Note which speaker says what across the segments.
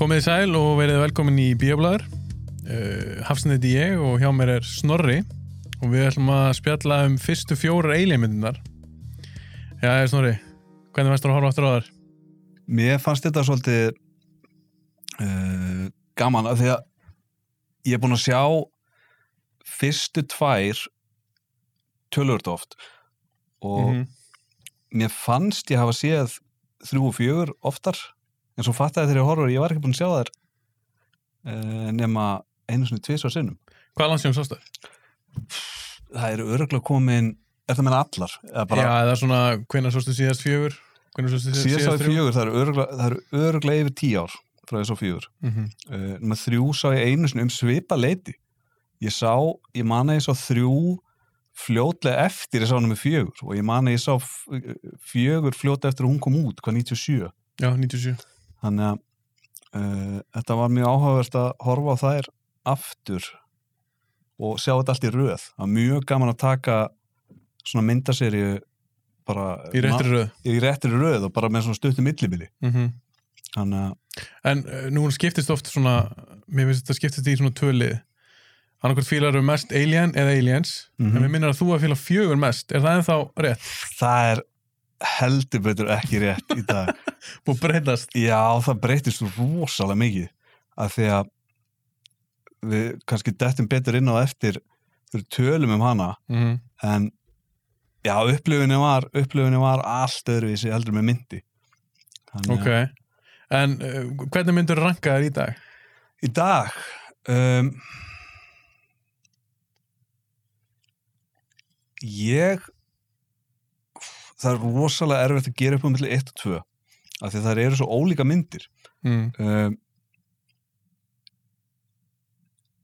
Speaker 1: Komið sæl og verið velkomin í Bíoblæður. Uh, Hafsinn heiti ég og hjá mér er Snorri og við ætlum að spjalla um fyrstu fjórar eiginmyndunar. Já, Snorri, hvernig fannst þú að horfa aftur á þar?
Speaker 2: Mér fannst þetta svolítið uh, gaman af því að ég er búinn að sjá fyrstu tvær tölvört oft og
Speaker 1: Mhm.
Speaker 2: mér fannst ég hafa séð þrjú og fjögur oftar en svo fattaði þegar ég horfur, ég var ekki búinn að sjá þær uh, nema einu svona tvis og sinnum.
Speaker 1: Hvað landsjón sástu?
Speaker 2: Það eru öruglega komin, er það meina allar? Eða
Speaker 1: Já,
Speaker 2: bara
Speaker 1: eða svona, hvenær sástu síðast fjögur? Hvenær sástu síðast,
Speaker 2: síðast á
Speaker 1: síðast
Speaker 2: fjögur, það eru öruglega, það eru öruglega yfir tíu ár frá þess að fjögur.
Speaker 1: Mm -hmm.
Speaker 2: uh, nummer þrjú sá ég einu sinni um svipa leiti ég sá, ég man að ég sá þrjú fljótlega eftir ég sá nummer fjögur og ég man að ég sá f- uh, fjögur fljótlega eftir að hún kom út hvað 97
Speaker 1: Já, 97.
Speaker 2: þannig að uh, þetta var mjög áhugavert að horfa á þær aftur og sjá þetta allt í röð það var mjög gaman að taka svona myndaserju bara
Speaker 1: Í réttri röð.
Speaker 2: í réttri röð og bara með svona stuttum millibili
Speaker 1: Mm
Speaker 2: þannig að
Speaker 1: En uh, nú skiptist oft svona, mér finnst þetta skiptist í svona tölið. Annarkvært fílar eru mest Alien eða Aliens,
Speaker 2: Mhm.
Speaker 1: en við minnum að þú að fíla fjögur mest. Er það ennþá rétt?
Speaker 2: það er heldur betur ekki rétt í dag
Speaker 1: Búið að breytast?
Speaker 2: Já, það breytist rosalega mikið að því að við kannski dettum betur inn á eftir þegar við tölum um hana
Speaker 1: Mm
Speaker 2: en já, upplifunni var, upplifunni var allt öðruvísi heldur en með myndi Þannig
Speaker 1: Ok, en uh, hvernig myndur ranka þér í dag?
Speaker 2: að í dag um, ég það er rosalega erfitt að gera upp um milli 1 og 2 af því að það eru svo ólíka myndir
Speaker 1: Mm.
Speaker 2: um,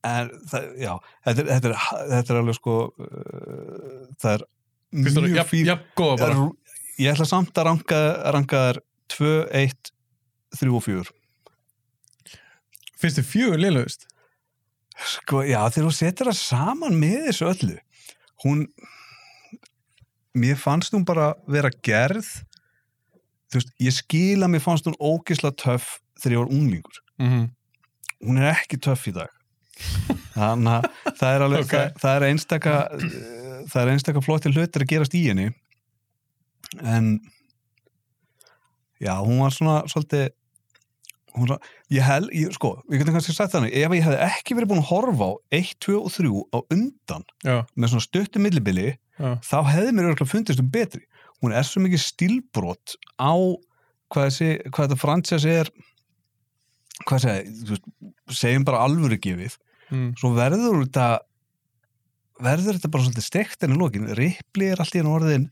Speaker 2: en það, já þetta er, þetta er, þetta er alveg sko uh, það er
Speaker 1: Fyrst þú, jafn,
Speaker 2: fín-
Speaker 1: jafn góða
Speaker 2: það
Speaker 1: bara
Speaker 2: er- ég ætla samt að ranka, ranka þær 2, 1, 3 og 4
Speaker 1: Finnst þið fjögur liðlegust?
Speaker 2: sko, já þegar þú setur það saman með þessu öllu hún mér fannst hún bara vera gerð þú veist, ég skil að mér fannst hún ógisla töff þegar ég var unglingur
Speaker 1: Mm -hmm.
Speaker 2: hún er ekki töff í dag þannig að það er alveg
Speaker 1: Ok.
Speaker 2: það, það er einstaka eh, það er einstaka flottir hlutir að gerast í henni en já, hún var svona svolítið hún var, ég hel, ég, sko, við getum kannski sagt þannig ef ég hefði ekki verið búin að horfa á 1, 2 og 3 á undan
Speaker 1: Já,
Speaker 2: með svona stöttu millibili
Speaker 1: já,
Speaker 2: þá hefði mér örgulega fundist um betri hún er svo mikið stílbrot á hvað, þessi, hvað þetta fransjás er hvað segi, þú veist, segjum bara alvöru gefið
Speaker 1: mm.
Speaker 2: svo verður þetta verður þetta bara svolítið steikt enn í lokin Ripley er alltaf í enn orðin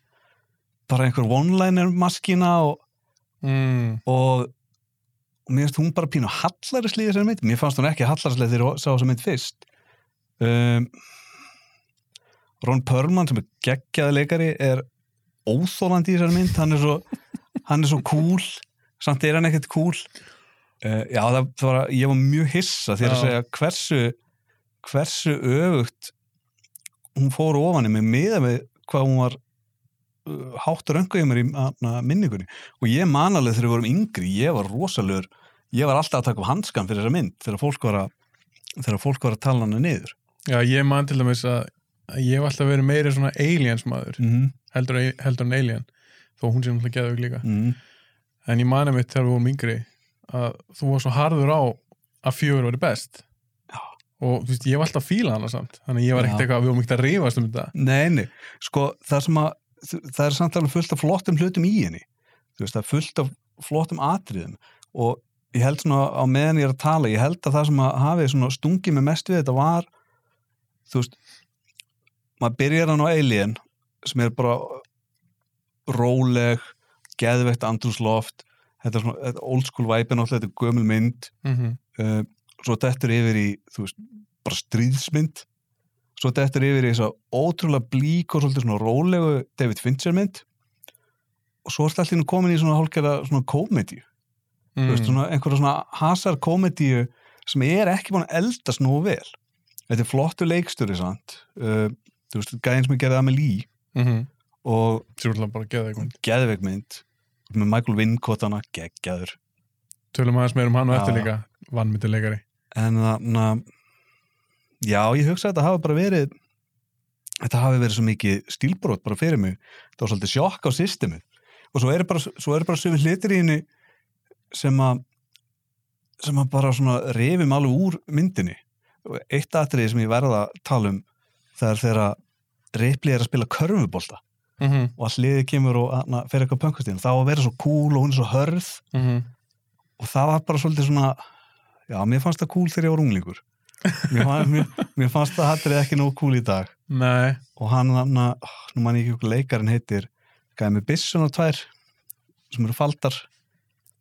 Speaker 2: bara einhver one-liner maskina og,
Speaker 1: Mm.
Speaker 2: og, og mér finnst hún bara pínu hallarislega þessari mynd, mér fannst hún ekki hallarislega þegar ég sá þessari mynd fyrst um, Ron Perlman sem er geggjaði leikari er óþólandi í þessari mynd hann er svo, hann er svo cool samt er hann ekkert cool uh, já, það, það var, ég var mjög hissa þegar
Speaker 1: Já.
Speaker 2: að segja hversu hversu öfugt hún fór ofan í mig miða með hvað hún var uh, hátt röngu í mér í na, minningunni og ég man alveg þegar við vorum yngri ég var rosalur, ég var alltaf að taka upp hanskan fyrir þessa mynd þegar fólk var að þegar fólk var að tala hana niður
Speaker 1: já, ég man til dæmis að að ég hef alltaf verið meiri svona aliens maður
Speaker 2: mm -hmm.
Speaker 1: heldur, heldur en alien þó hún sé náttúrulega geðaug líka
Speaker 2: Mm
Speaker 1: en ég mani mitt þegar við vorum yngri að þú var svo harður á að fjögur væri best
Speaker 2: Já.
Speaker 1: og þú veist, ég var alltaf að fíla hana samt þannig að ég var ekkert
Speaker 2: Já.
Speaker 1: eitthvað, við vorum ekkert að rífast um þetta
Speaker 2: Nei, nei, sko það sem að það er samt alveg fullt af flottum hlutum í henni þú veist, það er fullt af flottum atriðum og ég held svona á meðan ég er að tala, ég held að það sem að hafi svona stungið mig mest við þetta var þú veist maður byrjar hann á Alien sem er bara róleg, geðveikt andrúsloft þetta er svona þetta er old school væpin alltaf, þetta er gömul mynd
Speaker 1: mm
Speaker 2: uh, svo dettur yfir í þú veist, bara stríðsmynd svo dettur yfir í þess að ótrúlega blík og svolítið svona rólegu David Fincher mynd og svo ertu allir komin í svona hálfgerða svona komedi, þú
Speaker 1: Mm.
Speaker 2: veist,
Speaker 1: Mhm.
Speaker 2: svona einhverja svona hasar komedi sem er ekki búin að eldast nú vel þetta er flottu leikstöri sant uh, þú veist, gæðin sem ég gerði Amelie
Speaker 1: mm -hmm.
Speaker 2: og
Speaker 1: Sér úrlega bara geðaug
Speaker 2: geðveik mynd með Michael Vincott hana geggjaður
Speaker 1: tölum aðeins meir um hann og
Speaker 2: Já,
Speaker 1: eftir
Speaker 2: já.
Speaker 1: líka vannmyndilegari
Speaker 2: en þannig að já, ég hugsa að þetta hafi bara verið þetta hafi verið svo mikið stílbrot bara fyrir mig, þetta var svolítið sjokk á systemi og svo eru bara, svo eru bara sömu hlutir í henni sem að sem að bara svona rifum alveg úr myndinni Og eitt atrið sem ég verða að tala um það er þegar að Ripley er að spila körfubolta
Speaker 1: mm -hmm,
Speaker 2: og allt liðið kemur og hana, fer eitthvað pönkastíðin þá að vera svo cool og hún er svo hörð
Speaker 1: mm -hmm.
Speaker 2: og það var bara svolítið svona já, mér fannst það cool þegar ég var unglingur mér, fann, mér, mér fannst það hattrið ekki nóg cool í dag
Speaker 1: Nei,
Speaker 2: og hann þannig að, nú man ég ekki okkur leikarinn heitir gæði með byssun og tvær sem eru faldar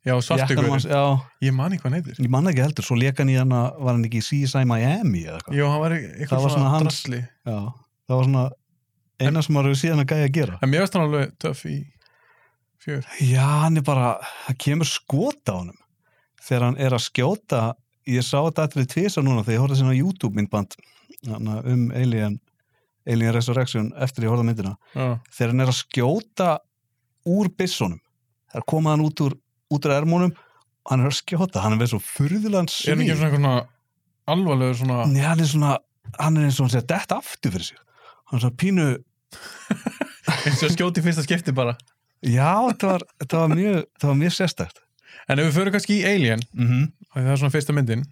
Speaker 1: já,
Speaker 2: Jakkanum
Speaker 1: svartugur
Speaker 2: hans- já,
Speaker 1: Ég man ekki hvað hann heitir
Speaker 2: ég manna ekki heldur, svo leikan í hann að var hann ekki í CSI Miami eða eitthvað
Speaker 1: Jó, hann var eitthvað
Speaker 2: Það var svona
Speaker 1: svona
Speaker 2: hans-
Speaker 1: drasli
Speaker 2: já, það var svona eina sem maður hefur síðan að gæja að gera
Speaker 1: En mér varst hann alveg töff í fjör
Speaker 2: já, hann er bara, það kemur skot á honum þegar hann er að skjóta ég sá þetta allir tvisa núna þegar ég horfði sinna á YouTube myndband þarna um Alien Alien Resurrection eftir ég horfði á myndina
Speaker 1: Já,
Speaker 2: þegar hann er að skjóta úr byssunum það er komað hann út úr, út úr ermónum og hann er að skjóta, hann er með svo
Speaker 1: er hann
Speaker 2: furðulegan svip
Speaker 1: ekki svona einhver svona alvarlegur svona
Speaker 2: Nei, hann er svona hann er eins og hann sé að detta aftur fyrir sig hann er svona pínu,
Speaker 1: eins og skjóti fyrsta skipti bara
Speaker 2: já, þetta var, þetta var mjög þetta var mjög sérstækt
Speaker 1: En ef við förum kannski í Alien
Speaker 2: mm -hmm.
Speaker 1: af því það er svona fyrsta myndin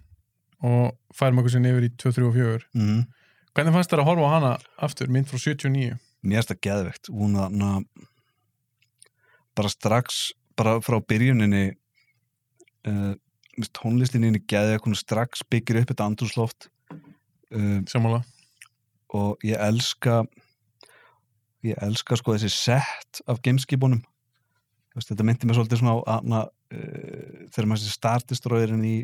Speaker 1: og færum okkur sinni yfir í 2, 3 og 4
Speaker 2: Mhm.
Speaker 1: Hvernig fannst þér að horfa á hana aftur, mynd frá 79?
Speaker 2: mér er þetta geðvegt hún að na, bara strax bara frá byrjuninni uh, tónlistinni geðvegt, hún strax byggir upp þetta andrúsloft um,
Speaker 1: Sammála
Speaker 2: og ég elska ég elska sko þessi sett af gameskipunum Þú veist, þetta myndi mér svolítið svona á na, uh, þegar maður sé startistróðurinn í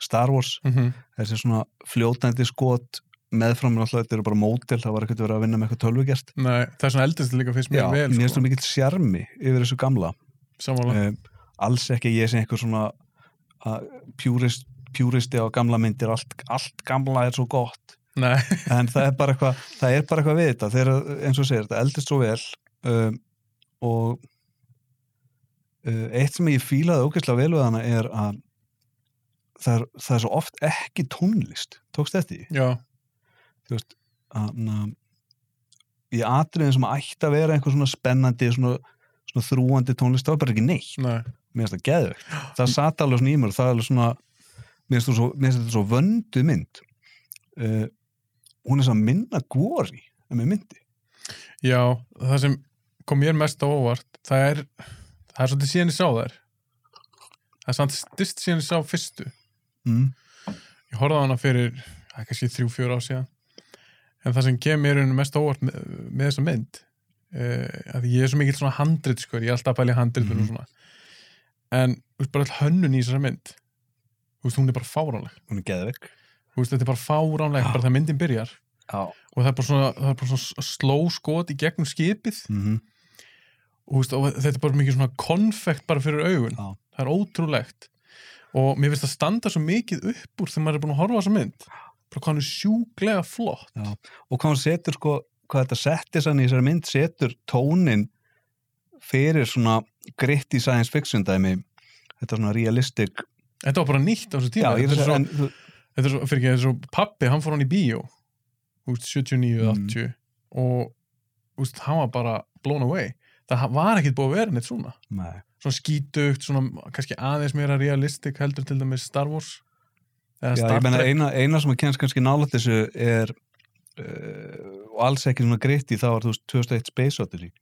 Speaker 2: Star Wars
Speaker 1: mm
Speaker 2: þessi svona fljótandi skot meðfram er alltaf, þetta eru bara mótil það var ekkert verið að vinna með eitthvað tölvugjart
Speaker 1: Nei, það er svona eldist líka fyrst mér
Speaker 2: mér
Speaker 1: vel
Speaker 2: finnst
Speaker 1: sko.
Speaker 2: þú mikill sjarmi yfir þessu gamla
Speaker 1: Sammála
Speaker 2: um, alls ekki ég sem eitthvað svona að pjúrist, pjúristi á gamla myndir allt, allt gamla er svo gott
Speaker 1: Nei,
Speaker 2: en það er bara eitthvað það er bara eitthvað við þetta þegar, eins og segir, þetta eldist svo vel um, og uh, eitt sem ég fílaði ógeðslega vel við hana er að það er, það er svo oft ekki tónlist tókst þetta í
Speaker 1: já,
Speaker 2: að, í atriðin sem ætti að vera einhver svona spennandi svona, svona þrúandi tónlist það var bara ekki neitt,
Speaker 1: nei
Speaker 2: mér finnst það geðvegt það sat alveg svona í mér, það er alveg svona mér finnst þú svo- mér finnst þetta svo vöndu mynd uh, hún er svo að minna góri með myndi
Speaker 1: Já, það sem kom mér mest á óvart það er, það er svolítið síðan ég sá þær það er samt styrst síðan ég sá fyrstu
Speaker 2: mm.
Speaker 1: ég horfði á hana fyrir, það er kannski þrjú, fjör ár síðan en það sem kem mér einu mest á óvart með, með þessa mynd uh, að ég er svo mikill svona handrit sko, ég er alltaf að pæla í handritum
Speaker 2: Mhm.
Speaker 1: og svona en þú veist, bara all hönnun í þessari mynd þú veist, hún er bara fáránleg
Speaker 2: hún er geðvik
Speaker 1: þú veist, þetta er bara fáránleg,
Speaker 2: Já.
Speaker 1: bara það myndin byrjar
Speaker 2: já,
Speaker 1: og það er bara svona, það er bara svona sló skot í gegnum skipið
Speaker 2: mm
Speaker 1: og, þú veist, og þetta er bara mikið svona konfekt bara fyrir augun,
Speaker 2: Já.
Speaker 1: það er ótrúlegt og mér finnst það standa svo mikið upp úr þegar maður er búin að horfa á þessa mynd bara hvað hann er sjúklega flott
Speaker 2: Já. og hvað hún setur sko hvað þetta settir sann í þessari mynd setur tónin fyrir svona gritt í science fiction dæmi þetta svona realistic
Speaker 1: þetta var bara nýtt á þessu tíma
Speaker 2: ég
Speaker 1: þetta, er
Speaker 2: svo,
Speaker 1: svo,
Speaker 2: en, þú-
Speaker 1: þetta, er svo, fyrir ekki, þetta er svo pappi, hann fór hann í bíó úst, 79 eða
Speaker 2: Mm.
Speaker 1: 80 og úst, hann var bara blown away það var ekkit búið að vera neitt svona
Speaker 2: nei,
Speaker 1: svona skítugt, svona kannski aðeins meira realistik heldur til dæmis Star Wars eða
Speaker 2: já,
Speaker 1: Star
Speaker 2: ég meina
Speaker 1: Trek.
Speaker 2: eina, eina sem að kennst kannski nálætt þessu er uh, og alls ekki svona gritt í þá var þú veist 2001 Space Odyssey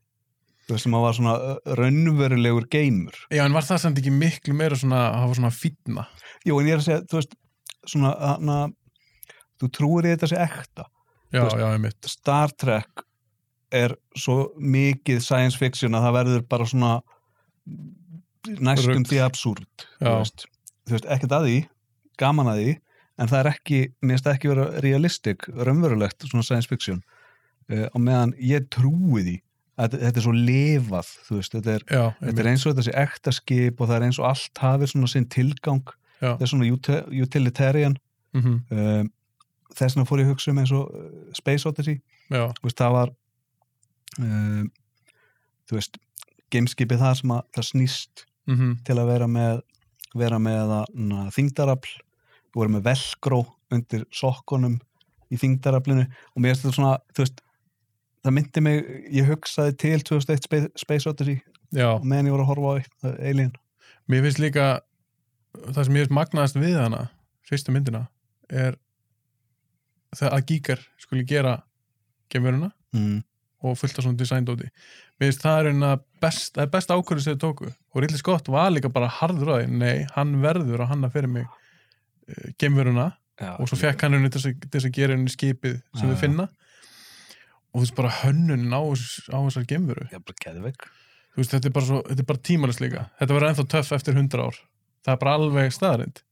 Speaker 2: þú veist sem að var svona uh, raunverulegur geimur
Speaker 1: Já, en var það samt ekki miklu meira svona, það var svona fýtna
Speaker 2: jú en ég er að segja, þú veist svona, hana, þú trúir í þetta sé ekta
Speaker 1: Já,
Speaker 2: Þú veist-
Speaker 1: já, ég mitt
Speaker 2: Star Trek er svo mikið science fiction að það verður bara svona næstum
Speaker 1: Rugl.
Speaker 2: því absúrt þú
Speaker 1: Já.
Speaker 2: veist, Þú veist, ekkert að því gaman að því, en það er ekki mér finnst það ekki vera realistik, raunverulegt svona science fiction uh, og meðan ég trúi því að þetta- þetta er svo lifað, þú veist þetta er,
Speaker 1: Já,
Speaker 2: þetta er eins og þetta sé ekta skip og það er eins og allt hafið svona sinn tilgang
Speaker 1: Já.
Speaker 2: þetta er svona uti- utilitarian
Speaker 1: mm -hmm.
Speaker 2: uh, þess vegna fór ég að hugsa um eins og uh, Space Odyssey
Speaker 1: Já,
Speaker 2: þú veist, það var uh, þú veist gameskipið það sem að það snýst
Speaker 1: mm
Speaker 2: til að vera með vera með að, na, þingdarafl við vorum með velgró undir sokkunum í þingdaraflinu og mér finnst þetta svona, þú veist það myndi mig, ég hugsaði til 2001 Space, Space Odyssey
Speaker 1: já,
Speaker 2: og meðan ég voru að horfa á uh, Alien
Speaker 1: mér finnst líka það sem ég finnst magnaðast við hana fyrstu myndina er það að gíkar skuli gera gemuruna
Speaker 2: mm.
Speaker 1: og fullt af svona design dóti mér finnst það er eina best, það er best ákvörðu sem þau tóku og Ridley Scott var líka bara harður á því nei, hann verður að hanna fyrir mig uh, gemuruna
Speaker 2: já,
Speaker 1: og svo fekk hann henni til þess að- til þess að gera henni skipið sem
Speaker 2: Já,
Speaker 1: við
Speaker 2: já.
Speaker 1: finna og þú veist bara hönnunin á, þess- á þessar gemuru
Speaker 2: ég er bara keðveik
Speaker 1: þú veist, þetta er bara, svo, þetta er bara tímalist líka þetta verður ennþá töff eftir 100 ár það er bara alveg staðarind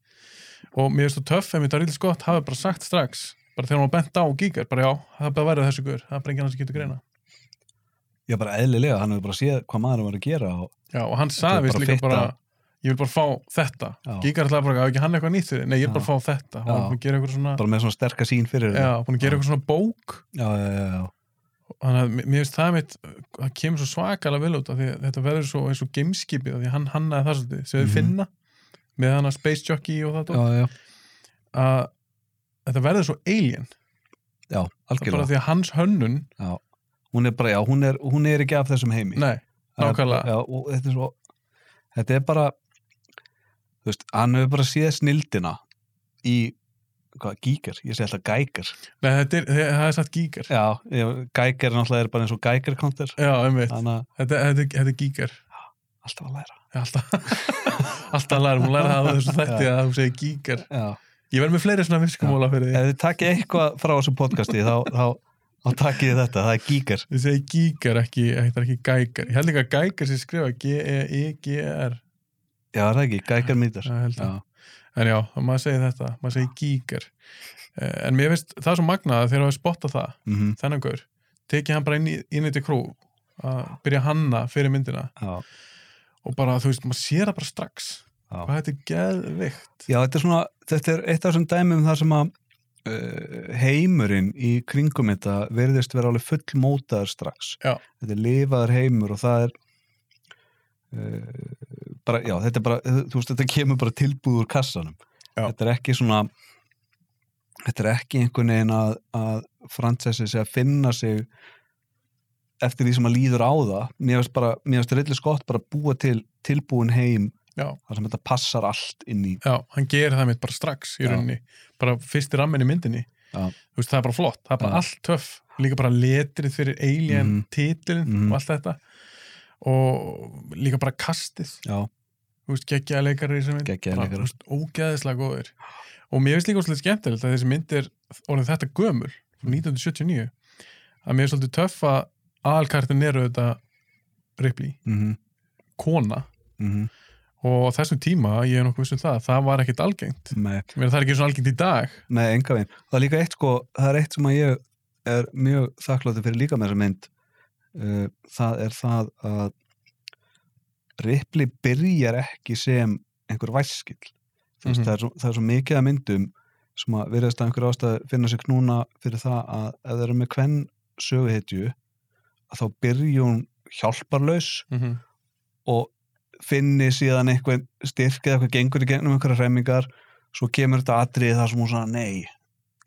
Speaker 1: og mér finnst þú töff, ef mér það er ríðlis gott hafa bara sagt strax, bara þegar hún var bent á og gíkar, bara já, það er bara værið þessu guður það er bara enginn annars sem getur greina
Speaker 2: ég er bara eðlilega, hann hefur bara séð hvað maður var að gera og
Speaker 1: já, og hann
Speaker 2: Þetta er
Speaker 1: sagði vist
Speaker 2: bara
Speaker 1: líka
Speaker 2: fitta.
Speaker 1: bara ég vil bara fá þetta,
Speaker 2: Já.
Speaker 1: gíkar ætlaði bara að ekki hann eitthvað nýtt fyrir, nei ég er bara að fá þetta
Speaker 2: Já.
Speaker 1: hann var búin að gera eitthvað svona,
Speaker 2: bara með svona sterka sín fyrir
Speaker 1: já,
Speaker 2: þetta.
Speaker 1: búin að gera eitthvað svona bók
Speaker 2: já, já, já, já.
Speaker 1: þannig að mér mér finnst það mitt það kemur svo svakalega vel út af því að þetta verður svo eins og gameskipið af því að hann hannaði það svolítið sem við
Speaker 2: Mhm.
Speaker 1: finna með hann space jockey og það dót.
Speaker 2: já, já.
Speaker 1: að þetta verður svo alien
Speaker 2: já
Speaker 1: það er bara
Speaker 2: algjörlega
Speaker 1: því að hans hönnun
Speaker 2: hún er bara, já, hún er, hún er ekki af þessum heimi
Speaker 1: nei,
Speaker 2: Það er-
Speaker 1: nákvæmlega.
Speaker 2: já, og þetta er svo þetta er bara þú veist, hann hefur bara séð snildina í, hvað, gíkar ég segi alltaf gækar
Speaker 1: nei þetta er, þe- það er satt gígar já,
Speaker 2: já, ég- gækar náttúrulega er bara eins og gækar kontur
Speaker 1: einmitt,
Speaker 2: þannig að
Speaker 1: þetta, þetta, er- þetta er gígar
Speaker 2: alltaf að læra
Speaker 1: alltaf, alltaf lærum hún læra það á þessu þætti að hún segi gígar
Speaker 2: já.
Speaker 1: ég verð með fleiri svona vinskumóla fyrir því
Speaker 2: ef þið takkið eitthvað frá þessu podcasti þá, þá, þá takkið þið þetta, það er gíkar
Speaker 1: þið segi gígar ekki, þetta er ekki gægar ég held líka að gægar sem skrifa E G-E-I-G-R
Speaker 2: já, er það ekki, gækar mýtar
Speaker 1: það held
Speaker 2: já,
Speaker 1: ég En já, þá maður segir þetta, maður segir gígar. Eh, En mér finnst það er svo magnað að þegar við spotta það,
Speaker 2: mhm,
Speaker 1: þennan gaur, tekið hann bara inn í, inn í til krú, að byrja að hanna fyrir myndina
Speaker 2: já,
Speaker 1: og bara, þú veist, maður sér það bara strax.
Speaker 2: já.
Speaker 1: Hvað þetta er geðvikt.
Speaker 2: Já, þetta er svona, þetta er eitt af þessum dæmum þar sem að uh, heimurinn í kringum þetta verðist vera alveg fullmótaður strax.
Speaker 1: Já.
Speaker 2: Þetta er lifaður heimur og það er uh, bara, já, þetta er bara, þú veist, þetta kemur bara tilbúð úr kassanum.
Speaker 1: Já.
Speaker 2: Þetta er ekki svona, þetta er ekki einhvern veginn að, að fransessi sé að finna sig eftir því sem að líður á það. Mér finnst bara, mér finnst reyðlega skott bara að búa til tilbúin heim
Speaker 1: Já.
Speaker 2: þar sem þetta passar allt inn í
Speaker 1: Já, hann gerir það mitt bara strax í
Speaker 2: Já.
Speaker 1: rauninni, bara fyrst í ramminni myndinni.
Speaker 2: Já.
Speaker 1: Þú veist, það er bara flott, það er bara
Speaker 2: Já.
Speaker 1: allt töff, líka bara letrið fyrir alien
Speaker 2: Mhm.
Speaker 1: titlinn
Speaker 2: Mhm.
Speaker 1: og allt þetta og líka bara kastið.
Speaker 2: Já,
Speaker 1: þú veist, geggjaða leikari sem mynd
Speaker 2: Geggjaðir
Speaker 1: Bara,
Speaker 2: leikarar.
Speaker 1: þú veist, ógeðislega góðir og mér finnst líka svolítið skemmtilegt að þessi mynd er orðin þetta gömul, frá 1979 að mér er svolítið töff að aðalkartin eru þetta Ripley,
Speaker 2: mhm.
Speaker 1: kona
Speaker 2: Mm
Speaker 1: og á þessum tíma, ég er nokkuð viss um það það var ekkit algengt,
Speaker 2: með,
Speaker 1: mér það er ekki svona algengt í dag
Speaker 2: með enga veginn það er líka eitt sko, það er eitt sem að ég er mjög þakkláttur fyrir líka með þessa mynd uh, það er það að Ripley byrjar ekki sem einhver væskill mm -hmm.
Speaker 1: Mhm.
Speaker 2: það, er svo, það er svo mikið að myndum sem að virðast að einhver ástæð finna sér knúna fyrir það að ef það eru með kvenn söguhetju að þá byrja hún hjálparlaus
Speaker 1: mm
Speaker 2: og finni síðan eitthvað styrk eða eitthvað gengur í gegnum einhverja hremmingar svo kemur þetta atrið þar sem hún svona nei,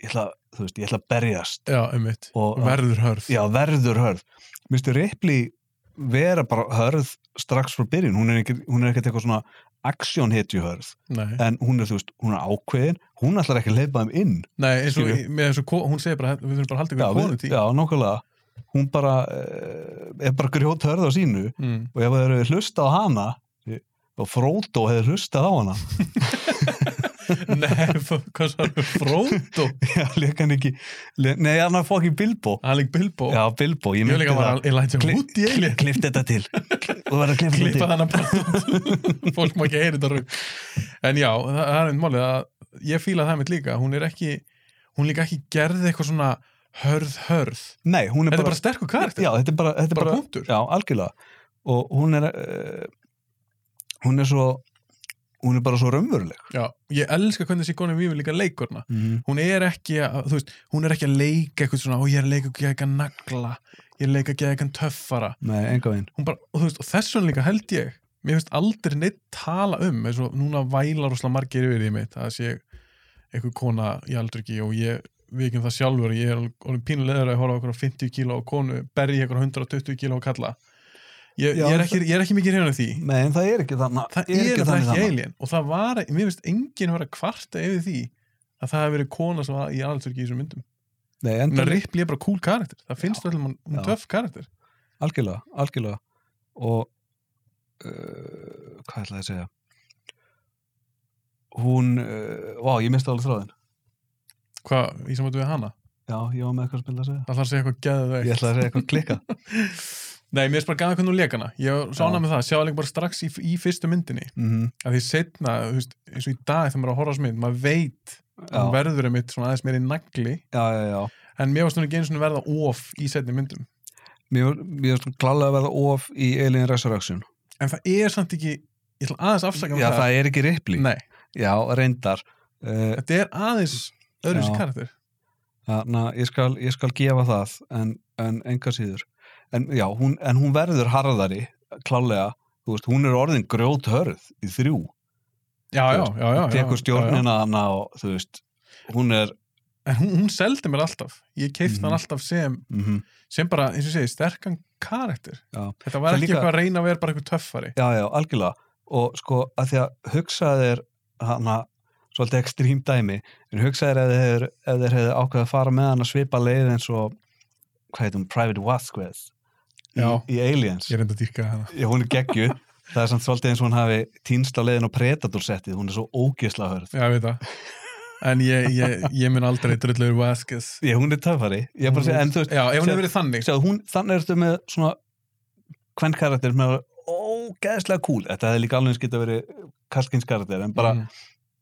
Speaker 2: ég ætla, þú veist, ég ætla að berjast
Speaker 1: já, einmitt,
Speaker 2: Og-
Speaker 1: verður hörð
Speaker 2: já, verður hörð Mr. Ripley vera bara hörð strax frá byrjun, hún er ekkert, hún er ekkert eitthvað svona aksjónhetju hörð
Speaker 1: nei.
Speaker 2: en hún er, þú veist, hún er ákveðin hún ætlar ekki að leipa þeim inn
Speaker 1: nei, eins og
Speaker 2: Skilju.
Speaker 1: með þessu, ko- hún segir bara við þurfum bara að halda
Speaker 2: já,
Speaker 1: ykkur konu tí
Speaker 2: við, já nákvæmlega hún bara eh, er bara grjót hörð á sínu
Speaker 1: mm.
Speaker 2: og ef það eru hlusta á hana og Frodo hefði hlustað á hana
Speaker 1: nei, hvað svo fróndó,
Speaker 2: Já, leik hann ekki le, Nei, hann er fokkin Bilbo
Speaker 1: hann er líka Bilbo
Speaker 2: Já, Bilbo, ég
Speaker 1: Ég vil
Speaker 2: myndi
Speaker 1: líka bara
Speaker 2: það
Speaker 1: Elijah
Speaker 2: Kli-
Speaker 1: Wood í eilin
Speaker 2: Klift þetta til Þú verður að klippa þetta
Speaker 1: klippa
Speaker 2: til
Speaker 1: þannig bara fólk má ekki heyra þetta rauk en já, það, það er einn málið að ég fíla það mitt líka, hún er ekki hún líka ekki gerði eitthvað svona hörð hörð,
Speaker 2: Nei, hún er
Speaker 1: þetta
Speaker 2: bara,
Speaker 1: er bara sterkur karakter
Speaker 2: Já, þetta er bara, þetta er
Speaker 1: bara
Speaker 2: bara,
Speaker 1: punktur
Speaker 2: Já, algjörlega Og hún er uh, Hún er svo Hún er bara svo raunveruleg
Speaker 1: já, ég elska hvernig Sigoni Vífi líka leikurna
Speaker 2: mm.
Speaker 1: hún er ekki að, þú veist, hún er ekki að leika eitthvað svona, ó ég er að leika ekki eitthvað nagla ég er að leika ekki eitthvað töffara
Speaker 2: Nei, enga veginn
Speaker 1: hún bara, og þú veist, og þessum líka held ég mér finnst aldrei neitt tala um eins og núna vælar rosalega margir yfir því mitt að sé einhver kona í aldriki og ég vikið um það sjálfur, ég er alveg pínulegur að horfa okkur á einhverja 50 kíla og konu berja okkur 120 kíla og kalla ég,
Speaker 2: Já,
Speaker 1: ég, er ekki, ég er ekki mikið reyna því
Speaker 2: Nei, en það er ekki þannig
Speaker 1: það er það ekki alien og það var, mér finnst enginn vera að kvarta yfir því að það hefur verið kona sem var í aldriki í þessum myndum
Speaker 2: Nei,
Speaker 1: Ég meina,
Speaker 2: enda,
Speaker 1: Ripley er bara cool karakter, það finnst öllum hún- hún
Speaker 2: Já.
Speaker 1: töff karakter
Speaker 2: algjörlega, algjörlega og uh, hvað ætlaði að segja hún uh, vá, ég misti alveg þráðin
Speaker 1: hvað, í samvættu við hana,
Speaker 2: já, ég var með eitthvað sem vilja að segja
Speaker 1: það þarf að segja eitthvað geðveikt.
Speaker 2: ég ætlaði að segja eitthvað klikka
Speaker 1: Nei, mér finnst bara gæða hvernig hún leikana ég
Speaker 2: Já.
Speaker 1: sána með það, sjá það líka bara strax í, í fyrstu myndinni
Speaker 2: mm
Speaker 1: að því setna, þú veist, eins og í dag þegar maður er að horfa á þessu mynd, maður veit að hún
Speaker 2: já,
Speaker 1: verður einmitt svona aðeins meiri nagli
Speaker 2: já, já, já
Speaker 1: en mér varst hún ekki einu svona verða of í setni myndum
Speaker 2: mér mér finnst klálega að verða of í Alien Resurrection
Speaker 1: en það er samt ekki, ég ætla aðeins afsaka
Speaker 2: já, það er ekki ripli
Speaker 1: Nei,
Speaker 2: já, reyndar uh,
Speaker 1: þetta er aðeins öðruvísi
Speaker 2: Já.
Speaker 1: karakter
Speaker 2: na, ég, skal, ég skal gefa það en, en enga síður en, já, hún, en hún verður harðari klálega, þú veist, hún er orðin grjóthörð í þrjú
Speaker 1: Já, já, já, já, já,
Speaker 2: tekur
Speaker 1: já,
Speaker 2: stjórnina hana og þú veist, hún er
Speaker 1: já. En hún, hún seldi mér alltaf Ég keifti
Speaker 2: Mhm.
Speaker 1: hann alltaf sem,
Speaker 2: mm
Speaker 1: sem bara, eins og ég segi, sterkan karakter
Speaker 2: Já.
Speaker 1: Þetta var
Speaker 2: Það
Speaker 1: ekki
Speaker 2: líka-
Speaker 1: eitthvað að reyna að vera bara eitthvað töffari
Speaker 2: já, já, algjörlega og sko, að því að hugsa þér hana, svolítið ekstrím dæmi en hugsa þér ef þeir, ef þeir hefði ákveð að fara með hana svipa leið eins og hvað heitum, Private Vasquez í,
Speaker 1: Já.
Speaker 2: í Aliens
Speaker 1: Ég reyndi að dýrka hana
Speaker 2: já, hún er geggju það er samt svolítið eins og hún hafi týnst á leiðin og predator settið, hún er svo ógisla hörð
Speaker 1: Já, ég veit það. En ég, ég, ég mun aldrei drullur Vasquez.
Speaker 2: já, hún er töfari, ég er bara að segja, en þú veist
Speaker 1: Já, ef hún
Speaker 2: sem-
Speaker 1: hefur verið þannig.
Speaker 2: Sjáðu, hún, þannig ertu með svona hvern karakter með ógeðslega cool, þetta hefði líka alveg eins geta verið kalkins karakter, en bara
Speaker 1: Mm.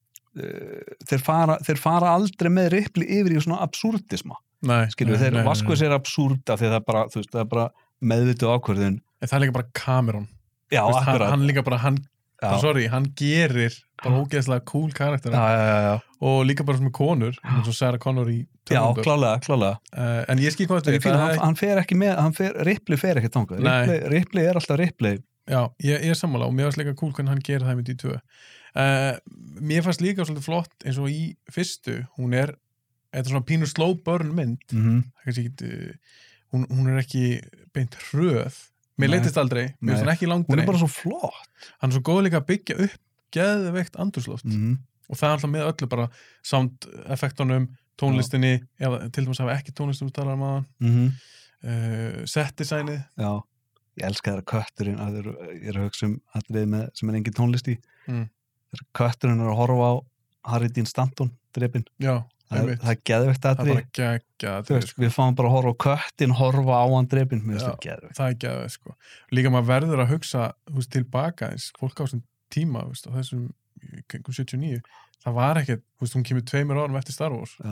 Speaker 2: uh, þeir, fara, þeir fara aldrei með ripli yfir í svona absúrdisma
Speaker 1: Nei,
Speaker 2: skilju,
Speaker 1: nei,
Speaker 2: þeir
Speaker 1: nei, nei,
Speaker 2: vaskuð sér absúrda því að það er bara, þú veist, það er bara meðvitu ákvörðun
Speaker 1: nei. En það er líka bara Cameron.
Speaker 2: já,
Speaker 1: Þú veist, hann,
Speaker 2: akkurat
Speaker 1: hann líka bara, hann,
Speaker 2: já,
Speaker 1: bara, sorry, hann gerir bara ógeðslega cool karakter.
Speaker 2: já, já, já, já.
Speaker 1: Og líka bara svona konur, eins og Sarah Connor í
Speaker 2: já
Speaker 1: Terminator.
Speaker 2: klálega, klálega
Speaker 1: Uh, en ég skil hvað þetta
Speaker 2: en
Speaker 1: er.
Speaker 2: ég fíla,
Speaker 1: Það
Speaker 2: hann,
Speaker 1: er-
Speaker 2: hann fer ekki með, hann fer, ripli fer ekki þangað
Speaker 1: Nei.
Speaker 2: ripli, ripli er alltaf ripli
Speaker 1: Já, ég, ég er sammála og mér fannst líka cool hvernig hann gerir það með í tvö. Uh, mér fannst líka svolítið flott eins og í fyrstu, hún er, þetta er svona pínu slow burn mynd
Speaker 2: mm -hmm.
Speaker 1: það kannski ekki hún, hún er ekki beint hröð mér
Speaker 2: Nei.
Speaker 1: leittist aldrei, mér
Speaker 2: Nei.
Speaker 1: finnst hann ekki
Speaker 2: hún
Speaker 1: langdrein
Speaker 2: er bara svo flott
Speaker 1: hann er svo góð líka að byggja upp geðveikt andurslóft
Speaker 2: -hmm.
Speaker 1: og það er alltaf með öllu bara soundeffektunum, tónlistinni eða til dæmis hafa ekki tónlistum talar um aðan
Speaker 2: Mm -hmm.
Speaker 1: uh, setdesignið
Speaker 2: Já, ég elska þeirra kötturinn að þeir, ég er að hugsa um atrið með sem er engin tónlist í
Speaker 1: Mm.
Speaker 2: þeirra kötturinn er að horfa á Harry Dean Stanton drepin,
Speaker 1: já,
Speaker 2: það,
Speaker 1: einmitt.
Speaker 2: það er geðvegt
Speaker 1: það er
Speaker 2: atrið
Speaker 1: bara sko. geggja
Speaker 2: veist, við fáum bara að horfa á köttin horfa á hann drepin, mér finnst
Speaker 1: Já.
Speaker 2: það geðvegt
Speaker 1: það er geðveikt sko. líka maður verður að hugsa þú veist, tilbaka eins, fólk á þessum tíma þú veist, á þessum í kringum 79 það var ekkert, þú veist, hún kemur tveimur árum eftir Star Wars
Speaker 2: Já,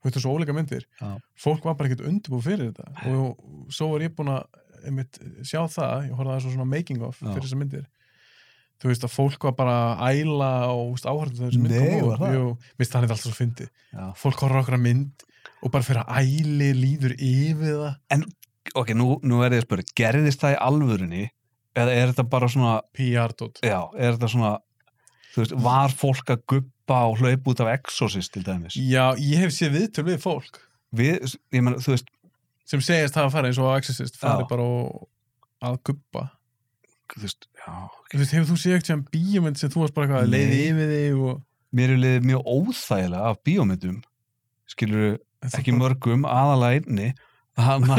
Speaker 1: þú veist, svo ólíka myndir
Speaker 2: Já.
Speaker 1: fólk var bara ekkert undirbúið fyrir þetta og svo var ég búinn að einmitt, sjá það, ég horfði að það svo svona making of
Speaker 2: Já.
Speaker 1: fyrir þessar myndir þú veist að fólk var bara að æla og áhörðu þessu mynd
Speaker 2: Nei,
Speaker 1: kom
Speaker 2: var
Speaker 1: út.
Speaker 2: það?
Speaker 1: Jú, mér finnst það er alltaf svo fyndi
Speaker 2: já.
Speaker 1: fólk horfður okkur að mynd og bara fyrir að æli líður yfir það
Speaker 2: ok, nú, nú er ég að spyrja, gerðist það í alvörunni eða er þetta bara svona
Speaker 1: PR-dót
Speaker 2: já, er þetta svona þú veist, var fólk að guppa og hlaupa út af Exorcist til dæmis
Speaker 1: Já, ég hef séð viðtöl við fólk
Speaker 2: við, ég meina, þú veist,
Speaker 1: sem segist hafa farið eins og á Exorcist farið
Speaker 2: Já.
Speaker 1: bara og að gubba
Speaker 2: þú veist já,
Speaker 1: Þú veist, hefur þú séð ekkert sem bíómynd sem þú varst bara eitthvað að leiði
Speaker 2: Nei.
Speaker 1: yfir þig og
Speaker 2: mér er liðið mjög óþægilega af bíómyndum skilur
Speaker 1: Þetta
Speaker 2: ekki
Speaker 1: bara-
Speaker 2: mörgum, aðalega einni hana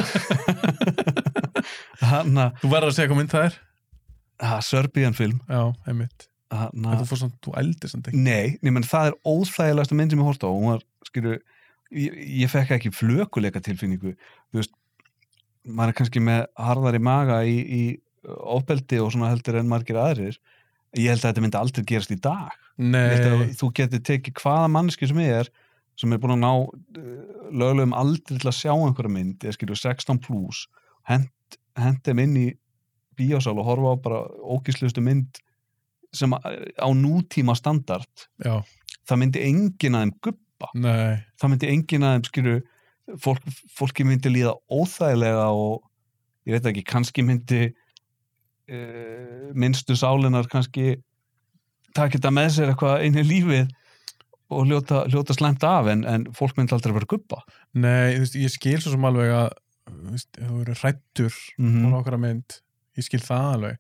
Speaker 2: hana,
Speaker 1: Þú verður að segja hvað mynd það er?
Speaker 2: hana Serbian film
Speaker 1: Já, einmitt. En
Speaker 2: hana,
Speaker 1: þú fórst svona, þú eldir samt ekki.
Speaker 2: nei, nemen, það er óþægilegasta mynd sem ég hórt á hún var, skilur, ég, ég fekk ekki flökuleika tilfinningu þú veist, maður er kannski með harðari maga í, í ofbeldi og svona heldur en margir aðrir ég held að þetta myndi aldrei gerast í dag Ég held að
Speaker 1: Nei,
Speaker 2: þú getur tekið hvaða manneski sem er sem er búin að ná uh, lögulegum aldrei til að sjá einhverja mynd eða skilju 16 plus hent, hent þeim inn í bíósal og horfa á bara ógíslustu mynd sem að- á nútíma standard
Speaker 1: já,
Speaker 2: það myndi engin að þeim guppa
Speaker 1: nei,
Speaker 2: það myndi engin að þeim skilju fólk, fólki myndi líða óþægilega og ég veit ekki, kannski myndi e, uh, minnstu sálinar kannski taka þetta með sér eitthvað einu lífið og hljóta, hljóta slæmt af en, en fólk myndi aldrei vera guppa
Speaker 1: Nei, þú veist, ég skil svo sem alveg að þú veist, ef þú eru hrættur
Speaker 2: mm
Speaker 1: á nokkra mynd, ég skil það alveg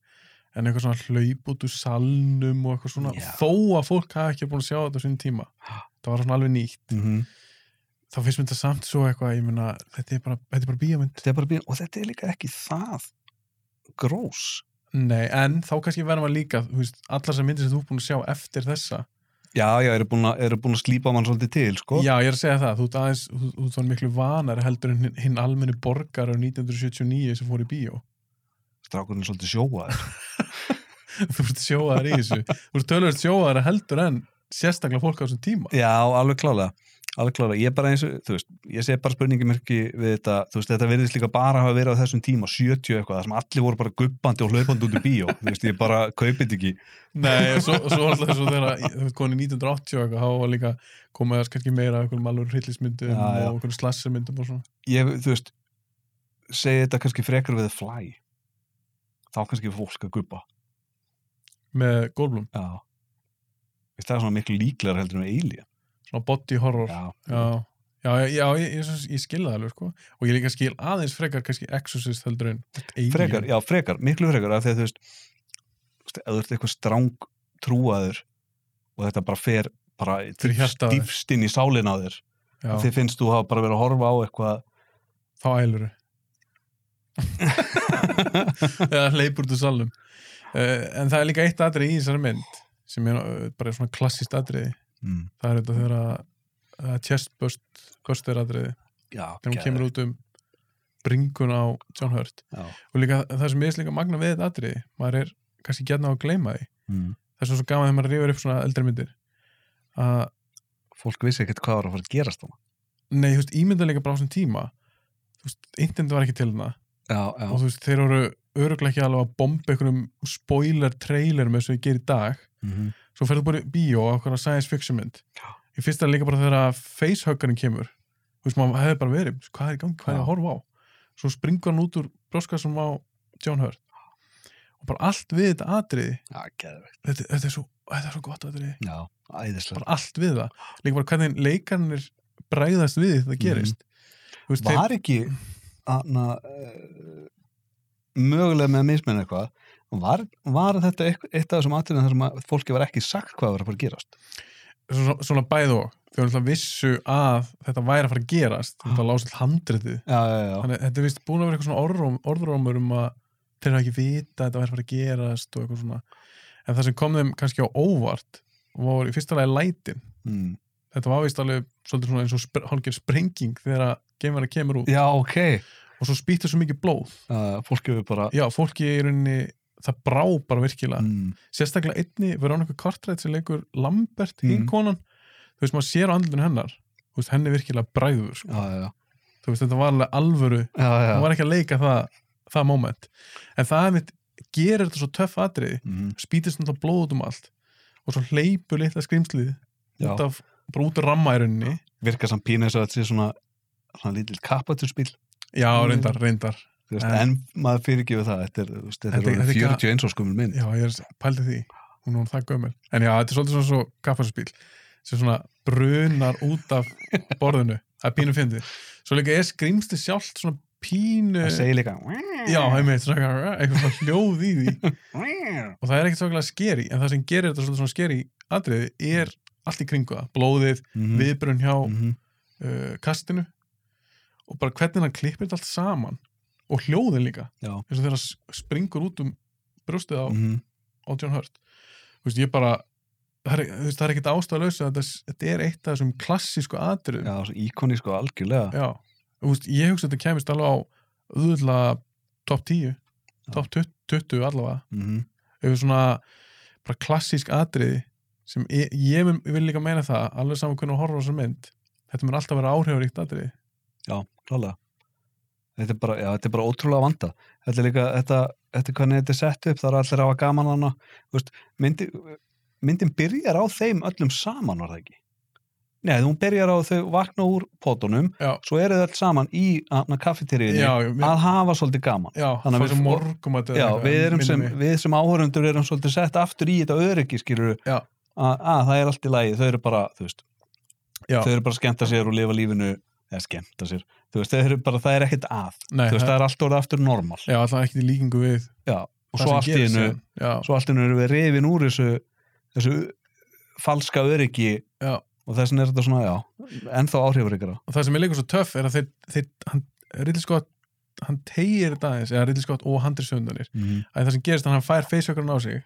Speaker 1: en eitthvað svona hlaup út úr salnum og eitthvað svona,
Speaker 2: Já.
Speaker 1: þó að fólk hafi ekki búin að sjá þetta á sínum tíma það var svona alveg nýtt,
Speaker 2: -hmm.
Speaker 1: þá finnst mér þetta samt svo eitthvað, ég meina, þetta er bara, þetta er bara bíómynd
Speaker 2: Þetta er bara bíl, og þetta er líka ekki það grós
Speaker 1: Nei, en þá kannski verðum að líka þú veist, allar sem myndir sem þú er búin að sjá eftir þessa
Speaker 2: Já, já, eru búin, að- eru búin að slípa mann svolítið til, sko
Speaker 1: Já, ég er að segja það, þú ert aðeins þú, þú ert svona miklu vanar heldur en hinn- hinn almenni borgar á 1979 sem fór í bíó
Speaker 2: Strákurinn er svolítið sjóað
Speaker 1: þú ert sjóðar í þessu þú ert tölvöld sjóðar heldur en sérstaklega fólk á þessum tíma
Speaker 2: Já, alveg klálega alveg klálega, ég er bara eins og, þú veist, ég segi bara spurningamerki við þetta, þú veist, þetta verðist líka bara að hafa verið á þessum tíma, 70 eitthvað, þar sem allir voru bara guppandi og hlaupandi út í bíó, þú veist, ég bara kaupið þetta ekki,
Speaker 1: Nei, og svo, og svo alltaf svo þegar þú veist koni 1980 og eitthvað, þá var líka komið þess kannski meira af einhverjum alveg hryllismyndum
Speaker 2: Já, já.
Speaker 1: og einhverjum slassermyndum og svona
Speaker 2: ég, þú veist segi þetta kannski frekar við fly þá kannski er fólk að guppa
Speaker 1: með Goldblum,
Speaker 2: já Veist, það er svona miklu líklegar heldur en alien
Speaker 1: svona body horror
Speaker 2: já,
Speaker 1: Já, já, já, ég, ég, ég, ég skil það alveg sko. og ég líka skil aðeins frekar kannski Exorcist heldur en Alien.
Speaker 2: frekar, já, frekar, miklu frekar af því að þú veist, þú veist, ef þú ert eitthvað stráng trúaður og þetta bara fer bara
Speaker 1: Fyrir hjartað á þér.
Speaker 2: dýfst inn í sálina á þér
Speaker 1: Já,
Speaker 2: þið finnst þú hafa bara verið að horfa á eitthvað
Speaker 1: þá ælur eða hleypur út úr salnum uh, en það er líka eitt atrið í þessari mynd sem er uh, bara svona klassist atrið
Speaker 2: mm,
Speaker 1: það er þetta þegar að það er chestbuster atrið
Speaker 2: já,
Speaker 1: þegar hún kemur út um bringun á John Hurt
Speaker 2: já,
Speaker 1: og líka það sem ég er líka magna við þetta atrið maður er kannski gætna á að gleyma því
Speaker 2: mm.
Speaker 1: það er svo, svo gaman þegar maður rifur upp svona eldri myndir að
Speaker 2: fólk vissi ekkert hvað var að fara að gerast þannig
Speaker 1: nei, þú veist, ímynda líka bara á þessum tíma þú veist, internet var ekki til hana
Speaker 2: já,
Speaker 1: og þú veist, þeir voru öruglega ekki alveg að bomba einhverjum spoiler trailer með þess að ég ger í dag
Speaker 2: mm -hmm.
Speaker 1: svo ferðu bara í bíó á okkur science fiction mynd
Speaker 2: Já.
Speaker 1: í fyrsta líka bara þegar að facehuggarinn kemur þú veist, maður hefði bara verið hvað er í gangi, hvað er
Speaker 2: Já.
Speaker 1: að horfa á svo springur hann út úr broskassum á John Hurt og bara allt við þetta atriði
Speaker 2: já, geðvegt
Speaker 1: þetta, þetta, er, svo, þetta er svo gott atriði
Speaker 2: já, æðislega
Speaker 1: bara allt við það, líka bara hvernig leikarnir bræðast við því þetta gerist þú veist, þeir,
Speaker 2: Mhm. var ekki anna, uh, mögulega með að mismenna eitthvað var, var þetta eitthvað, eitt af þessum atriðum þar sem að fólki var ekki sagt hvað var að fara að gerast
Speaker 1: svona, svona bæð og þau náttúrulega vissu að þetta væri að fara að gerast þetta lásið handritið
Speaker 2: já, já, já,
Speaker 1: þannig að þetta er vist búin að vera eitthvað svona orðróm, orðrómur um að þeir hafa ekki vita að þetta væri að fara að gerast og eitthvað svona en það sem kom þeim kannski á óvart var í fyrsta lagi lætin
Speaker 2: mm.
Speaker 1: þetta var vist alveg svolítið svona eins og spre, hálfgerð sprenging þegar að geimverða kemur út
Speaker 2: já ok
Speaker 1: og svo spýttu svo mikið blóð
Speaker 2: uh, fólk hefur bara
Speaker 1: já, fólki í rauninni það brá bara virkilega
Speaker 2: mm,
Speaker 1: sérstaklega einni Veronica Cartwright sem leikur Lambert,
Speaker 2: Mhm.
Speaker 1: hinn konan þú veist, maður sér á andlun hennar þú veist, henni er virkilega bræður sko.
Speaker 2: já, já, já,
Speaker 1: þú veist, þetta var alveg alvöru
Speaker 2: já,
Speaker 1: hún
Speaker 2: já.
Speaker 1: var ekki að leika það, það moment en það mitt gerir þetta svo töff atriði
Speaker 2: Mm,
Speaker 1: spýtist náttúrulega blóð út um allt og svo hleypur litla skrimslið
Speaker 2: já.
Speaker 1: út af, bara út af rammærunni
Speaker 2: virka samt pínu eins og þetta sé svona svona lítill kappaturspil
Speaker 1: já,
Speaker 2: Mm.
Speaker 1: reyndar, reyndar
Speaker 2: þú veist,
Speaker 1: En-
Speaker 2: en maður fyrirgifur það þetta er, þú veist, þetta er
Speaker 1: Þetta-
Speaker 2: orðin
Speaker 1: þetta er
Speaker 2: 41 og skumul minn
Speaker 1: já, ég er pældi því, hún er orðin það gömul en já, þetta er svolítið svona svo kaffarspíl sem svona brunar út af borðinu, það er pínu fyndið svo líka er skrimsli sjálft svona pínu
Speaker 2: það segir líka Mhm.
Speaker 1: já, einmitt, svona eitthvað svona hljóð í því og það er ekkert svakalega skeri en það sem gerir þetta svolítið svona skeri atriði er allt í kringu það, blóðið
Speaker 2: Mhm,
Speaker 1: viðbrun hjá
Speaker 2: mhm.
Speaker 1: uh, kastinu og bara hvernig hann klippir þetta allt saman og hljóðin líka
Speaker 2: Já.
Speaker 1: eins og þegar hann s- springur út um brjóstið á,
Speaker 2: Mhm.
Speaker 1: á John Hurt þú veist, ég bara það er, þú veist, það er ekkert ástæðalösa þetta, s- þetta er eitt af þessum klassísku atriðum
Speaker 2: já, svo íkonísku algjörlega
Speaker 1: Já. Þú veist, ég hugsa að þetta kemist alveg á auðvitað top 10 top 20, 20 allavega
Speaker 2: Mhm.
Speaker 1: hefur svona bara klassísk atriði sem ég, ég mun- ég vil líka meina það alveg saman hvernig að horfa á þessar mynd þetta mun alltaf vera áhrifaríkt atriði
Speaker 2: Já, klálega. Þetta er bara, já, þetta er bara ótrúlega vanda. Þetta er líka, þetta, þetta er hvernig þetta er sett upp, það er allir að hafa gaman hana. Þú veist, myndi, myndin byrjar á þeim öllum saman, var það ekki? Nei, hún byrjar á þau vakna úr potunum,
Speaker 1: Já.
Speaker 2: svo eru þau öll saman í kaffetýriðinni
Speaker 1: já, já, mér,
Speaker 2: að hafa svolítið gaman.
Speaker 1: já
Speaker 2: þannig að
Speaker 1: fá
Speaker 2: við-
Speaker 1: sem morgum að
Speaker 2: Já, við erum sem, við sem áhörundur erum svolítið sett aftur í þetta öryggi, skilur
Speaker 1: Já.
Speaker 2: að, að það er allt í lagi, þau eru bara, þú veist,
Speaker 1: Já,
Speaker 2: þau eru bara að skemmta sér og lifa lífinu eða skemmta sér, þú veist, þau eru bara það er ekkert að,
Speaker 1: nei,
Speaker 2: þú veist,
Speaker 1: það,
Speaker 2: það er allt orðið aftur normal,
Speaker 1: já, alltaf ekki til líkingu við
Speaker 2: já, og
Speaker 1: það
Speaker 2: svo
Speaker 1: sem
Speaker 2: allt í
Speaker 1: gerist
Speaker 2: einu
Speaker 1: síðan. Já,
Speaker 2: svo allt í einu eru við rifin úr þessu þessu falska öryggi
Speaker 1: Já.
Speaker 2: og þess vegna er þetta svona, já, ennþá áhrifur ykkur
Speaker 1: og það sem er líka svo töff er að þeir, þeir hann, Ridley Scott, hann tegir þetta aðeins, eða Ridley Scott og handri söndanir
Speaker 2: mm.
Speaker 1: að það sem gerist er að hann fær faceökkurinn á sig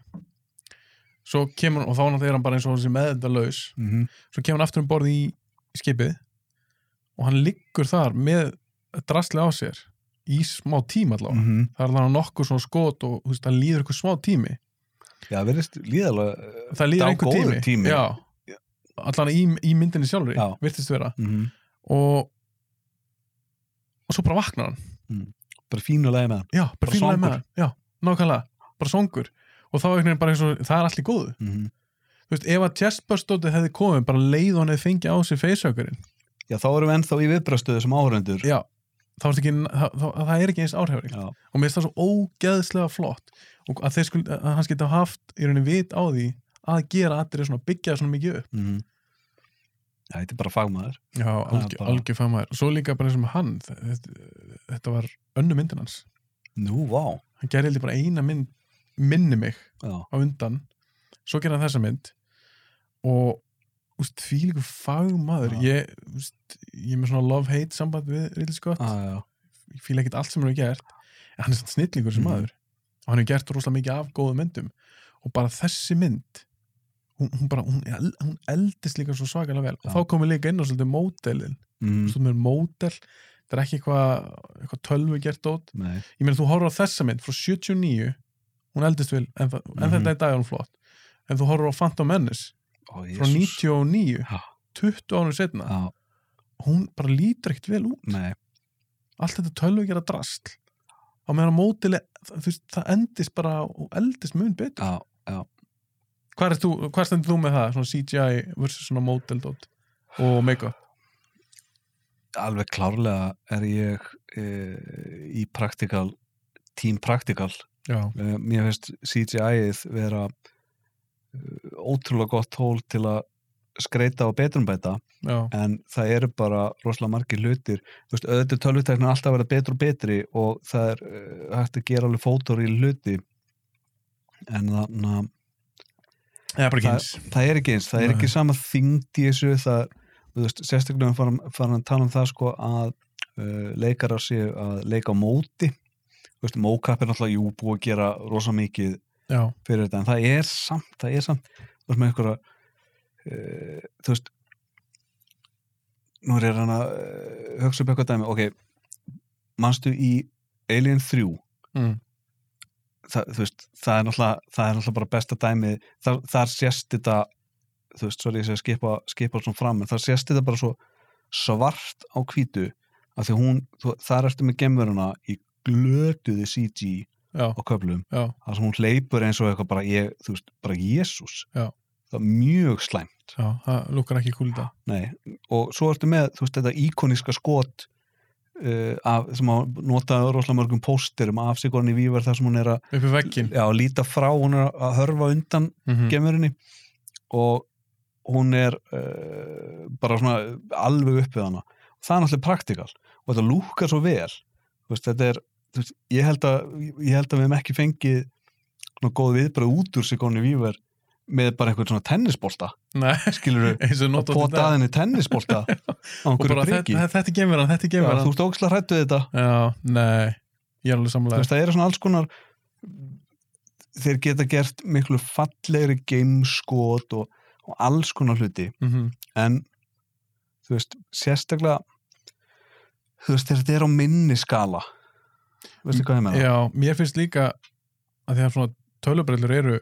Speaker 1: svo kemur, og þá náttúrulega er hann bara eins og hann sem meðendalaus
Speaker 2: Mm
Speaker 1: svo kemur hann aftur um borð í skipið og hann liggur þar með drasli á sér í smá tíma allavega
Speaker 2: -hmm.
Speaker 1: það er þannig nokkuð svona skot og þú veist, það líður eitthvað smá tími
Speaker 2: já, við erum líðalega
Speaker 1: það líður
Speaker 2: Dá
Speaker 1: einhver tími,
Speaker 2: góður tími.
Speaker 1: Já, allan í, í myndinni sjálfri
Speaker 2: Já.
Speaker 1: virtist vera
Speaker 2: mm
Speaker 1: og, og svo bara vaknar hann
Speaker 2: bara fínulega með hann
Speaker 1: já,
Speaker 2: Bara
Speaker 1: bara fínlega
Speaker 2: songur.
Speaker 1: með hann já, nákvæmlega, bara songur og þá er bara eins og það er allir góðu
Speaker 2: mm
Speaker 1: þú veist, ef að testbörstótið hefði komið bara leið og hann hefði fengið á sig feysökurinn
Speaker 2: já, þá erum við ennþá í viðbrastöðu sem áhörendur
Speaker 1: já, þá er ekki það, það, það er ekki eins áhrifring
Speaker 2: já,
Speaker 1: og mér finnst það svo ógeðslega flott og að þeir skuld, að hans geta haft í rauninni vit á því að gera allir svona byggja svona mikið upp
Speaker 2: mm já, þetta er bara fagmaður
Speaker 1: já,
Speaker 2: algjör-
Speaker 1: algjör, algjör fagmaður svo líka bara eins og með hann þetta, þetta var önnu myndin hans
Speaker 2: nú, vá,
Speaker 1: hann gerði heldur bara eina mynd minni mig
Speaker 2: já,
Speaker 1: á undan svo gerði hann þessa mynd og úst, því líka fagmaður
Speaker 2: Já.
Speaker 1: ég, úst, ég er með svona love-hate samband við Ridley Scott
Speaker 2: já, já.
Speaker 1: ég fíla ekkert allt sem hann hefur gert en hann er svona snillingur sem
Speaker 2: Mhm.
Speaker 1: maður og hann hefur gert rosalega mikið af góðum myndum og bara þessi mynd hún, hún, bara, hún, el- hún eldist líka svo svakalega vel
Speaker 2: Já.
Speaker 1: og þá komum við líka inn á svolítið mótelin
Speaker 2: Mm.
Speaker 1: mm. með mótel, það er ekki eitthvað eitthvað tölvu gert át
Speaker 2: Nei.
Speaker 1: ég meina þú horfður á þessa mynd frá 79 hún eldist vel, en, það, en
Speaker 2: Mhm.
Speaker 1: þetta er dag er hún flott en þú horfður á Phantom Menace
Speaker 2: Ó,
Speaker 1: frá
Speaker 2: Jesús.
Speaker 1: 99
Speaker 2: Já.
Speaker 1: 20 ánum setna,
Speaker 2: já,
Speaker 1: hún bara lítur ekkert vel út
Speaker 2: nei
Speaker 1: allt þetta tölvugjara drastl á meðan mótileg, þú veist, það endist bara og eldist mun betur
Speaker 2: Já,
Speaker 1: hvað, ert þú, hvað stendur þú með það, svona CGI versus svona móteldótt og make-up
Speaker 2: alveg klárlega er ég e, í praktikal team praktikal
Speaker 1: já,
Speaker 2: e, mér finnst CGI-ið vera e, ótrúlega gott tól til að skreita og betrumbæta
Speaker 1: já,
Speaker 2: en það eru bara rosalega margir hlutir þú veist, auðvitað tölvuteknin alltaf að vera betri og betri og það er e, hægt að gera alveg fótor í hluti en þannig að
Speaker 1: eða bara kynns
Speaker 2: það er ekki eins, það er
Speaker 1: Nei.
Speaker 2: ekki sama þyngd í þessu það, þú veist, sérstaklega farin, farin að tala um það sko að uh, leikarar séu að leika á móti þú veist, mókapp er náttúrulega jú búið að gera rosa mikið
Speaker 1: já,
Speaker 2: fyrir þetta en það er samt, það er samt þú veist, með einhverja uh, þú veist nú er hann að uh, hugsa upp eitthvað dæmi, ok manstu í Alien 3
Speaker 1: mm.
Speaker 2: það, þú veist, það er náttúrulega það er náttúrulega bara besta dæmið þar, þar sést þetta þú veist, sorry, ég segi að skipa, skipa svona fram en þar sést þetta bara svo svart á hvítu af því hún, þú, þar ertu með gemveruna í glötuði CG
Speaker 1: já,
Speaker 2: á köflum,
Speaker 1: já,
Speaker 2: þar sem hún hleypur eins og eitthvað bara, ég, þú veist, bara Jésús
Speaker 1: Já.
Speaker 2: það er mjög slæm
Speaker 1: já, það lukkar ekki kúl í dag
Speaker 2: Nei, og svo ertu með, þú veist, þetta íkoniska skot uh, af, sem að notaði rosalega mörgum pósterum af Sigurni Vívar þar sem hún er að
Speaker 1: upp í veggin
Speaker 2: já, líta frá, hún er að hörfa undan
Speaker 1: mm
Speaker 2: gemurinni og hún er uh, bara svona alveg uppið hana það er náttúrulega praktikal og þetta lúkar svo vel Þú veist, þetta er, þú veist, ég, held að, ég held að við hefum ekki fengið svona góð viðbröð út úr sig góðni víver með bara einhvern svona tennisbolta
Speaker 1: Nei,
Speaker 2: skilur við
Speaker 1: eins og
Speaker 2: að
Speaker 1: nota
Speaker 2: pota aðinni tennisbolta á
Speaker 1: og
Speaker 2: einhverju
Speaker 1: bara
Speaker 2: priki
Speaker 1: þetta, þetta er gemurann, þetta er
Speaker 2: Já,
Speaker 1: gemurann
Speaker 2: þú ert ógislega hrættu þetta
Speaker 1: já, nei, ég er alveg
Speaker 2: Þú
Speaker 1: samlega
Speaker 2: veist, það eru svona alls konar þeir geta gert miklu fallegri gameskot og, og alls konar hluti
Speaker 1: mm
Speaker 2: en þú veist, sérstaklega þú veist, þegar þetta er á minni skala veistu hvað ég meina?
Speaker 1: Já, mér finnst líka að því að svona tölubrellur eru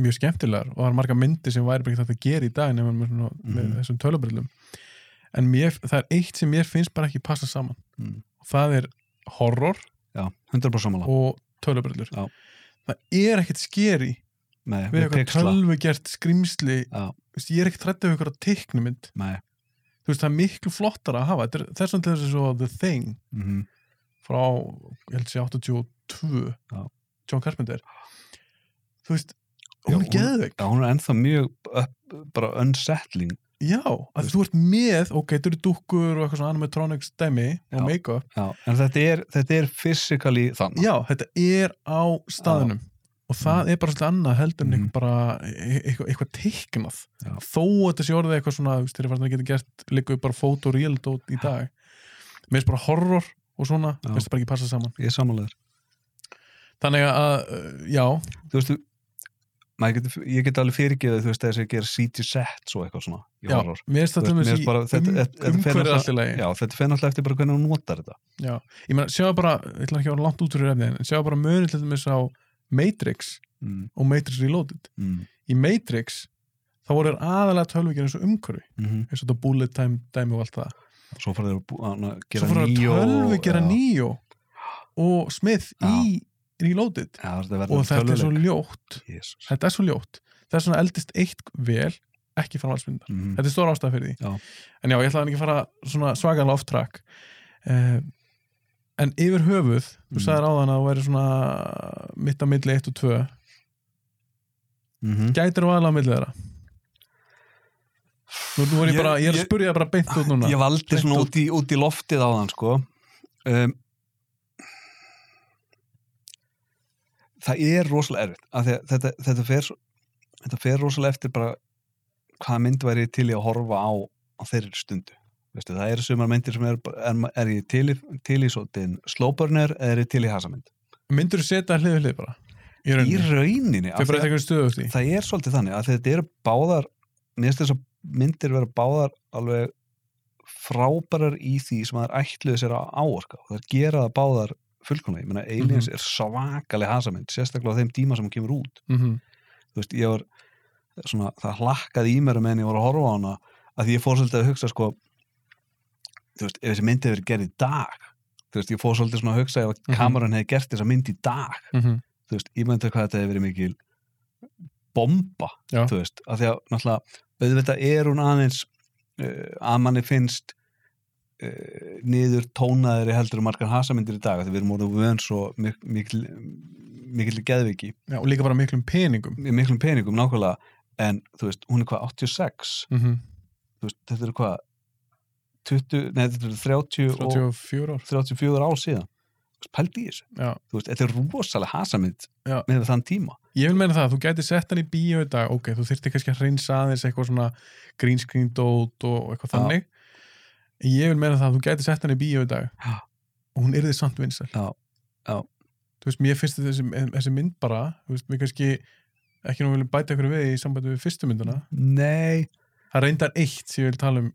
Speaker 1: mjög skemmtilegar og það er marga myndir sem væri bara ekki þetta að gera í dag nefnum með, svona, með
Speaker 2: Mhm.
Speaker 1: þessum tölubrellum en mér, það er eitt sem mér finnst bara ekki passa saman
Speaker 2: Mm.
Speaker 1: og það er horror
Speaker 2: Já, 100% samanlega
Speaker 1: og tölubrellur
Speaker 2: Já.
Speaker 1: það er ekkert skeri
Speaker 2: Nei,
Speaker 1: við
Speaker 2: við
Speaker 1: eitthvað
Speaker 2: pixla
Speaker 1: tölvugert skrimsli
Speaker 2: Já.
Speaker 1: Þú veist, ég er ekkert rættið við eitthvað teiknumynd
Speaker 2: Nei,
Speaker 1: þú veist, það er miklu flottara að hafa Þetta er- þess vegna til þess að svo The Thing
Speaker 2: mm
Speaker 1: frá, ég held að sé 82
Speaker 2: Já.
Speaker 1: John Carpenter þú veist,
Speaker 2: Já,
Speaker 1: hún
Speaker 2: hún-
Speaker 1: er geðveik
Speaker 2: Já, hún er ennþá mjög upp, bara unsettling
Speaker 1: Já, að þú ert með, ok, þú eru dúkkur og eitthvað svona animatronics dæmi
Speaker 2: Já.
Speaker 1: og make-up.
Speaker 2: Já, en þetta er, þetta er physically þannig.
Speaker 1: Já, þetta er á staðinum og
Speaker 2: Mm.
Speaker 1: það er bara svolítið annað heldur en
Speaker 2: Mhm.
Speaker 1: eitthvað bara, e- eitthvað, eitthvað teiknað.
Speaker 2: Já.
Speaker 1: Þó að þetta sé orðið eitthvað svona, þú veist, þeir eru farin að geta gert líka bara fotoreal dót í dag. Mér finnst bara horror og svona,
Speaker 2: Já.
Speaker 1: mér finnst það bara ekki passa saman.
Speaker 2: Ég er samanlegar.
Speaker 1: Þannig að, uh, já,
Speaker 2: Þú veist, maður get, ég get alveg fyrirgeðið, þú veist, þess að gera CG sets og eitthvað svona í
Speaker 1: já
Speaker 2: horror.
Speaker 1: mér finnst
Speaker 2: Þú
Speaker 1: það til dæmis
Speaker 2: veist, mér
Speaker 1: í um-
Speaker 2: finnst bara- þetta- þetta- þetta fer
Speaker 1: umhverfið
Speaker 2: náttúrulega-
Speaker 1: allt í lagi.
Speaker 2: Já, þetta fennar alltaf eftir bara hvernig hún notar þetta.
Speaker 1: Ég meina, sjáðu bara, ég ætla ekki að vera langt út úr efnið, en sjáðu bara munið til dæmis á Matrix
Speaker 2: Mm,
Speaker 1: og Matrix Reloaded.
Speaker 2: mm,
Speaker 1: í Matrix þá voru þér aðalega tölvugir eins og umhverfi
Speaker 2: mm
Speaker 1: eins og þetta bullet time dæmi og allt það
Speaker 2: Svo fara þeir að bú- að
Speaker 1: svo
Speaker 2: gera
Speaker 1: fóru að
Speaker 2: Neo-
Speaker 1: tölvu gera
Speaker 2: já.
Speaker 1: nýjó og Smith
Speaker 2: Já.
Speaker 1: í Reloaded
Speaker 2: Já, þetta verður
Speaker 1: og þetta er svo
Speaker 2: tölvuleik.
Speaker 1: ljótt
Speaker 2: Jesús.
Speaker 1: þetta er svo ljótt, það er svona eldist eitt vel, ekki framhaldsmyndar
Speaker 2: Mhm.
Speaker 1: þetta er stóra ástæða fyrir því
Speaker 2: Já.
Speaker 1: en já, ég ætlaði ekki að fara svona svakalega off track uh, en yfir höfuð
Speaker 2: Mm.
Speaker 1: þú sagðir áðan að þú væri svona mitt á milli 1 og 2
Speaker 2: Mhm.
Speaker 1: gætir þú aðalega á milli þeirra nú, nú er ég,
Speaker 2: Ég-
Speaker 1: bara, ég er að
Speaker 2: ég-
Speaker 1: spurja bara beint út núna
Speaker 2: Ég valdi
Speaker 1: Hreint
Speaker 2: svona
Speaker 1: út.
Speaker 2: út í, út í loftið á þann sko um, Það er rosalega erfitt af því að þetta, þetta, fer, svo- þetta fer rosalega eftir bara hvaða mynd væri ég til í að horfa á á þeirri stundu Veistu, það eru sumar myndir sem er, er, er ég til í, til í svo, slóburner eða er ég til í hasamynd
Speaker 1: myndur þú setja hlið við hlið bara í
Speaker 2: í
Speaker 1: rauninni,
Speaker 2: rauninni af
Speaker 1: þau bara
Speaker 2: því að-
Speaker 1: eitthvað stöðu út í
Speaker 2: það er svolítið þannig að þetta eru báðar mér finnst þess að myndir vera báðar alveg frábærar í því sem það er ætluð sér að áorka og það er gera það báðar fullkomlega ég meina Aliens er svakaleg hasamynd sérstaklega á þeim tíma sem hún kemur út
Speaker 1: mm
Speaker 2: þú veist, ég var svona, það hlakkaði í mér um en ég voru að horfa á hana að því ég fór svolítið að hugsa sko þú veist, ef þessi myndi hefur gerð í dag þú veist, ég fór svolítið svona að hugsa ef
Speaker 1: Mhm.
Speaker 2: mm kameran hefði gert þessa mynd í dag þú veist, ég myndi hvað þetta hefur verið mikil bomba,
Speaker 1: Já.
Speaker 2: þú veist af því að náttúrulega, auðvitað er hún aðeins uh, að manni finnst uh, niður tónaðri heldur en margar hasamyndir í dag af því við erum orðið vön svo mik mikil, mikil geðviki,
Speaker 1: já, og líka bara miklum peningum
Speaker 2: í miklum peningum nákvæmlega, en þú veist, hún er hvað 86,
Speaker 1: mm
Speaker 2: þú veist, þetta eru hvað 20, nei þetta eru 30 og
Speaker 1: 34 ár
Speaker 2: 34 ár síðan Þú veist, pældi í þessu,
Speaker 1: já.
Speaker 2: þú veist, þetta er rosalega hasamynd
Speaker 1: Já.
Speaker 2: með þann tíma
Speaker 1: ég vil meina það, þú gæti sett hann í bíó í dag ok, þú þyrfti kannski að hreinsa aðeins eitthvað svona green screen dót og eitthvað
Speaker 2: Já.
Speaker 1: þannig en ég vil meina það, þú gæti sett hann í bíó í dag
Speaker 2: Já.
Speaker 1: og hún yrði samt vinsæl
Speaker 2: Já, já.
Speaker 1: þú veist, mér finnst þessi, þessi mynd bara þú veist, mér kannski ekki nú viljum bæta ykkur við í sambandi við fyrstu mynduna
Speaker 2: Nei,
Speaker 1: það er reyndar eitt sem ég vil tala um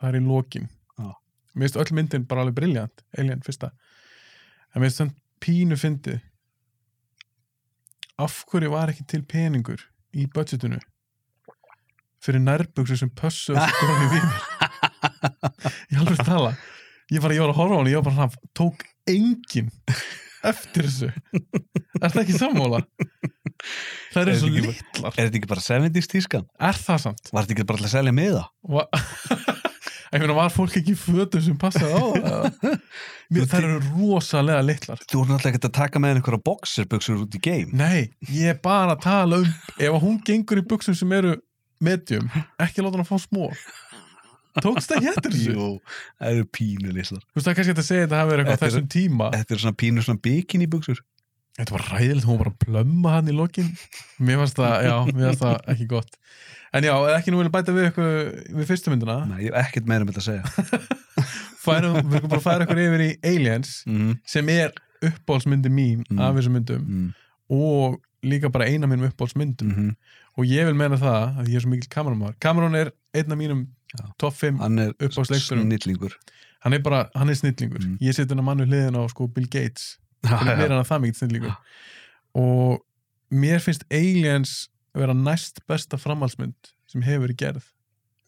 Speaker 1: það er í lokin
Speaker 2: Já.
Speaker 1: mér finnst öll myndin bara alveg briljant Alien fyrsta en mér finnst þann pínu fyndið af hverju var ekki til peningur í budgetinu fyrir nærbuksu sem pössu skoðum í vímur ég alveg tala ég, bara, ég var að horfa á hann ég var bara svona tók engin eftir þessu er það ekki sammála það
Speaker 2: Er
Speaker 1: eru svo
Speaker 2: þetta ekki-
Speaker 1: litlar
Speaker 2: Er þetta ekki bara 70s tískan?
Speaker 1: er það samt
Speaker 2: Var þetta ekki bara til að selja miða?
Speaker 1: Va- ég meina, var fólk ekki í fötum sem passaði á það? Mér,
Speaker 2: Þú
Speaker 1: það eru rosalega litlar
Speaker 2: Þú voru náttúrulega ekkert að taka með einhverja boxerbuksur út í game.
Speaker 1: nei, ég er bara að tala um ef hún gengur í buksum sem eru medium, ekki láta hann að fá smól tókst ekki eftir þessu
Speaker 2: Jú, það eru pínu litlar.
Speaker 1: þú veist það er kannski hægt að segja þetta hafi verið eitthvað á
Speaker 2: Þetta er-
Speaker 1: þessum tíma
Speaker 2: Þetta eru svona pínu svona bikini buksur.
Speaker 1: þetta var ræðilegt, hún var bara að plömma hann í lokin mér fannst það, já, mér fannst það ekki gott en já, ef ekki nú vilja bæta við eitthvað við fyrstu myndina,
Speaker 2: Nei, ég hef ekkert meira um þetta að segja.
Speaker 1: færum, við erum bara að færa eitthvað yfir í Aliens
Speaker 2: mm,
Speaker 1: sem er uppbólsmyndi mín
Speaker 2: Mm.
Speaker 1: af þessum myndum
Speaker 2: mm,
Speaker 1: og líka bara eina mínum uppbólsmyndum
Speaker 2: mhm.
Speaker 1: og ég vil menna það að ég er svo mikil kameramar Cameron er einn af mínum
Speaker 2: Já.
Speaker 1: top 5
Speaker 2: Hann er
Speaker 1: Uppáhaldsleikstjóri.
Speaker 2: snillingur.
Speaker 1: hann er bara, hann er snillingur
Speaker 2: Mm.
Speaker 1: ég seti hann að mannu hliðin á sko Bill Gates hann er
Speaker 2: Já, já.
Speaker 1: hann að það mikil snillingur og mér finnst Aliens vera næst besta framhaldsmynd sem hefur verið gerð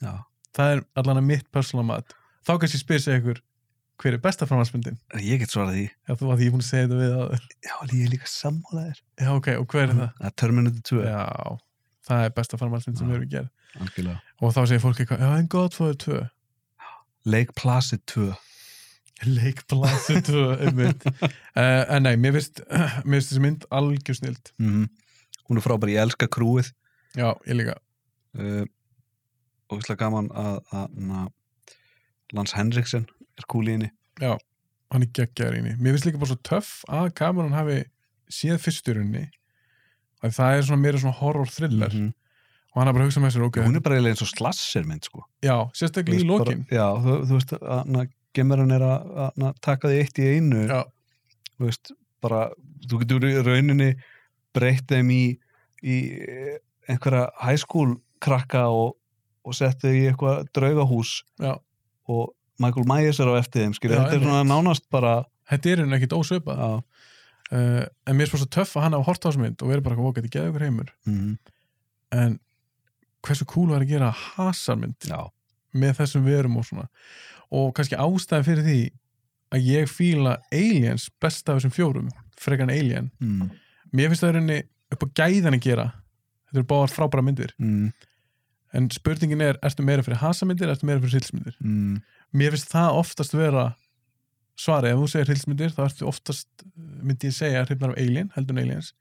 Speaker 2: Já.
Speaker 1: það er allan að mitt persónumat þá kannski spyr sig ykkur hver er besta framhaldsmyndin
Speaker 2: Ég get svarað því.
Speaker 1: já þú að því ég er búin að segja þetta við aður
Speaker 2: Já, en ég er líka sammálaðir.
Speaker 1: já ok, og hver er það?
Speaker 2: Það er Terminator 2.
Speaker 1: já, það er besta framhaldsmynd sem
Speaker 2: Já.
Speaker 1: hefur verið gerð
Speaker 2: Algjörlega.
Speaker 1: og þá segir fólk eitthvað, já en Godfather 2
Speaker 2: Lake Placid 2.
Speaker 1: leikblasið 2 einmitt. uh, en nei, mér finnst mér finnst þessi mynd algjör snild
Speaker 2: Mhm. Mm Hún er frábær. Ég elska krúið.
Speaker 1: já, ég líka
Speaker 2: Uh, ógeðslega gaman að, að, að Lance Henriksen er kúlíðinni
Speaker 1: hann er geggjaður í henni. Mér finnst líka bara svo töff að kameran hafi séð fyrsturunni að það er svona meira svona horror thriller og hann er bara að hugsa með sér Mhm, ok,
Speaker 2: Mhm. hún er bara eiginlega eins og slasser mynd sko
Speaker 1: já, sérstaklega í
Speaker 2: Þú veist, bara-
Speaker 1: lokin
Speaker 2: já, þú, þú veist að na, gemurinn er að, að na, taka því eitt í einu
Speaker 1: Já.
Speaker 2: þú veist, bara þú getur í rauninni breytt þeim í, í eh, einhverja high school krakka og, og sett þau í eitthvað draugahús
Speaker 1: Já.
Speaker 2: og Michael Myers er á eftir þeim skilja,
Speaker 1: Já,
Speaker 2: þetta er svona nánast bara
Speaker 1: þetta er henni ekkit ósveipað
Speaker 2: já,
Speaker 1: uh, en mér er bara svo töff að hann hafa hort á þessu mynd og verið bara ok, þetta er geðugur heimur
Speaker 2: mhm,
Speaker 1: en hversu cool var að gera hasarmynd
Speaker 2: já,
Speaker 1: með þessum verum og svona og kannski ástæðan fyrir því að ég fíla Aliens best af þessum fjórum, frekan Alien
Speaker 2: mm,
Speaker 1: mér finnst það í rauninni upp á gæðan að gera þetta eru báðar frábæra myndir
Speaker 2: mm,
Speaker 1: en spurningin er, ertu meira fyrir hasamyndir ertu meira fyrir hilsmyndir
Speaker 2: mm,
Speaker 1: mér finnst það oftast vera svarið, ef þú segir hilsmyndir þá ertu oftast, eh, myndi ég segja hrifnar af Alien, heldur en Aliens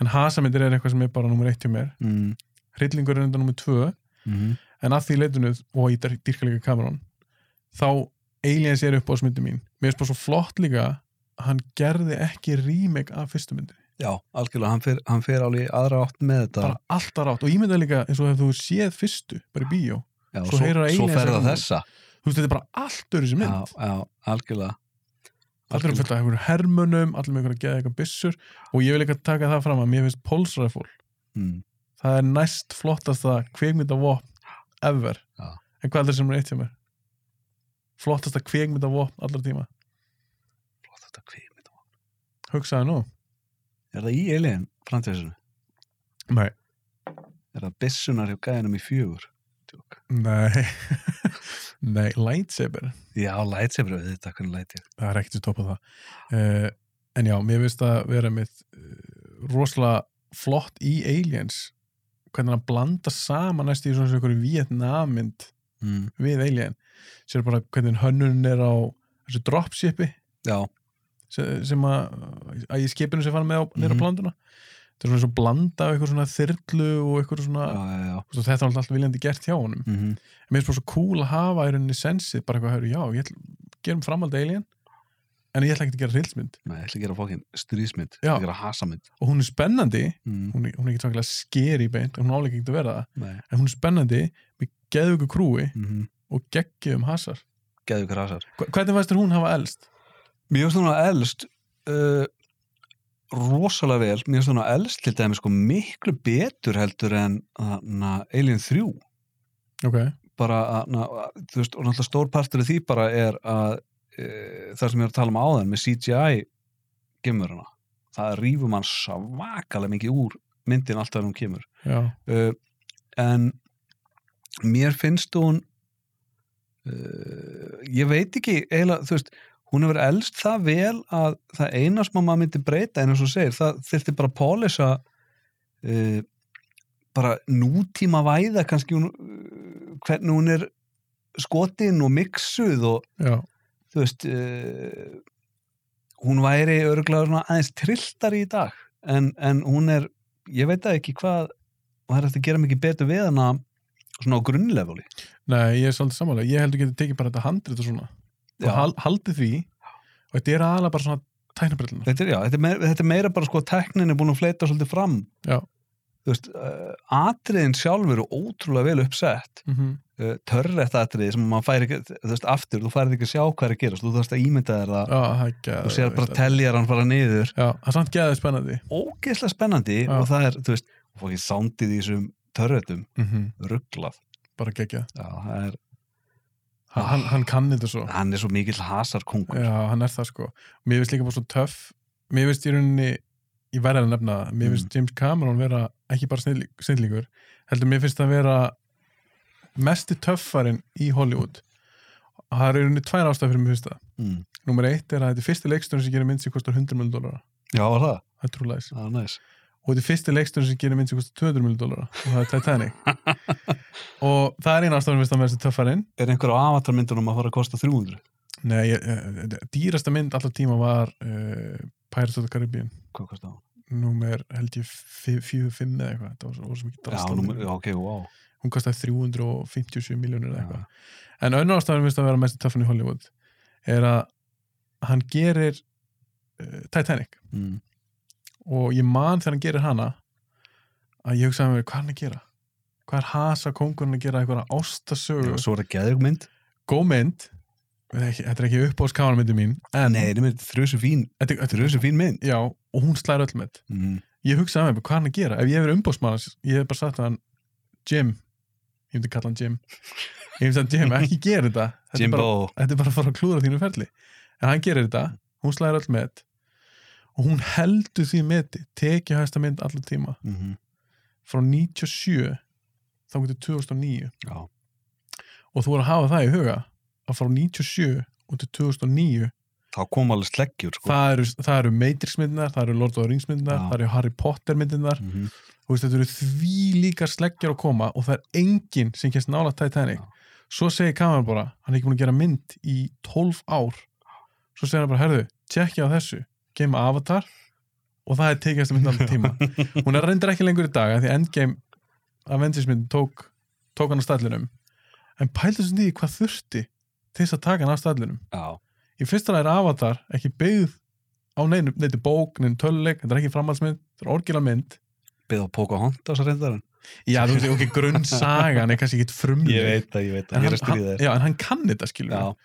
Speaker 1: en hasamyndir er eitthvað sem er bara nummer eitt hjá mér
Speaker 2: mm,
Speaker 1: hryllingur er enda nummer tvö
Speaker 2: mm,
Speaker 1: en að því leitinu og í dýrkalega kamerón þá Aliens er upp á smyndi mín mér finnst bara svo flott líka að hann gerði ekki remake af fyrstu myndi
Speaker 2: já, algjörlega hann fer, hann fer alveg í aðra átt með þetta
Speaker 1: bara alltaf rátt og ég myndi líka eins og ef þú séð fyrstu bara í bíó,
Speaker 2: já,
Speaker 1: svo heyrir það
Speaker 2: svo
Speaker 1: eiginlega
Speaker 2: fer
Speaker 1: sem-
Speaker 2: það þessa
Speaker 1: þú veist þetta er bara allt öðru sem
Speaker 2: já,
Speaker 1: mynd
Speaker 2: já, algjörlega
Speaker 1: allir um fullt af einhverjum hermönum, allir með einhverja geða eitthvað byssur og ég vil ekki taka það fram að mér finnst Pulse Rifle,
Speaker 2: mm,
Speaker 1: það er næst flottasta kveikmyndavopn ever,
Speaker 2: Já.
Speaker 1: en hvað er það sem er eitt hjá mér flottasta kveikmyndavopn allra tíma,
Speaker 2: flott þetta kvímið
Speaker 1: hugsaðu nú
Speaker 2: Er það í Alien framtíðsunu?
Speaker 1: nei,
Speaker 2: Er það byssunar hjá gæðinum í fjögur? Tjók.
Speaker 1: Nei, nei, lightsaber
Speaker 2: Já, lightsaber við þetta, hvernig læt ég?
Speaker 1: það er ekkert að topa það uh, en já, mér finnst að vera með uh, rosalega flott í Aliens hvernig hann blanda saman næst í svona einhverju Vietnammynd
Speaker 2: Mm.
Speaker 1: við Alien sér bara hvernig hönnun er á þessu dropshipi
Speaker 2: Já,
Speaker 1: sem sem að, að í skipinu sem fann með á, mm á
Speaker 2: Mhm.
Speaker 1: planduna þetta er svona svo blanda af eitthvað svona þyrlu og eitthvað svona
Speaker 2: já, já, já.
Speaker 1: og þetta er náttúrulega allt viljandi gert hjá honum
Speaker 2: Mm -hmm.
Speaker 1: En mér finnst bara svo cool að hafa í rauninni sensið bara eitthvað að höfðu, já, ég ætla, gerum framhald Alien, en ég ætla ekki að gera hryldsmynd
Speaker 2: Nei, ég ætla að gera fókin strísmynd, ég
Speaker 1: Já.
Speaker 2: ætla að gera hasamynd.
Speaker 1: og hún er spennandi,
Speaker 2: Mm.
Speaker 1: hún er, hún er ekki svaklega skeri beint, hún álega ekki að vera það,
Speaker 2: Nei.
Speaker 1: en hún er spennandi með geðvöku krúi
Speaker 2: Mm -hmm.
Speaker 1: og geggjum hasar.
Speaker 2: Gæðu ykkur hasar.
Speaker 1: Hva- Hvernig fannst þér hún hafa elst?
Speaker 2: Mér finnst svona elst uh, rosalega vel, mér finnst svona elst til dæmis sko miklu betur heldur en na, Alien 3.
Speaker 1: Ok,
Speaker 2: bara að, na, að, þú veist, og náttúrulega stór partur af því bara er að e, það sem ég er að tala um áðan með CGI gemur hana, það rýfum hann svakalega mikið úr myndin alltaf hann kemur
Speaker 1: já,
Speaker 2: uh, en mér finnst hún uh, ég veit ekki eiginlega, þú veist, hún hefur elst það vel að það eina sem að maður myndi breyta en eins og þú segir, það þyrfti bara að pólisa uh, bara nútíma væða kannski hún, uh, hvernig hún er skotin og miksuð og
Speaker 1: já,
Speaker 2: þú veist uh, hún væri örgulega svona aðeins trilltar í dag en, en hún er, ég veit það ekki hvað og það er eftir að gera mikið betur við hana svona á grunnlefali
Speaker 1: nei, ég er svolítið samanlega, ég heldur getið tekið bara þetta handrit og svona, og hal, haldið því, og þetta er aðalega bara svona tæknabrillunar.
Speaker 2: þetta, er, já, þetta, er meira, þetta er meira bara sko að teknin er búin að fleita svolítið fram
Speaker 1: Já.
Speaker 2: þú veist, uh, atriðin sjálfur eru ótrúlega vel uppsett
Speaker 1: Mm -hmm.
Speaker 2: uh, törrætt atriði sem maður færi ekki þú veist, aftur, þú færið ekki að sjá hvað er að gerast þú þarfst að ímynda þér það
Speaker 1: Já, það er geð-
Speaker 2: og sér bara teljar hann fara niður
Speaker 1: Já, það er samt geðið spennandi.
Speaker 2: ógeðslega spennandi
Speaker 1: Já.
Speaker 2: og það er, þú veist, fókið sándið í þessum törrötum,
Speaker 1: Mm
Speaker 2: rugglað
Speaker 1: Bara geggjað.
Speaker 2: Já, það er,
Speaker 1: Hann, hann, hann kann þetta svo.
Speaker 2: hann er svo mikill hasarkongur
Speaker 1: Já, hann er það sko. Mér finnst líka bara svo töff. Mér finnst í rauninni, ég verði að nefna það, mér finnst James Cameron vera ekki bara snilling- snillingur, heldur mér finnst það vera mesti töffarinn í Hollywood. Það er í rauninni tvær ástæð fyrir mér finnst það.
Speaker 2: mm.
Speaker 1: Númer eitt er að þetta er fyrsti leiksturinn sem gerir mynd sem kostar 100 miljónu dólara.
Speaker 2: Já, var það,
Speaker 1: Það er trúleis.
Speaker 2: það er næs
Speaker 1: Og þetta er fyrsti leiksturinn sem gerir mynd sem kostar 200 miljónu dólara og það er Titanic. og það er eina ástæð fyrir mér finnst það mesti töffarinn.
Speaker 2: Er einhver á avatarmyndunum að fara að kosta 300?
Speaker 1: Nei, ég, eh, dýrasta mynd alltaf tíma var uh, Pirates of the Caribbean.
Speaker 2: Hvað kosta það?
Speaker 1: númer held ég 45 eða eitthvað, það var svo, voru svo mikið
Speaker 2: Já,
Speaker 1: drastl á
Speaker 2: númer,
Speaker 1: því.
Speaker 2: já, ok, wow
Speaker 1: hún kostaði 357 miljónir eða eitthvað
Speaker 2: Já.
Speaker 1: en önnur ástæðan minnst að vera mest töffan í Hollywood er að hann gerir uh, Titanic
Speaker 2: Mm.
Speaker 1: og ég man þegar hann gerir hana að ég hugsaði með mér hvað er hann að gera hvað er hasa kongurinn að gera eitthvað ástasögu
Speaker 2: Já, svo er það geðug mynd
Speaker 1: góð mynd Þetta er ekki- þetta er ekki upp á skáðanmyndi mín en
Speaker 2: Eh, Nei, þetta er þrjusu fín,
Speaker 1: þetta, þetta,
Speaker 2: þrjusu fín mynd
Speaker 1: já, og hún slæðir öll með
Speaker 2: mm.
Speaker 1: ég hugsaði með mér hvað er hann að gera ef ég hefur umbóðsmann hans, ég hef bara sagt að hann Jim, ég myndi kalla hann Jim ég myndi að Jim, ekki gera þetta þetta er
Speaker 2: Jimbo
Speaker 1: bara, þetta er bara að fara að klúra þínu ferli en hann gerir þetta, hún slæðir öll með og hún heldur því meti tekið hæsta mynd allar tíma
Speaker 2: mm
Speaker 1: frá 97 þá getur 2009
Speaker 2: Já.
Speaker 1: og þú er að hafa það í huga að frá 97 og til 2009
Speaker 2: Þá kom alveg sleggjur sko.
Speaker 1: það eru, það eru Matrix-myndinar, það eru Lord of the Rings-myndinar
Speaker 2: Já.
Speaker 1: það eru Harry Potter-myndinar
Speaker 2: mm -hmm.
Speaker 1: þú veist, þetta eru því líkar sleggjar að koma og það er enginn sem kemst nála Titanic
Speaker 2: Já.
Speaker 1: svo segir kameran bara, hann er ekki búin að gera mynd í 12 ár svo segir hann bara, herðu, tjekkja á þessu game Avatar og það er tekjast mynd allan tíma hún er reyndar ekki lengur í dag, af því Endgame Avengers mynd tók, tók hann á stallinum en pældu sem því hvað þurfti til þess að taka hann á stallinum
Speaker 2: Já.
Speaker 1: í fyrsta lagi er Avatar ekki byggð á neinu, neinu bók, neinu töluleik þetta er ekki framhaldsmynd, þetta er orginalmynd
Speaker 2: Byggð á Pocahontas að reynda hann
Speaker 1: Já, þú veist, ok, grunnsagan er kannski ekkit frumleg.
Speaker 2: það, ég veit
Speaker 1: en
Speaker 2: Ég
Speaker 1: hann,
Speaker 2: er að
Speaker 1: hann,
Speaker 2: stríða þér
Speaker 1: já, en hann kann þetta, skilur
Speaker 2: Já,
Speaker 1: við.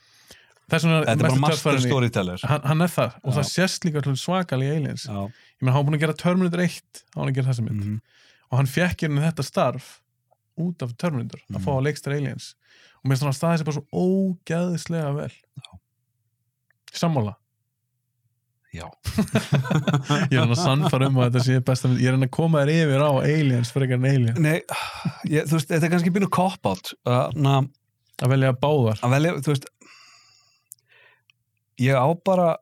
Speaker 1: Þess vegna
Speaker 2: Þetta er bara
Speaker 1: mesti
Speaker 2: master
Speaker 1: töffarinn í-
Speaker 2: storyteller
Speaker 1: Hann, hann er það, og
Speaker 2: Já.
Speaker 1: það sést líka svakalega í aliens.
Speaker 2: Já.
Speaker 1: Ég meina, hann var búin að gera Terminator 1, hann var að gera þessa mynd.
Speaker 2: Mhm.
Speaker 1: Og hann fekk hérna þetta starf út af Terminator, að
Speaker 2: Mhm.
Speaker 1: fá að leikstra aliens. Og mér finnst hann að staði sér bara svo ógæðislega vel. Sammála.
Speaker 2: Já.
Speaker 1: Ég er hann að sannfara um að þetta sé besta mynd. Ég er hann að koma þér yfir á aliens, frekar en alien.
Speaker 2: Nei, ég, þú veist, þetta er kannski bínu cop-out Þannig að
Speaker 1: Að velja báðar.
Speaker 2: að velja, þú veist ég á bara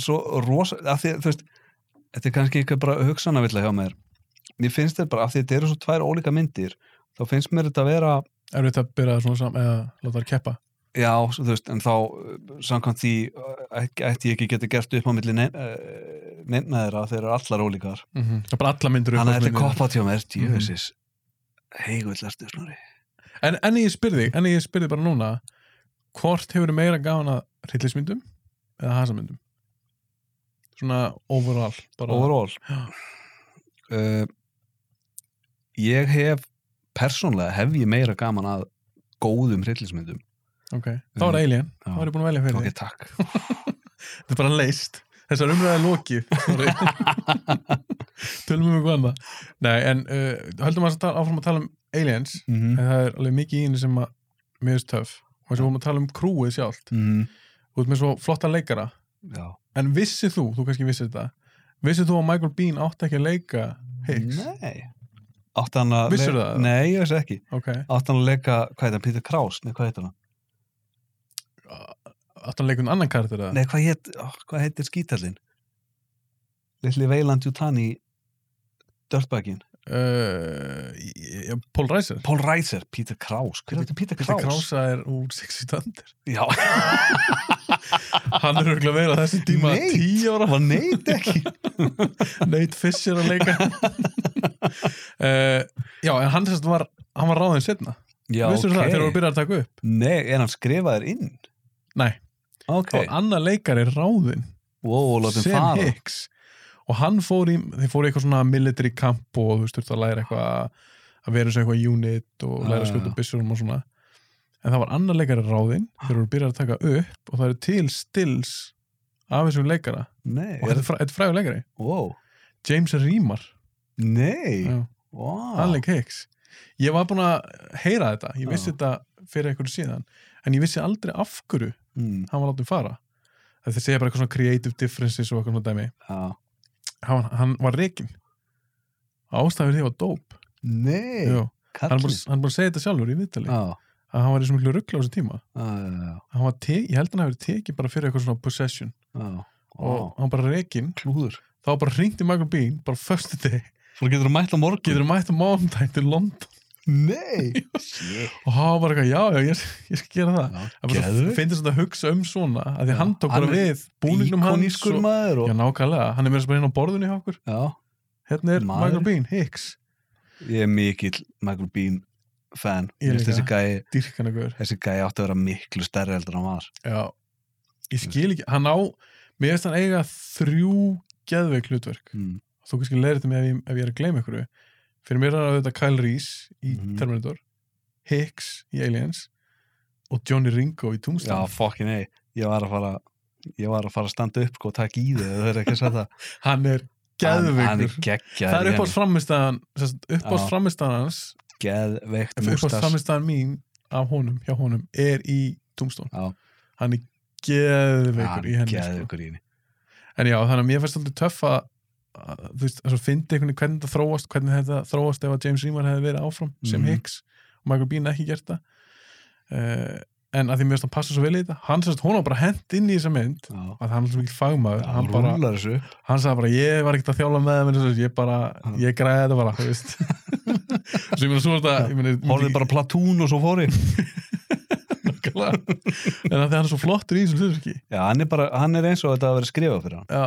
Speaker 2: svo rosa af því, að, þú veist, þetta er kannski eitthvað bara hugsanavilla hjá mér mér finnst þetta bara, af því þetta eru svo tvær ólíka myndir þá finnst mér þetta að vera
Speaker 1: Er þetta að byrja svona saman, eða láta þær keppa?
Speaker 2: já, svo, þú veist, en þá uh, samkvæmt því, uh, ekki- ætti ég ekki geta gert upp á milli neinn uh, neinna þeirra þeir eru allar ólíkar
Speaker 1: Mm Það er bara alla myndir
Speaker 2: Mhm. þannig að þetta er
Speaker 1: myndir.
Speaker 2: koppat hjá mér,
Speaker 1: Mhm.
Speaker 2: djöfisins heigull ertu snori
Speaker 1: En, en ég spyrði, en ég spyrði bara núna hvort hefur meira gaman að hryllismyndum eða hasamyndum? Svona overall bara.
Speaker 2: overall
Speaker 1: Já.
Speaker 2: uh, ég hef persónlega hef ég meira gaman að góðum hryllismyndum
Speaker 1: Ok, þá er það alien,
Speaker 2: Mm. Já.
Speaker 1: þá er ég búin að velja fyrir
Speaker 2: ok,
Speaker 1: þig
Speaker 2: takk
Speaker 1: Þetta er bara leist, þessar umræði lokið Sorry. Tölum við hvað annað Nei, en uh, höldum að tala, áfram að tala um aliens
Speaker 2: mm
Speaker 1: en það er alveg mikið í henni sem að mér er töff og þess að við vorum að tala um krúið sjálft Þú ert með svo flotta leikara
Speaker 2: Mhm. já
Speaker 1: En vissið þú, þú kannski vissið þetta Vissið þú að Michael Bean átti ekki að leika Higgs?
Speaker 2: nei átti hann að
Speaker 1: Vissirðu
Speaker 2: le-
Speaker 1: það?
Speaker 2: nei, ég veist ekki
Speaker 1: Ok,
Speaker 2: átti hann að leika hvað heit hann Peter Krause nei, hvað heit hann
Speaker 1: átti hann leikun annan karakter eða?
Speaker 2: nei, hvað heit oh, hvað heitir skítallinn litli Veiland Jutani Dörtbækin
Speaker 1: Uh, í- í- Paul Reiser
Speaker 2: Paul Reiser Peter Krause hver er þetta Peter
Speaker 1: Peter
Speaker 2: Krause?
Speaker 1: Krása er úr 60 tandir
Speaker 2: já
Speaker 1: Hann er örgulega verið á þessi tíma
Speaker 2: Nate.
Speaker 1: 10 ára
Speaker 2: var neitt ekki
Speaker 1: Nate Fisher að leika uh, Já, en hann sérst var hann var ráðin setna
Speaker 2: já,
Speaker 1: Vissir það, þegar voru byrjað að taka upp
Speaker 2: Nei, en hann skrifaðir inn
Speaker 1: Nei,
Speaker 2: Ok,
Speaker 1: okay. og annar leikari er ráðin
Speaker 2: wow, og látum
Speaker 1: Sam
Speaker 2: fara
Speaker 1: Hicks og hann fór í, þeir fór í eitthvað svona military camp og þú veist, þurfti að læra eitthvað að vera eins og eitthvað unit og læra
Speaker 2: Já,
Speaker 1: að
Speaker 2: já,
Speaker 1: skjóta
Speaker 2: já.
Speaker 1: byssurum og svona en það var annar leikari ráðinn þegar voru byrjar að taka upp og það eru til stills af þessum leikara
Speaker 2: Nei,
Speaker 1: og þetta er, fræ, þetta er frægur leikari
Speaker 2: wow
Speaker 1: James Rímar,
Speaker 2: Nei,
Speaker 1: Já.
Speaker 2: wow
Speaker 1: Alec Hicks ég var búinn að heyra þetta ég vissi
Speaker 2: Já.
Speaker 1: þetta fyrir einhverju síðan en ég vissi aldrei af hverju
Speaker 2: mm,
Speaker 1: hann var látið fara þetta segja bara eitthvað svona creative differences og eitthvað svona dæmi
Speaker 2: já.
Speaker 1: hann, hann var reikinn ástæður því var dóp
Speaker 2: Nei,
Speaker 1: Jú, hann er
Speaker 2: kallinn
Speaker 1: búin hann er búinn að segja þetta sjálfur í viðtali
Speaker 2: Já,
Speaker 1: að hann var í svo miklu ruggla á þessu tíma
Speaker 2: já, já,
Speaker 1: Hann var te, ég held hann hafi verið tekið bara fyrir eitthvað svona possession
Speaker 2: já Ah.
Speaker 1: og hann bara reikinn
Speaker 2: klúður
Speaker 1: þá bara ringdi Michael Bean bara first day
Speaker 2: Svo getur þú mætt á morgun
Speaker 1: getur mætt á mánudaginn til London
Speaker 2: Nei Shit.
Speaker 1: og hann var bara eitthvað já, já, ég, ég skal gera það
Speaker 2: Já,
Speaker 1: hann bara
Speaker 2: Geðu
Speaker 1: svo- finnst þetta að hugsa um svona að því
Speaker 2: Já,
Speaker 1: hann tók bara
Speaker 2: hann er
Speaker 1: við búningnum hans
Speaker 2: Íkonískur
Speaker 1: og,
Speaker 2: maður
Speaker 1: já,
Speaker 2: og,
Speaker 1: nákvæmlega, hann er verið bara inn á borðinu hjá okkur
Speaker 2: Já,
Speaker 1: hérna er
Speaker 2: Maður.
Speaker 1: Michael Bean, Hicks
Speaker 2: ég er mikill Michael Bean fan,
Speaker 1: Ég
Speaker 2: Mér finnst
Speaker 1: líka.
Speaker 2: þessi gæi
Speaker 1: dyrkana guður
Speaker 2: þessi gæi átti að vera miklu stærri heldur en hann var
Speaker 1: já, ég
Speaker 2: Mm.
Speaker 1: skil ekki hann á, mér finnst hann eiga þrjú geðveik hlutverk
Speaker 2: mm.
Speaker 1: þú kannski leirir þetta með ef, ég- ef ég er að gleyma ykkur fyrir mér er það auðvitað Kyle Reese í
Speaker 2: Mhm.
Speaker 1: Terminator, Hicks í Aliens og Johnny Ringo í
Speaker 2: já,
Speaker 1: Tombstone
Speaker 2: fokkin ei, ég var að fara ég var að fara að standa upp sko, og taka í þig það er ekki að segja það
Speaker 1: hann er
Speaker 2: Hann- hann er
Speaker 1: geðveikur
Speaker 2: geggjær
Speaker 1: það er uppáðs framistæðan uppáðs
Speaker 2: Já.
Speaker 1: framistæðan hans
Speaker 2: geðveikt
Speaker 1: uppáðs
Speaker 2: mústas
Speaker 1: framistæðan mín af honum, hjá honum, er í Tombstone
Speaker 2: Já.
Speaker 1: hann er geðveikur
Speaker 2: hann
Speaker 1: í henni sko.
Speaker 2: geðveikur í henni
Speaker 1: En já, þannig að mér fannst alltaf töff að að, þú veist, að finna einhvern veginn hvernig þetta þróast hvernig þetta þróast ef að James Remar hefði verið áfram sem
Speaker 2: Mhm.
Speaker 1: Hicks og Michael Bean ekki gert það uh, en að því mér finnst hann passa svo vel í þetta hann sérst, hún var bara hent inn í þessa mynd
Speaker 2: Já.
Speaker 1: að hann er svo mikil fagmaður
Speaker 2: hann
Speaker 1: hann, bara,
Speaker 2: rúlar þessu upp.
Speaker 1: hann sagði bara, ég var ekkert að þjála með þeim en þessu, ég bara,
Speaker 2: Já.
Speaker 1: ég græði þetta bara þú veist svo ég meina svo er þetta ég meina,
Speaker 2: horfði
Speaker 1: myndi-
Speaker 2: bara á platún og svo fóri
Speaker 1: nákvæmlega. en að því hann er svo flottur í þessum hlutverki
Speaker 2: já, hann, er bara, hann er eins og þetta að vera skrifað fyrir hann
Speaker 1: já,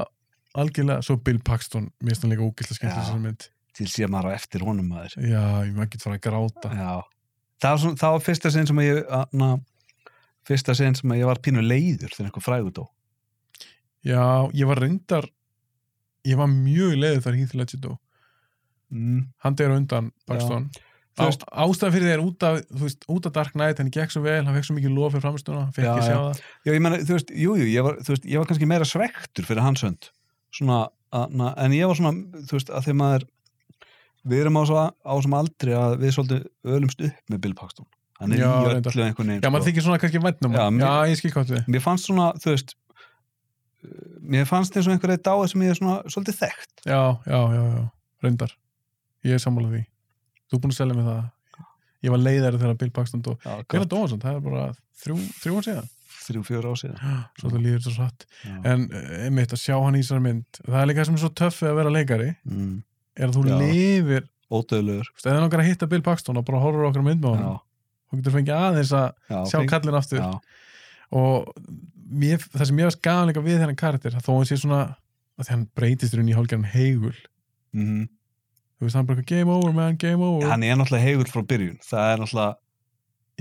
Speaker 1: algjörlega, svo Bill Paxton mér finnst hann líka ógæslega skemmt
Speaker 2: Já.
Speaker 1: þessar mynd
Speaker 2: til sé maður á eftir honum maður
Speaker 1: Já, ég maður ekki fara að gráta
Speaker 2: já. það var, svona, það var fyrsta sinn sem að ég að- na, fyrsta sinn sem að ég var pínu leiður þegar einhver frægur dó
Speaker 1: Já, ég var reyndar ég var mjög leiður þar Heath Ledger dó
Speaker 2: mm.
Speaker 1: hann deyr á undan Paxton
Speaker 2: Þú
Speaker 1: Á,
Speaker 2: veist-
Speaker 1: ástæðan fyrir því er út af, þú veist, út af Dark Knight, henni gekk svo vel, hann fekk svo mikið lof fyrir framistuna, hann fekk
Speaker 2: Já,
Speaker 1: ekki að
Speaker 2: já.
Speaker 1: sjá það
Speaker 2: já, ég meina, þú veist, jú, jú, ég var, þú veist, ég var kannski meira svektur fyrir hans hönd svona, að, na, en ég var svona þú veist, að þegar maður við erum á svo á sem aldrei að við svolítið ölumst upp með Bill Paxton hann er
Speaker 1: Já,
Speaker 2: í
Speaker 1: reyndar.
Speaker 2: öllu einhvern veginn
Speaker 1: Já,
Speaker 2: sko.
Speaker 1: maður þykir svona kannski væntum
Speaker 2: Já,
Speaker 1: já,
Speaker 2: mér-
Speaker 1: já, ég skil hvað við
Speaker 2: mér fannst svona, þú veist uh, mér fannst eins og einhverja dáið sem ég er svona svolítið þekkt
Speaker 1: Já, já, já, já, reyndar Ég er sammála því Þú er búin að selja mig það Ég var leiðari þegar Bill Paxton dó Hvernig dó hann samt? Það er bara þrjú, þrjú hann síðan
Speaker 2: þrjú, fjör á síðan
Speaker 1: Svo það líður svo satt
Speaker 2: Já.
Speaker 1: En eh, einmitt að sjá hann í þessari mynd Það er líka það sem er svo töffið að vera leikari
Speaker 2: mm,
Speaker 1: er að þú
Speaker 2: Já.
Speaker 1: lifir Þú
Speaker 2: ódöðlegur
Speaker 1: veist, ef það er nokkar að hitta Bill Paxton og bara horfur okkur á mynd með honum þú getur fengið aðeins að sjá kallin aftur
Speaker 2: já,
Speaker 1: og mér, það sem ég varst gaman líka við þennan karakter að þó hann sé svona að því hann breytist í rauninni í hálfgerðan heigul
Speaker 2: mhm.
Speaker 1: þú veist, hann bara eitthvað, game over man, game over
Speaker 2: hann er náttúrulega hegur frá byrjun það er náttúrulega,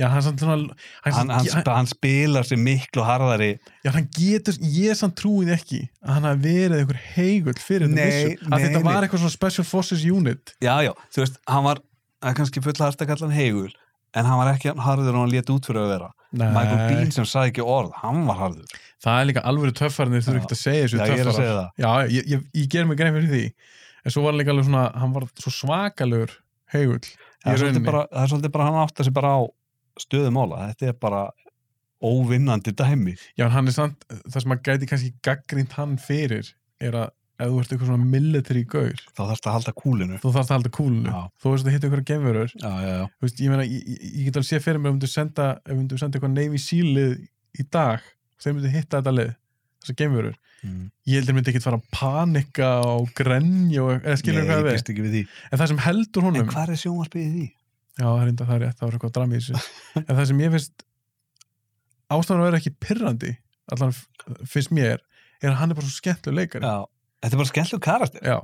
Speaker 1: já, hann, samt svona, hann,
Speaker 2: hann,
Speaker 1: hann,
Speaker 2: hann,
Speaker 1: hann,
Speaker 2: hann, spilar sér miklu harðari
Speaker 1: já, hann getur ég samt trúið ekki að hann hafi verið einhver heigul fyrir þetta
Speaker 2: Nei,
Speaker 1: byssu. að
Speaker 2: nei,
Speaker 1: þetta var
Speaker 2: nei.
Speaker 1: eitthvað svona special forces unit
Speaker 2: já, já, þú veist, hann var það er kannski fulla harst að kalla hann hegur en hann var ekki hann harður og hann lét út fyrir að vera Michael
Speaker 1: Nei,
Speaker 2: Bean sem sagði ekki orð, hann var harður
Speaker 1: það er líka alveg töffarnir þurfi
Speaker 2: Já.
Speaker 1: ekki að segja þessu
Speaker 2: já, ég er að
Speaker 1: töffarar.
Speaker 2: segja það
Speaker 1: Já, ég, ég, ég ger mig grein fyrir því en svo var hann líka alveg svona, hann var svo svakalegur heigull í
Speaker 2: það er, svolítið
Speaker 1: rauninni
Speaker 2: bara, það er svolítið bara hann átta sig bara á stöðum ála, þetta er bara óvinnandi dæmi
Speaker 1: Já, en hann er samt, það sem að gæti kannski gaggrínt hann fyrir er að ef þú ert eitthvað svona military gaur
Speaker 2: þá þarfst að halda kúlinu
Speaker 1: þú þarfst að halda kúlunu,
Speaker 2: Já.
Speaker 1: þú veist að hitta ykkur gemverur
Speaker 2: já, já, já,
Speaker 1: þú veist, ég meina, ég, ég- ég get alveg séð fyrir mér ef myndu senda, ef myndu senda eitthvað Navy Seal lið í dag, þeir myndu hitta þetta lið þessar gemverur,
Speaker 2: mm.
Speaker 1: ég heldur myndi ekkit fara að panika og grenja og, eða skilur
Speaker 2: Nei,
Speaker 1: hvað
Speaker 2: ég
Speaker 1: við,
Speaker 2: býst ekki við því
Speaker 1: en það sem heldur honum
Speaker 2: en hvað er sjónvarpið í því?
Speaker 1: Já, það er enda það er rétt, það var eitthvað drama í þessu en það sem ég finnst ástæðan að vera ekki pirrandi allan f- finnst mér er að hann er bara svo skemmtlu leikari
Speaker 2: Já. þetta er bara skemmtlug karakter
Speaker 1: Já.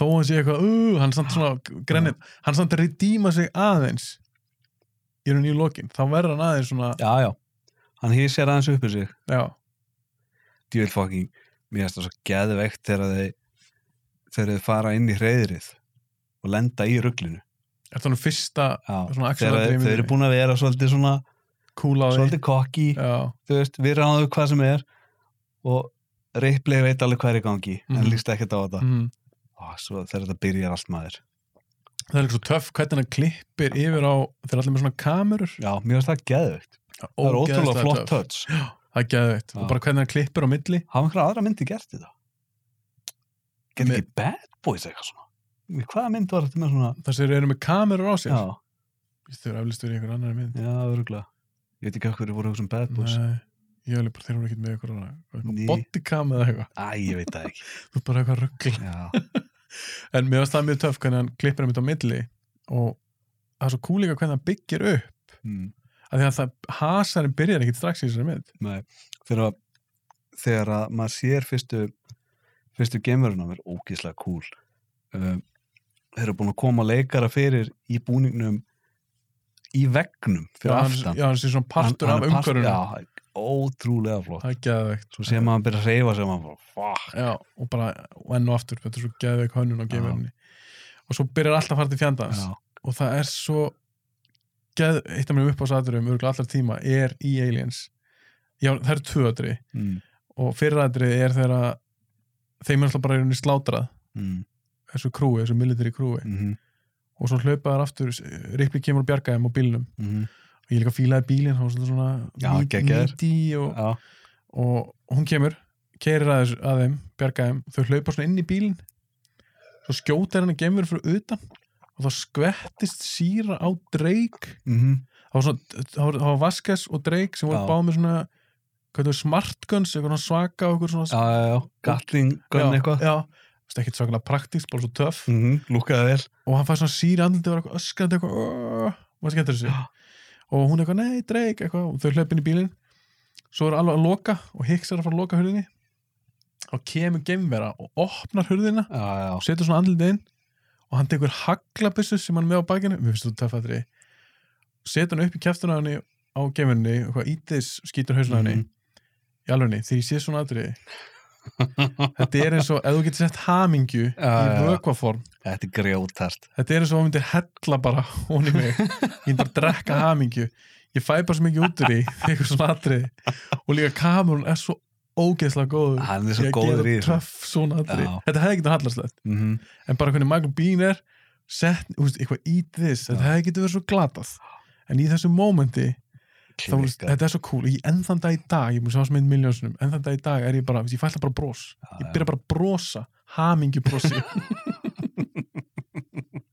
Speaker 1: þó hann sé eitthvað, uh, hann er samt svona grennit, hann samt að redíma sig aðeins í raun í lokin þá verður hann aðeins svona,
Speaker 2: já, já, hann hýsir aðeins upp í sig
Speaker 1: já,
Speaker 2: djúvel fucking, mér finnst það svo geðveikt þegar þeir þegar þeir fara inn í hreyðrið og lenda í rugglinu
Speaker 1: er þannig fyrsta Svona
Speaker 2: já,
Speaker 1: action
Speaker 2: þegar þeir,
Speaker 1: atriði í
Speaker 2: þeir eru
Speaker 1: myndinni.
Speaker 2: búin að vera svolítið svona,
Speaker 1: kúla á því
Speaker 2: svolítið kokki
Speaker 1: Já,
Speaker 2: þú veist, við ráðum hvað sem er og Ripley veit alveg hvað er í gangi
Speaker 1: Mhm.
Speaker 2: en líst ekkert á þetta
Speaker 1: mm.
Speaker 2: Ó, svo, þegar þetta byrjar allt maður
Speaker 1: það er líka svo töff hvernig hann klippir yfir á þeir eru allir með svona kamerur
Speaker 2: já, mér finnst það geðveikt það er
Speaker 1: Ógeðslega
Speaker 2: ótrúlega
Speaker 1: töff.
Speaker 2: flott touch
Speaker 1: Það er geðveikt,
Speaker 2: Já.
Speaker 1: og bara hvernig hann klippir á milli
Speaker 2: hafa einhverja aðra myndi gert þetta getur
Speaker 1: Með-
Speaker 2: ekki Bad Boys eitthvað svona Í hvaða mynd var þetta með svona
Speaker 1: þar sem þeir eru með kamerur á sér
Speaker 2: já,
Speaker 1: Þú eru eflist verið í einhver annar mynd
Speaker 2: já, öruglega ég veit ekki okkur voru eitthvað sem Bad Boys
Speaker 1: Nei, ég hef bara þeir eru ekkert með eitthvað svona-
Speaker 2: Ný.
Speaker 1: eitthvað bodycam eða eitthvað
Speaker 2: æ, ég veit það ekki
Speaker 1: þú er bara eitthvað ruggl
Speaker 2: já,
Speaker 1: en mér varst það mjög töff hvernig hann klippir einmitt á milli og það er svo cool líka hvernig hann byggir upp
Speaker 2: mm.
Speaker 1: af því að það hasarinn byrjar ekkert strax í þessari mynd
Speaker 2: Nei, þegar, að- þegar að maður sér fyrstu, fyrstu geimveruna mér ógeðslega cool um, þeir eru búin að koma leikara fyrir í búningnum í vegnum
Speaker 1: Já,
Speaker 2: fyrir
Speaker 1: hann,
Speaker 2: aftan
Speaker 1: já, hann sé svona partur
Speaker 2: Hann- hann
Speaker 1: af
Speaker 2: er part-
Speaker 1: umhverfinu.
Speaker 2: já, ótrúlega flott
Speaker 1: Það er geðveikt.
Speaker 2: svo sem hann byrja að reyfa sem hann bara, fuck
Speaker 1: Já, og bara og enn og aftur. Þetta er svo geðveik hönnun á geimverðinni. Og svo byrjar alltaf að fara til fjandans.
Speaker 2: já,
Speaker 1: og það er svo geð, eitt af mjög uppáðsatrum örgulega allar tíma er í Aliens já, það eru tvö atri
Speaker 2: mm,
Speaker 1: og fyrra atri er þegar að þeim er alltaf bara í rauninni slátrað
Speaker 2: mm,
Speaker 1: þessu krúi, þessu military krúi
Speaker 2: mm, mm,
Speaker 1: og svo hlaupa þar aftur, Ripley kemur og bjarga þeim á bílnum
Speaker 2: mm,
Speaker 1: og ég líka fílaði bílinn, hann var svolítið svona
Speaker 2: Já,
Speaker 1: mí-
Speaker 2: geggjaður.
Speaker 1: míti og,
Speaker 2: já,
Speaker 1: og hún kemur, keirir að, þessu, að þeim bjarga þeim, þau hlaupa svona inn í bílinn svo skjótar hann að gemur fyrir utan og þá skvettist síra á dreik
Speaker 2: mhm,
Speaker 1: það var, svona, það var, það var Vasquez og Drake sem voru
Speaker 2: Já.
Speaker 1: báð með svona hvað það er, smart guns, eitthvað svona svaka og eitthvað
Speaker 2: já,
Speaker 1: svona
Speaker 2: já, já gatling, gönn eitthvað
Speaker 1: já, það er ekkert svakalega praktíkt, bara svo töff
Speaker 2: mhm, lúkaði vel
Speaker 1: og hann fær svona síri andliti og var eitthvað öskandi eitthvað, "Åh", maður skemmtur þessu
Speaker 2: Já.
Speaker 1: og hún eitthvað, nei, Drake, eitthvað og þau hlöp inn í bílinn svo er alveg að loka og Hicks er að fara að loka hurðinni og kemur geimvera og opnar hurðina
Speaker 2: já, já,
Speaker 1: og setur svona andlitið inn og hann tekur haglabissu sem hann er með á bakinu mér finnst þú töffatri setur hann upp í kæftuna henni á geminni og hvað ítis skýtur hausna henni
Speaker 2: Mhm.
Speaker 1: í alvegni, þegar ég sé svona atriði þetta er eins og ef þú getur sett hamingju
Speaker 2: já,
Speaker 1: í
Speaker 2: já.
Speaker 1: vökvaform,
Speaker 2: þetta er grjótart
Speaker 1: þetta er eins og að myndir hella bara honi mig, ég myndi bara drekka hamingju, ég fæ bara svo mikið út úr því þegar svona atriði og líka kamerun er svo ógeðslega góður
Speaker 2: hann er Ah, svo
Speaker 1: Ég
Speaker 2: góður í
Speaker 1: gera
Speaker 2: þessu
Speaker 1: töff svona atriði,
Speaker 2: Já.
Speaker 1: þetta hefði getað hallarslegt
Speaker 2: Mhm,
Speaker 1: en bara hvernig Michael Bean er sett, úst, eitthvað í þess þetta
Speaker 2: Já.
Speaker 1: hefði getur verið svo glatað en í þessu mómenti, þá, úst,
Speaker 2: klikkað.
Speaker 1: þetta er svo cool ég, enn þann dag í dag, ég múið sjá sem einn miljónsunum enn þann dag í dag er ég bara, þú veist, ég fæ alltaf bara bros
Speaker 2: Já,
Speaker 1: ég byrja bara að brosa, hamingju brosi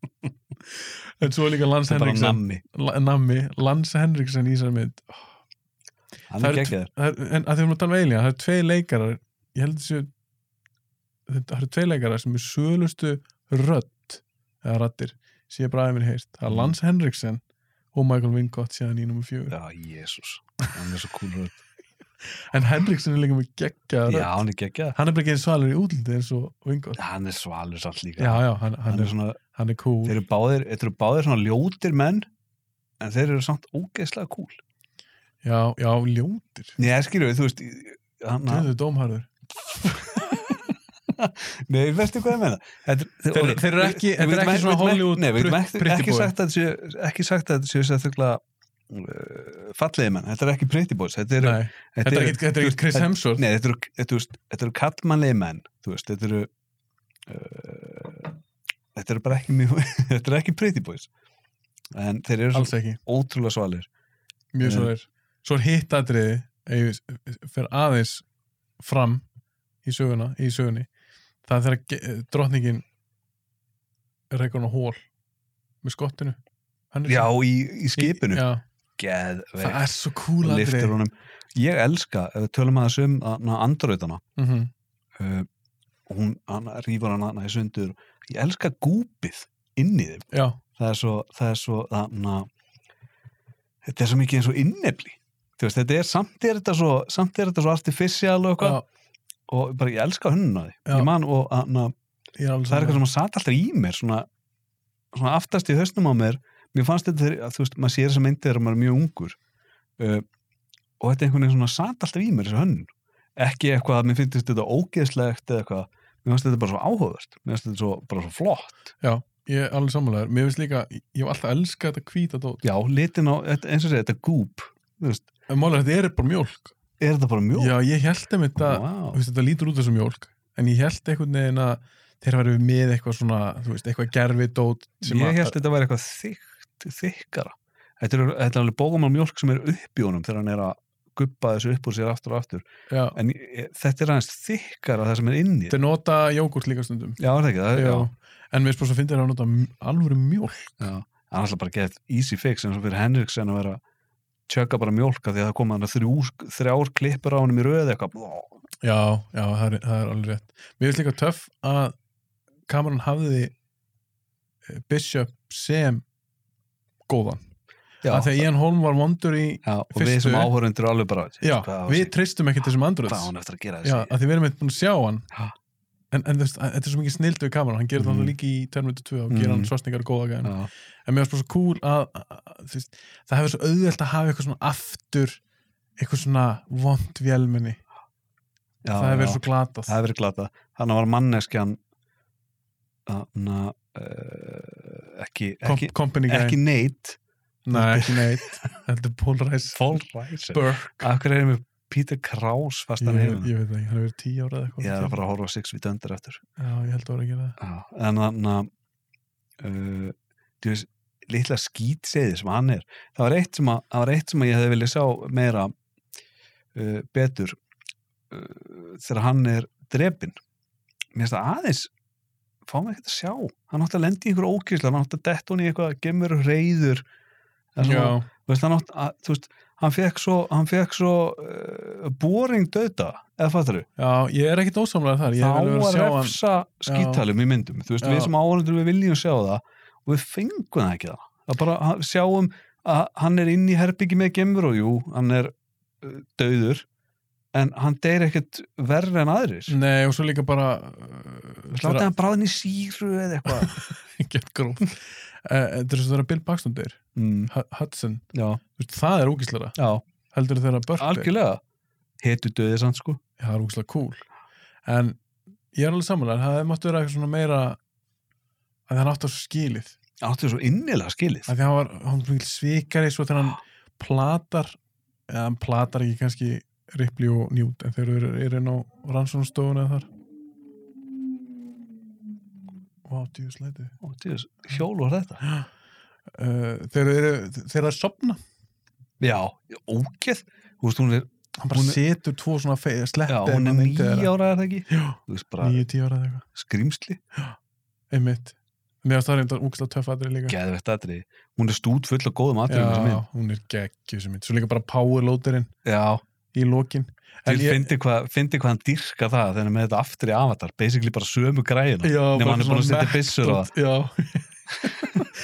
Speaker 1: en svo er líka Lance
Speaker 2: þetta er bara
Speaker 1: Henriksen
Speaker 2: nammi
Speaker 1: La- Nammi, Lance Henriksen í þessari mynd
Speaker 2: hann
Speaker 1: Það
Speaker 2: er
Speaker 1: eru
Speaker 2: geggjaður
Speaker 1: Það er, en að því við erum að tala um Alien, það eru tvei leikarar ég held þessu það eru tvei leikarar sem er sölustu rödd, eða rattir sem ég bara aðeins mér heist, það
Speaker 2: Mm.
Speaker 1: er Lance Henriksen og Michael Wincott síðan í nummer fjögur
Speaker 2: Já, Jésús, hann er svo cool rödd.
Speaker 1: en Henriksen er líka með geggjaða
Speaker 2: Já,
Speaker 1: rödd
Speaker 2: hann er geggjað.
Speaker 1: hann er bara ekki eins svalur í útliti eins og Wincott
Speaker 2: Hann er svalur samt líka.
Speaker 1: já, já, hann,
Speaker 2: hann
Speaker 1: hann,
Speaker 2: er
Speaker 1: er,
Speaker 2: svona,
Speaker 1: hann er cool
Speaker 2: þeir eru báðir, þeir eru báðir svona ljótir menn, en þeir eru samt ógeðslega cool.
Speaker 1: já, já, ljótir
Speaker 2: Nei, ég skilju, þú veist, hann,
Speaker 1: Guðu dómharður.
Speaker 2: nei, veistu hvað ég meina? Þetta er-
Speaker 1: Þeir-
Speaker 2: ok,
Speaker 1: þeir eru
Speaker 2: við-
Speaker 1: ekki-
Speaker 2: við
Speaker 1: þetta er
Speaker 2: getum
Speaker 1: ekki svona
Speaker 2: við getum
Speaker 1: Hollywood
Speaker 2: Nei, við getum
Speaker 1: pr-
Speaker 2: ekki,
Speaker 1: pretty
Speaker 2: ekki
Speaker 1: boy.
Speaker 2: sagt að þetta séu, ekki sagt að þetta séu sérstaklega uh, fallegi menn, þetta er ekki pretty boys, þetta eru,
Speaker 1: Nei, þetta er
Speaker 2: eru-
Speaker 1: ekkert- þetta er
Speaker 2: þú veist,
Speaker 1: ekkert Chris
Speaker 2: þetta-
Speaker 1: Hemsworth
Speaker 2: Nei, þetta eru, þetta, þú veist, þetta eru kallmannlegi menn, þú veist, þetta eru uh, þetta eru bara ekki mjög, þetta eru ekki pretty boys en þeir eru svo
Speaker 1: alls ekki,
Speaker 2: ótrúlega svalir
Speaker 1: mjög
Speaker 2: Nei.
Speaker 1: svo er svo er hitt atriði ef ég fer aðeins fram í söguna, í sögunni það er þegar ge- eh, drottningin reikur hann á hól með skottinu Hann er
Speaker 2: Já,
Speaker 1: svo-
Speaker 2: í, í skipinu,
Speaker 1: í, já, það
Speaker 2: geðveikt
Speaker 1: er svo cool
Speaker 2: og
Speaker 1: atriði
Speaker 2: liftir honum Ég elska, ef við tölum aðeins um þarna andröðana
Speaker 1: mm
Speaker 2: uh, hún, hann rífur hann hana í sundur ég elska gúpið inn í þeim
Speaker 1: já,
Speaker 2: það er svo, það er svo þarna, þetta er svo mikið eins og innefli þú veist, þetta er, samt er þetta svo samt er þetta svo artificial og
Speaker 1: já,
Speaker 2: eitthvað og bara ég elska hönnun á því,
Speaker 1: Já.
Speaker 2: ég man og þarna,
Speaker 1: ég er alveg
Speaker 2: það er
Speaker 1: sammála.
Speaker 2: eitthvað sem að sat alltaf í mér svona, svona aftast í höstnum á mér mér fannst þetta, þegar- að, þú veist, maður sér þessa myndi þegar maður er mjög ungur uh, og þetta er einhvern veginn svona sat alltaf í mér þessi hönnun, ekki eitthvað að mér finnst þetta ógeðslegt eða eitthvað mér fannst þetta bara svo áhugavert, mér fannst þetta svo, bara svo flott,
Speaker 1: ég er alveg sammálaður, mér finnst líka ég hef alltaf elskað þetta hvíta dót
Speaker 2: já, litin á þetta- eins og segja, þetta gúp, þú veist
Speaker 1: en málega þetta er bara mjólk
Speaker 2: er þetta bara mjólk?
Speaker 1: já, ég held um þetta
Speaker 2: Vá.
Speaker 1: þú veist, þetta lítur út þessu mjólk en ég held einhvern veginn að þeir væri með eitthvað svona, þú veist, eitthvað gervidót sem að-
Speaker 2: ég held þetta væri eitthvað þykkt, þykkara þetta er, þetta er alveg bókamál mjólk sem er upp í honum þegar hann er að guppa þessu upp úr sér aftur og aftur
Speaker 1: já,
Speaker 2: en ég, þetta er aðeins þykkara það sem er inn í
Speaker 1: þeir nota jógurt líka stundum
Speaker 2: já, er það ekki, það,
Speaker 1: já.
Speaker 2: já.
Speaker 1: en mér spyrst að finna þér að nota m- alvöru mjólk
Speaker 2: Já. hann ætla bara að geta easy fix eins og fyrir Henriksen að vera tjöka bara mjólka því að það koma hann að þrjú, þrjár klippur á honum í röð eitthvað blá.
Speaker 1: já, já, það er, það er alveg rétt mér finnst líka töff að kameran hafði eh, Bishop sem góðan,
Speaker 2: já,
Speaker 1: af því að Ian Holm var vondur í
Speaker 2: já, og við
Speaker 1: fyrstu-
Speaker 2: sem áhörundur alveg bara
Speaker 1: já,
Speaker 2: hvað á
Speaker 1: við
Speaker 2: sig-
Speaker 1: treystum ekkert þessum
Speaker 2: hvað á
Speaker 1: andröðs
Speaker 2: hann eftir að gera
Speaker 1: já,
Speaker 2: þessi
Speaker 1: af því við erum eitthvað búin að sjá hann
Speaker 2: Ha.
Speaker 1: en, en þú veist, þetta er svo mikið snild við kameran, hann gerir
Speaker 2: Mhm.
Speaker 1: það alltaf líka í 2.2 og gerir
Speaker 2: Mhm.
Speaker 1: hann svarsningar og góða gæðin
Speaker 2: já,
Speaker 1: en mér finnst bara svo cool að, að, að þú veist, það hefur svo auðvelt að hafa eitthvað svona aftur eitthvað svona vond vélminni
Speaker 2: já,
Speaker 1: það hefur
Speaker 2: já.
Speaker 1: verið svo glatað
Speaker 2: það hefur verið glata þannig var manneskjan þannig uh, ekki,
Speaker 1: Kom,
Speaker 2: ekki,
Speaker 1: company guy,
Speaker 2: ekki neitt
Speaker 1: nei ekki neitt þetta er Polarize
Speaker 2: fólræsir
Speaker 1: Burke
Speaker 2: af hverju erum við Peter Krause fast
Speaker 1: ég,
Speaker 2: hann
Speaker 1: ég,
Speaker 2: hefur
Speaker 1: veit það ekki, hann hefur verið 10 ára eða eitthvað
Speaker 2: ég er að fara að horfa á Six Feet Under eftir
Speaker 1: já, ég held að voru að gera það
Speaker 2: Já, en þannig uh, þú veist litla skýtseði sem hann er það var eitt sem, að, það var eitt sem að ég hefði viljað sjá meira uh, betur uh, þegar hann er drepin mér finnst það aðeins fá mig ekkert að sjá hann átti að lendi í einhver ókýrsla hann átti að detta hún í eitthvað gemur reyður Það er svona-
Speaker 1: já,
Speaker 2: þú veist, hann, átt, að, þú veist, hann fekk svo, hann fekk svo uh, boring döta eða fattar
Speaker 1: já, ég er ekkit ósamlega þar ég hef
Speaker 2: þá
Speaker 1: alveg verið
Speaker 2: að
Speaker 1: að sjá hann
Speaker 2: refsa skítalum í myndum þú veist,
Speaker 1: Já.
Speaker 2: við sem áhverjandur við viljum sjá það og við fengum það ekki það það bara ha- sjáum að hann er inn í herbyggi með gemur og jú, hann er uh, dauður en hann deyr ekkert verri en aðrir mm.
Speaker 1: nei, og svo líka bara uh,
Speaker 2: slátti hann bráðin í síru eða eitthvað
Speaker 1: get gróf uh, þetta er svo þegar Bill Paxton deyr
Speaker 2: mm,
Speaker 1: Hu- Hudson,
Speaker 2: já,
Speaker 1: þú veist, það er ógíslara
Speaker 2: já,
Speaker 1: heldur þegar Burke deyr.
Speaker 2: algjörlega hetu döðið sann sko
Speaker 1: Já, það er úkslega cool en ég er alveg samanlega það hefði mátt vera eitthvað svona meira að hann átti á svo skilið
Speaker 2: áttu svo innilega skilið
Speaker 1: að því hann var, hann var mikil svikari svo þegar hann platar eða hann platar ekki kannski Ripley og Newt en þeir eru, eru inn á rannsónustofun eða þar Vá, djú slæti
Speaker 2: Ó, djöðis, hjólu var þetta
Speaker 1: uh, þeir eru, þeir eru að sopna
Speaker 2: já, ógeð þú veist, hún er,
Speaker 1: hann bara
Speaker 2: Hún er-
Speaker 1: setur tvo svona fe-
Speaker 2: já,
Speaker 1: sletti
Speaker 2: hún er nýja ára er það ekki
Speaker 1: já,
Speaker 2: þú veist bara
Speaker 1: níu, tíu ára eða eitthvað
Speaker 2: skrýmsli
Speaker 1: einmitt, mér finnst það reyndar úkslega töffatri líka
Speaker 2: geðvegt aðri, hún er stút full af góðum aðri
Speaker 1: Já, hún er geggjuð sem mynd Svo líka bara powerloaderinn
Speaker 2: já,
Speaker 1: í lokin En
Speaker 2: til
Speaker 1: ég-
Speaker 2: fyndi hvað fyndi hvað hann dýrka það þegar hann er með þetta aftur í avatar basically bara sömu græðina
Speaker 1: Já,
Speaker 2: nema
Speaker 1: bara
Speaker 2: hann er búin að
Speaker 1: svona
Speaker 2: setja byssur á það
Speaker 1: Já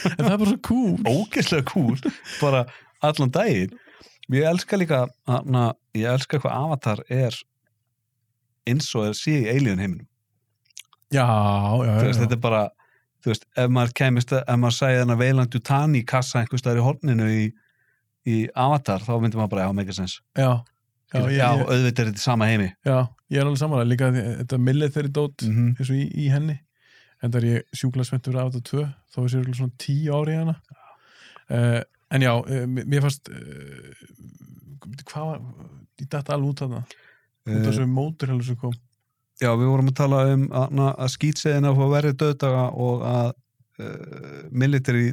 Speaker 1: En það er bara svo cool
Speaker 2: ógeðslega cool, bara allan daginn ég elska líka hana, ég elska hvað avatar er eins og er sé í alien heiminum
Speaker 1: Já, já,
Speaker 2: þú
Speaker 1: já,
Speaker 2: veist,
Speaker 1: já.
Speaker 2: þetta er bara þú veist, ef maður kemist, að- ef maður sæði þarna veilandu tann í kassa einhvers staðar í horninu í, í avatar, þá myndi maður bara já, make a sense,
Speaker 1: já Já,
Speaker 2: já,
Speaker 1: ég,
Speaker 2: já
Speaker 1: ég,
Speaker 2: auðvitað er þetta í sama heimi
Speaker 1: já, ég er alveg samanlega líka því- þetta military dót
Speaker 2: mm -hmm.
Speaker 1: eins og í, í henni en það er ég sjúklega spennt fyrir Avatar 2 þá er sér svona 10 ári í hana uh, en já, uh, mér fannst uh, hvað var ég dætti alveg út af það
Speaker 2: Eh.
Speaker 1: út af þessu mótur heldur sem kom
Speaker 2: Já, við vorum að tala um að, na, að skýtseðina fá verri döðdaga og að uh, military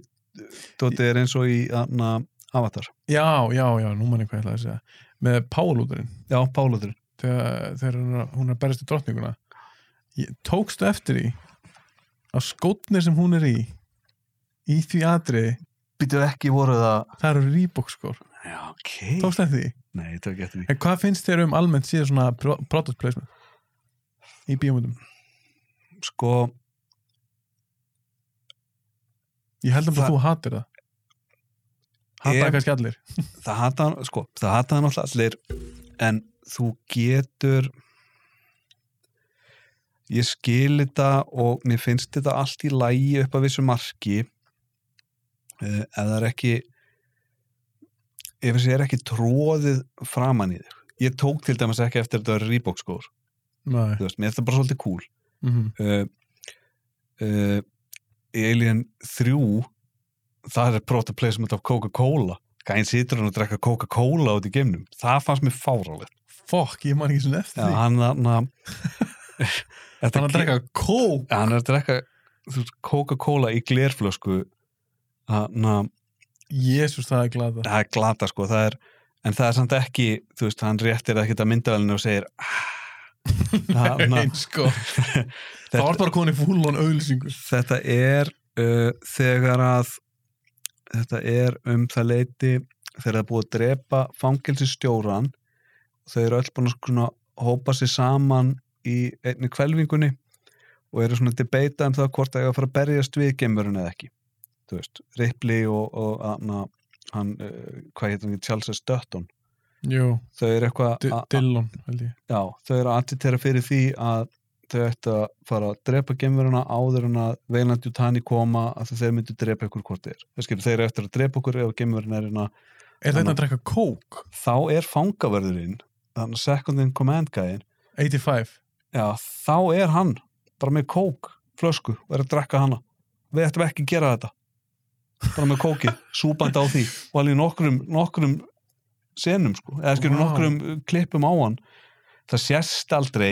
Speaker 2: dóti er eins og í að, na, Avatar.
Speaker 1: Já, já, já, nú manni hvað ég ætlaði að segja með powerloaderinn
Speaker 2: Já, Pálutur.
Speaker 1: þegar, þegar hún er- hún er að berjast í drottninguna ég, tókstu eftir í að skótnir sem hún er í í því atriði
Speaker 2: Býtu ekki voru það...
Speaker 1: það eru rýbokskór,
Speaker 2: Já, ok.
Speaker 1: tókstu eftir því
Speaker 2: Nei, ég tók ekki eftir því.
Speaker 1: en hvað finnst þér um almennt síðan svona pro- product placement í bíómyndum
Speaker 2: Sko,
Speaker 1: ég held að
Speaker 2: Það-
Speaker 1: þú hatir það hatar
Speaker 2: Ég-
Speaker 1: það kannski allir
Speaker 2: það hata hann, sko, það hata hann alltaf allir en þú getur ég skil þetta og mér finnst þetta allt í lægi upp að vissu marki eh, ef það er ekki ef þessi er ekki tróðið framan í þig ég tók til dæmis ekki eftir þetta Reebok skór
Speaker 1: Nei.
Speaker 2: þú veist, mér er þetta bara svolítið cool
Speaker 1: Mm
Speaker 2: uh, uh, í Alien 3 það er product placement af Coca-Cola gæn situr hann og drekka Coca-Cola út í geimnum, það fannst mér fárálegt
Speaker 1: fokk, ég man ekki svona eftir
Speaker 2: Já,
Speaker 1: því
Speaker 2: hann hann hann
Speaker 1: hann að drekka kók
Speaker 2: hann er að drekka þú veist, Coca-Cola í glerflösku hann að
Speaker 1: jésus það er glada
Speaker 2: það er glata sko, það er en það er samt ekki, þú veist, hann réttir ekkert að myndavælinu og segir "Ah." Hann að-
Speaker 1: Nei, sko. það var bara komin í fúlun auðlýsingur
Speaker 2: þetta er uh, þegar að þetta er um það leiti þegar það er búið að drepa fangelsistjóran þau eru öll búin að svona hópa sér saman í einni kvelvingunni og eru svona að debata um það hvort það er að fara að berjast við gemurinn eða ekki þú veist, Ripley og, og anna, hann, uh, hvað hétt hann ekki, Charles S. Dutton
Speaker 1: Jú,
Speaker 2: þau eru eitthvað
Speaker 1: D
Speaker 2: að-
Speaker 1: Dillon held ég
Speaker 2: Já, þau eru að agitera fyrir því að þau ættu að fara að drepa gemveruna áður en að veilandi og tani koma að þeir myndu drepa ykkur hvort þeir þeir, skilur, þeir eru eftir að drepa okkur ef gemveruna er innan
Speaker 1: Er þetta
Speaker 2: Þannig-
Speaker 1: að drekka kók?
Speaker 2: þá er fangavörðurinn þannig að second in command gæðin
Speaker 1: 85
Speaker 2: já, þá er hann bara með kók, flösku og er að drekka hana við ættum ekki að gera þetta bara með kóki, súband á því og alveg nokkrum, nokkrum senum sko, eða skilur
Speaker 1: Vá.
Speaker 2: nokkrum uh, klippum á hann það sérst aldrei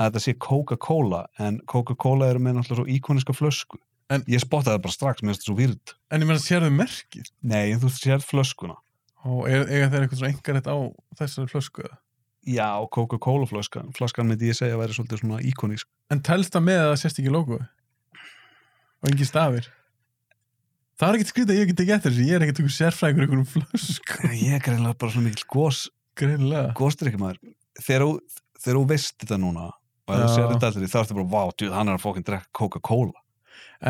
Speaker 2: að þetta sé Coca-Cola en Coca-Cola eru með náttúrulega svo íkoniska flösku
Speaker 1: En-
Speaker 2: ég spottaði það bara strax, mér finnst þetta svo výrd
Speaker 1: En ég meina, sérðu merkið?
Speaker 2: nei, en þú sér flöskuna
Speaker 1: Og er, eiga þeir eitthvað svona engarétt á þessari flösku? eða?
Speaker 2: já, Coca-Cola flöskan flaskan myndi ég segja að vera svolítið svona íkonisk
Speaker 1: En telst það með að það sérst ekki logo? Og engin stafir? Það er ekkert skrítið að ég get ekki eftir þessu. Ég er ekkert einhver sérfræðingur í einhverjum flösku.
Speaker 2: ég er greinlega bara svona mikil gos
Speaker 1: Greinilega.
Speaker 2: góstrykkjumæður Sko, þegar þú- þegar þú veist þetta núna og ef þú
Speaker 1: Já.
Speaker 2: sér þetta allir þá ertu bara, vá, djúð, hann er að fókinn drekka Coca-Cola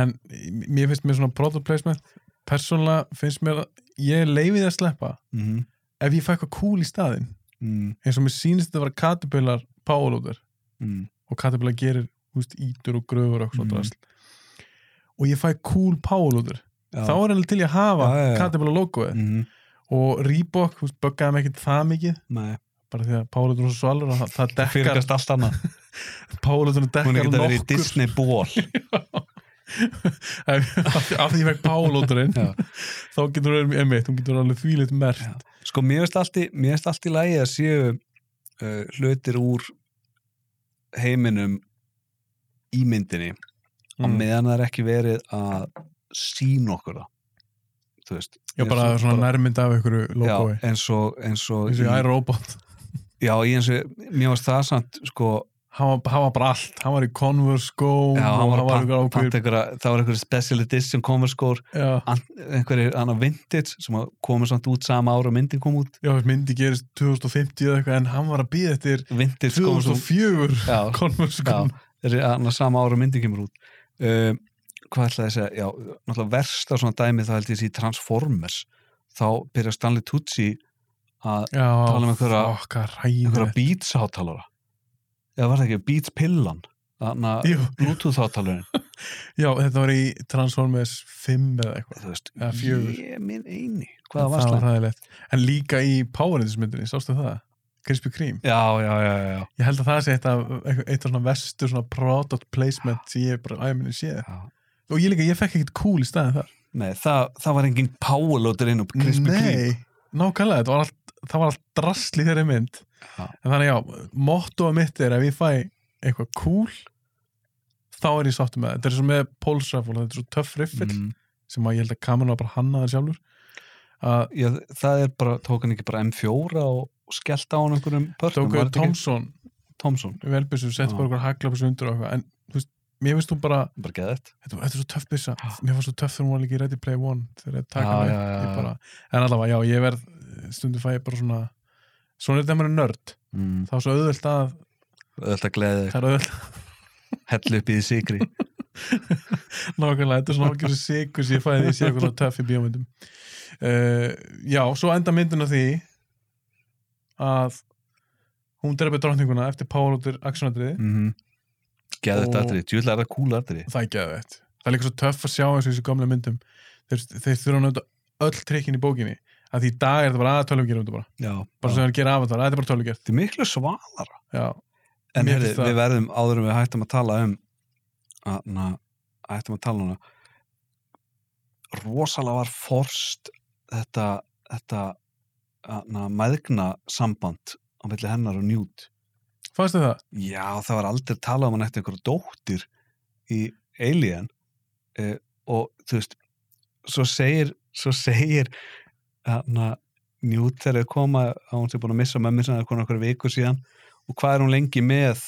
Speaker 1: En m- mér finnst mér svona product placement. Persónlega finnst mér að ég leiði að sleppa
Speaker 2: mm -hmm.
Speaker 1: ef ég fæ eitthvað cool í staðinn.
Speaker 2: mm,
Speaker 1: Eins og mér sýnist þetta að vera Caterpillar powerloader
Speaker 2: mm,
Speaker 1: og Caterpillar gerir húst ítur og gröfur og
Speaker 2: Mm.
Speaker 1: svona drasl. Og ég fæ cool powerloader.
Speaker 2: já.
Speaker 1: Þá er hann til ég að hafa
Speaker 2: Já, já, já.
Speaker 1: Caterpillar logoið.
Speaker 2: Mhm,
Speaker 1: Og Reebok, húst, böggaði mig ekkert það mikið.
Speaker 2: nei,
Speaker 1: bara því að Pálutur og Svalur það, það
Speaker 2: það
Speaker 1: dekkar,
Speaker 2: fyrirgast allt annað
Speaker 1: Pálutur
Speaker 2: hún er
Speaker 1: dekkar
Speaker 2: ekki að vera í
Speaker 1: nokkur
Speaker 2: Disney ból
Speaker 1: af því- af því ég vekk Páluturinn
Speaker 2: Já.
Speaker 1: þá getur hún einmitt, hún getur alveg þvíleitt mert
Speaker 2: Já. sko, mér finnst allt í mér finnst allt í lagi að séu uh, hlutir úr heiminum í myndinni á
Speaker 1: mm.
Speaker 2: meðan það er ekki verið að sína okkur það þú veist
Speaker 1: já, bara
Speaker 2: eins og-
Speaker 1: svona nærmynd af einhverju logoi,
Speaker 2: já, eins og, eins og
Speaker 1: eins og
Speaker 2: í-
Speaker 1: ég robot
Speaker 2: Já, ég eins og, mér varst það samt, sko,
Speaker 1: hann var, hann var bara allt, hann var í Converse skóm
Speaker 2: já, hann
Speaker 1: og
Speaker 2: var að panta
Speaker 1: einhver
Speaker 2: pant einhverja, það var einhverja special edition Converse skór,
Speaker 1: já,
Speaker 2: einhverjir annar vintage sem að komu samt út sama ára og myndin kom út,
Speaker 1: já, myndi gerist 2050 eða eitthvað en hann var að býða eftir
Speaker 2: vintage skór sem,
Speaker 1: 2004
Speaker 2: já,
Speaker 1: Converse
Speaker 2: já,
Speaker 1: skóm
Speaker 2: þessi annar sama ára og myndin kemur út. Um, hvað ætlaði að segja, já, náttúrulega versta svona dæmi það held ég sé í Transformers, þá byrja Stanley Tucci að
Speaker 1: já,
Speaker 2: Tala um einhverja-
Speaker 1: okkar
Speaker 2: einhverja
Speaker 1: ræður
Speaker 2: Beats hátalara, eða var það ekki Beats pillan, þannig að Bluetooth hátalarinn,
Speaker 1: já, þetta var í Transformers 5 eða eitthvað
Speaker 2: þú veist,
Speaker 1: Eða fjögur.
Speaker 2: ég minn eini, hvað var
Speaker 1: það
Speaker 2: það?
Speaker 1: var ræðilegt en líka í Power Rangers myndinni, sástu það? Krispy Kreme,
Speaker 2: Já, já, já, já.
Speaker 1: ég held að það sé eitt af, eitt af svona vestu svona product placement sem ég bara æminni séð
Speaker 2: já.
Speaker 1: og ég líka, ég fekk ekkert cool í staðin þar
Speaker 2: Nei, það, það var engin powerloader inn á Krispy Kreme.
Speaker 1: Nei, nákvæmlega, það var allt, það var allt drasl í þeirri mynd
Speaker 2: Já.
Speaker 1: en þannig já, mottoa mitt er ef ég fæ eitthvað cool þá er ég sáttum með það, þetta er svo með Pulse Rifle, þetta er svo töff riffil
Speaker 2: Mm.
Speaker 1: sem að ég held að kamerun var bara hannaðar sjálfur að
Speaker 2: Já, það er bara, tók hann ekki bara M4 og skellt á hann einhverjum pörtum.
Speaker 1: tókuðu Thompson
Speaker 2: Thompson,
Speaker 1: velbissu,
Speaker 2: Já.
Speaker 1: settu bara eitthvað haglabissu undir og eitthvað, en þú veist, mér finnst hún bara
Speaker 2: bara geða þetta.
Speaker 1: þetta, þetta er svo töff bissa,
Speaker 2: Já.
Speaker 1: mér fannst svo töff þegar hún var líka í Ready Play One þegar þetta taka
Speaker 2: Já,
Speaker 1: mig,
Speaker 2: já, já,
Speaker 1: ég
Speaker 2: já.
Speaker 1: bara en allavega, já, ég verð, stundum fæ ég bara svona svona er þetta maður er nörd
Speaker 2: Mm.
Speaker 1: það er svo auðvelt að,
Speaker 2: Þetta gleði,
Speaker 1: það er auðvelt
Speaker 2: hellu upp í því sigri.
Speaker 1: nákvæmlega, þetta er svona okkur sigur sem ég fæði því ég sé eitthvað svona töff í bíómyndum uh, já, svo enda myndin á því að hún drefi drottninguna eftir Pála út úr aksjónadriði
Speaker 2: Mm. Geða þetta
Speaker 1: Og-
Speaker 2: aðrið, djúðlega er það cool aðrið.
Speaker 1: það er geðveitt það er líka svo töff að sjá eins og þessu gamla myndum þeir, þeir þurfa að nöta öll trikkin í bókinni að því í dag er þetta bara að tölvugjur bara,
Speaker 2: Já,
Speaker 1: bara sem þeir gera avatar, að þetta er bara tölvugjert
Speaker 2: þetta er miklu svalara.
Speaker 1: já,
Speaker 2: En
Speaker 1: Mér
Speaker 2: herri,
Speaker 1: finnst það-
Speaker 2: við verðum áður en við hættum að tala um, að, na, hættum að tala um hana. rosalega var forst þetta, þetta na, maðgna samband á milli hennar og njút.
Speaker 1: fannst þið það?
Speaker 2: Já, það var aldrei talað um hann eftir einhverju dóttir í Alien eh, og þú veist, svo segir, svo segir hana, njút þegar þau koma að hún sé búin að missa mömmu sinna eitthvað okkur viku síðan og hvað er hún lengi með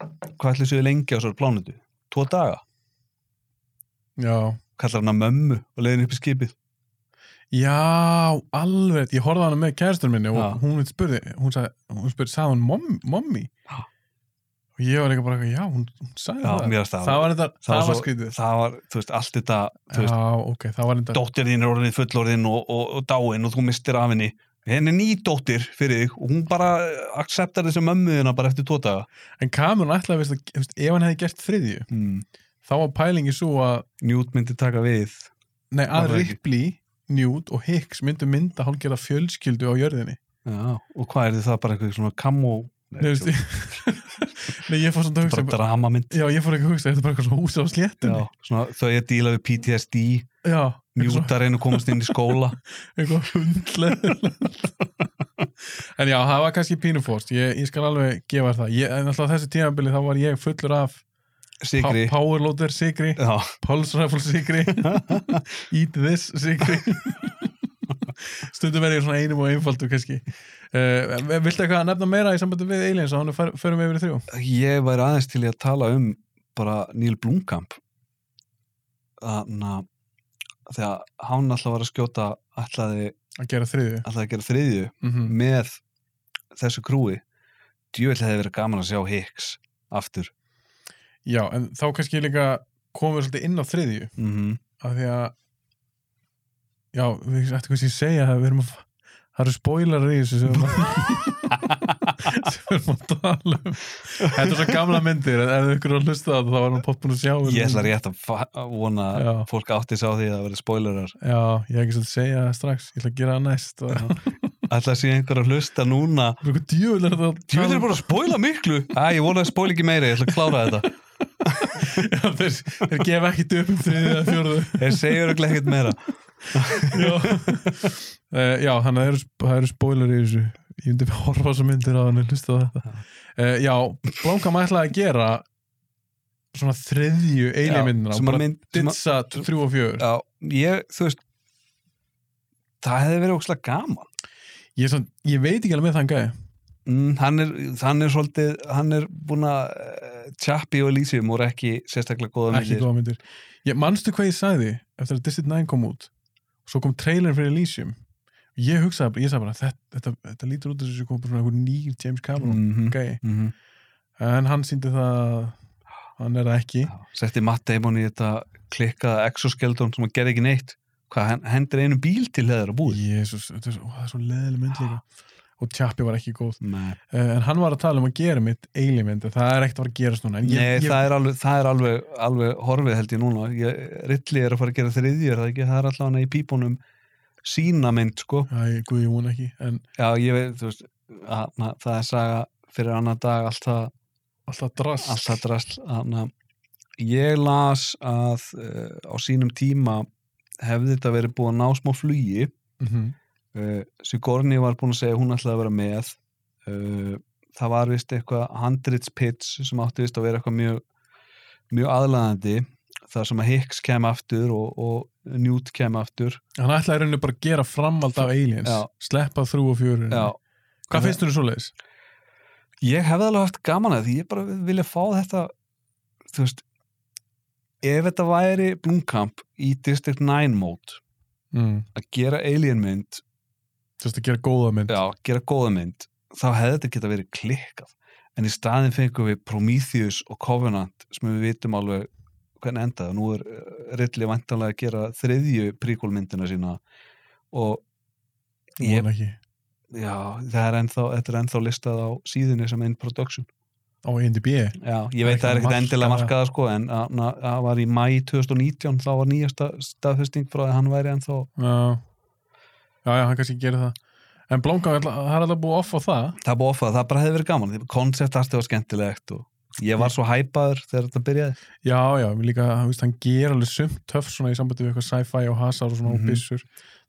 Speaker 2: hvað ætlir séu lengi á svo plánutu? Tvo daga?
Speaker 1: já,
Speaker 2: Kallar hann að mömmu og leiðin upp í skipið
Speaker 1: já, alveg ég horfði á hana með kæristur minni og
Speaker 2: Já.
Speaker 1: hún spurði, hún sagði, hún spurði sagði hún mom, mommi?
Speaker 2: Já.
Speaker 1: og ég var líka bara, eitthvað, já, hún, hún sagði
Speaker 2: Já,
Speaker 1: það
Speaker 2: mér varst það
Speaker 1: það var þetta, það var
Speaker 2: svo-
Speaker 1: skrítið
Speaker 2: það var, þú veist, allt þetta þú veist,
Speaker 1: já, ok, það var þetta
Speaker 2: dóttir þín er orðin fullorðin og, og, og dáin og þú mistir af henni henni er ný dóttir fyrir þig og hún bara eh, acceptar þessi mömmuðina bara eftir tvo daga
Speaker 1: En Cameron ætlaði veist, að, veist, ef hann hefði gert þriðju,
Speaker 2: mm.
Speaker 1: þá var pælingi svo að,
Speaker 2: Newt myndi taka við
Speaker 1: nei,
Speaker 2: Var
Speaker 1: að
Speaker 2: það ekki?
Speaker 1: Ripley, Newt og Hicks myndu mynda hálfgerða fjölskyldu á jörðinni.
Speaker 2: Já, og hvað er þið það bara eitthvað svona kamó
Speaker 1: Nei, veist,
Speaker 2: ekki,
Speaker 1: nei, ég fór samt að hugsa, um-
Speaker 2: bara dramamynd
Speaker 1: já, ég fór ekki að hugsa, þetta er bara eitthvað svona húsa á sléttinni.
Speaker 2: Já, svona, þau er díla við PTSD
Speaker 1: Já, já eitthvað
Speaker 2: Newt að reyna að komast inn í skóla
Speaker 1: eitthvað hundlega en já, það var kannski pínufórst ég, ég skal alveg gefa þér það ég, en alltaf á þessu tímabili þá var ég fullur af pá-
Speaker 2: Sigri
Speaker 1: powerloader sigri,
Speaker 2: Já,
Speaker 1: pulsrifle sigri eat this sigri stundum er ég svona einum og einfaldur kannski uh, viltu eitthvað að nefna meira í sambandi við aliens og hann förum við yfir í þrjú
Speaker 2: ég væri aðeins til í að tala um bara Neil Blomkamp þannig að þegar hann alltaf var að skjóta ætlaði,
Speaker 1: að gera þriðju
Speaker 2: ætlaði að gera þriðju
Speaker 1: mm
Speaker 2: með þessu krúi djúvel hefði verið gaman að sjá Hicks aftur
Speaker 1: já, en þá kannski líka komum við svolítið inn á þriðju
Speaker 2: mm -hmm.
Speaker 1: af því að já, við ættum kannski að segja að við erum að það eru spoilarar í þessu sem við erum að, sem við erum að tala um þetta er svo gamla myndir en ef ykkur er að hlusta á þetta þá er hann poppun að sjá þessa
Speaker 2: ég ætla
Speaker 1: mynd.
Speaker 2: rétt að fa- að vona
Speaker 1: Já.
Speaker 2: að fólk átti sá því að það verið spoilerar
Speaker 1: já, ég hef ekki svolítið að segja það strax ég ætla að gera það næst og
Speaker 2: ætla að sé einhver að hlusta núna
Speaker 1: ykkur djúvel er þetta að tala
Speaker 2: djúvel er bara að spoila miklu Æ, ég vona að spoila ekki meira, ég ætla að klára þetta
Speaker 1: Já, þeir, þeir gefa um ekki döpum þriðið eða fjórðu
Speaker 2: þeir segjur ekki ekkert meira
Speaker 1: já. Uh, já, þannig að það eru, það eru spoiler í þessu ég myndi að horfa á þessar myndir á hann hlusta á þetta uh, Já, Blomkamp ætlaði að gera svona þriðju
Speaker 2: Já,
Speaker 1: eilímyndina og
Speaker 2: sem að
Speaker 1: bara
Speaker 2: mynd, sem að-
Speaker 1: ditsa þrjú og fjögur
Speaker 2: Já, ég, þú veist það hefði verið ókslega gaman
Speaker 1: ég, er svona- ég veit ekki alveg með þann gæði
Speaker 2: mm, hann, er, hann er svolítið hann er búin að uh, tjappi og Elysium voru ekki sérstaklega góða
Speaker 1: ekki
Speaker 2: myndir
Speaker 1: góða myndir ég, Manstu hvað ég sagði eftir að District 9 kom út svo kom trailerin fyrir Elysium ég hugsaði, bara- ég sagði bara þetta, þetta, þetta lítur út þessu kom bara svona einhver nýr James Cameron
Speaker 2: mm -hmm.
Speaker 1: gæði, en hann síndi það að hann er það ekki
Speaker 2: setti Matt Damon í þetta klikkaða exoskeleton sem hann gerði ekki neitt hvað, hann hendur einu bíl til þeirra búið
Speaker 1: Jésus, þetta er svo, ó, það er svo leðileg mynd líka og Tjappi var ekki góð
Speaker 2: Nei,
Speaker 1: uh, en hann var að tala um að gera mitt eilimynd það er ekkert að fara að gerast núna en ég, ég,
Speaker 2: það er, alveg, það er alveg, alveg horfið held ég núna ég, Rilli er að fara að gera þriðjur það, er ekki, það er allavega í pípunum sína mynd sko
Speaker 1: Æ, guð, ég vona ekki en
Speaker 2: Já, ég veit, þú veist, að, na, það er saga fyrir annan dag alltaf,
Speaker 1: alltaf drast
Speaker 2: alltaf drasl. Að, na, ég las að uh, á sínum tíma hefði þetta verið búið að ná smá flugi.
Speaker 1: Mhm.
Speaker 2: Uh, Sigorni var búin að segja að hún ætlaði að vera með. Uh, það var vist eitthvað handrits pitch sem átti vist að vera eitthvað mjög, mjög aðlaðandi þar sem að Hicks kem aftur og, og Newt kem aftur.
Speaker 1: hann ætlaði í rauninu bara að gera framvald af aliens
Speaker 2: Já.
Speaker 1: sleppa þrjú og fjörun
Speaker 2: Já,
Speaker 1: hvað finnst um þú svo leiðis?
Speaker 2: Ég hefði alveg haft gaman að því ég bara vilja fá þetta þú veist ef þetta væri Blomkamp í District 9 mót
Speaker 1: Mm.
Speaker 2: að gera alien mynd
Speaker 1: þú veist að gera góða mynd
Speaker 2: já, gera góða mynd þá hefði þetta geta verið klikkað en í staðin fengum við Prometheus og Covenant sem við vitum alveg hvernig endaði og nú er eh, Ridley vantanlega að gera þriðju príkólmyndina sína og
Speaker 1: ég
Speaker 2: ég,
Speaker 1: vona ekki
Speaker 2: já, það er ennþá, þetta er ennþá listað á síðunni sem in production
Speaker 1: á IMDb
Speaker 2: Já, ég veit
Speaker 1: Ekki
Speaker 2: það er ekkert
Speaker 1: markaða.
Speaker 2: endilega markaða sko en að- na- það var í mæ 2019 þá var nýjasta staðfesting frá að hann væri ennþá
Speaker 1: já, já, já hann kannski gerir það en Blomkamp, ætla- það er alltaf búið off á það
Speaker 2: það bófað, það bara hefði verið gaman koncept artið var skemmtilegt og ég var svo hæpaður þegar þetta byrjaði
Speaker 1: Já, já, mér líka, hann, veist, hann ger alveg sumt töff svona í sambandi við eitthvað sci-fi og hasar og svona
Speaker 2: Mhm.
Speaker 1: og byssur.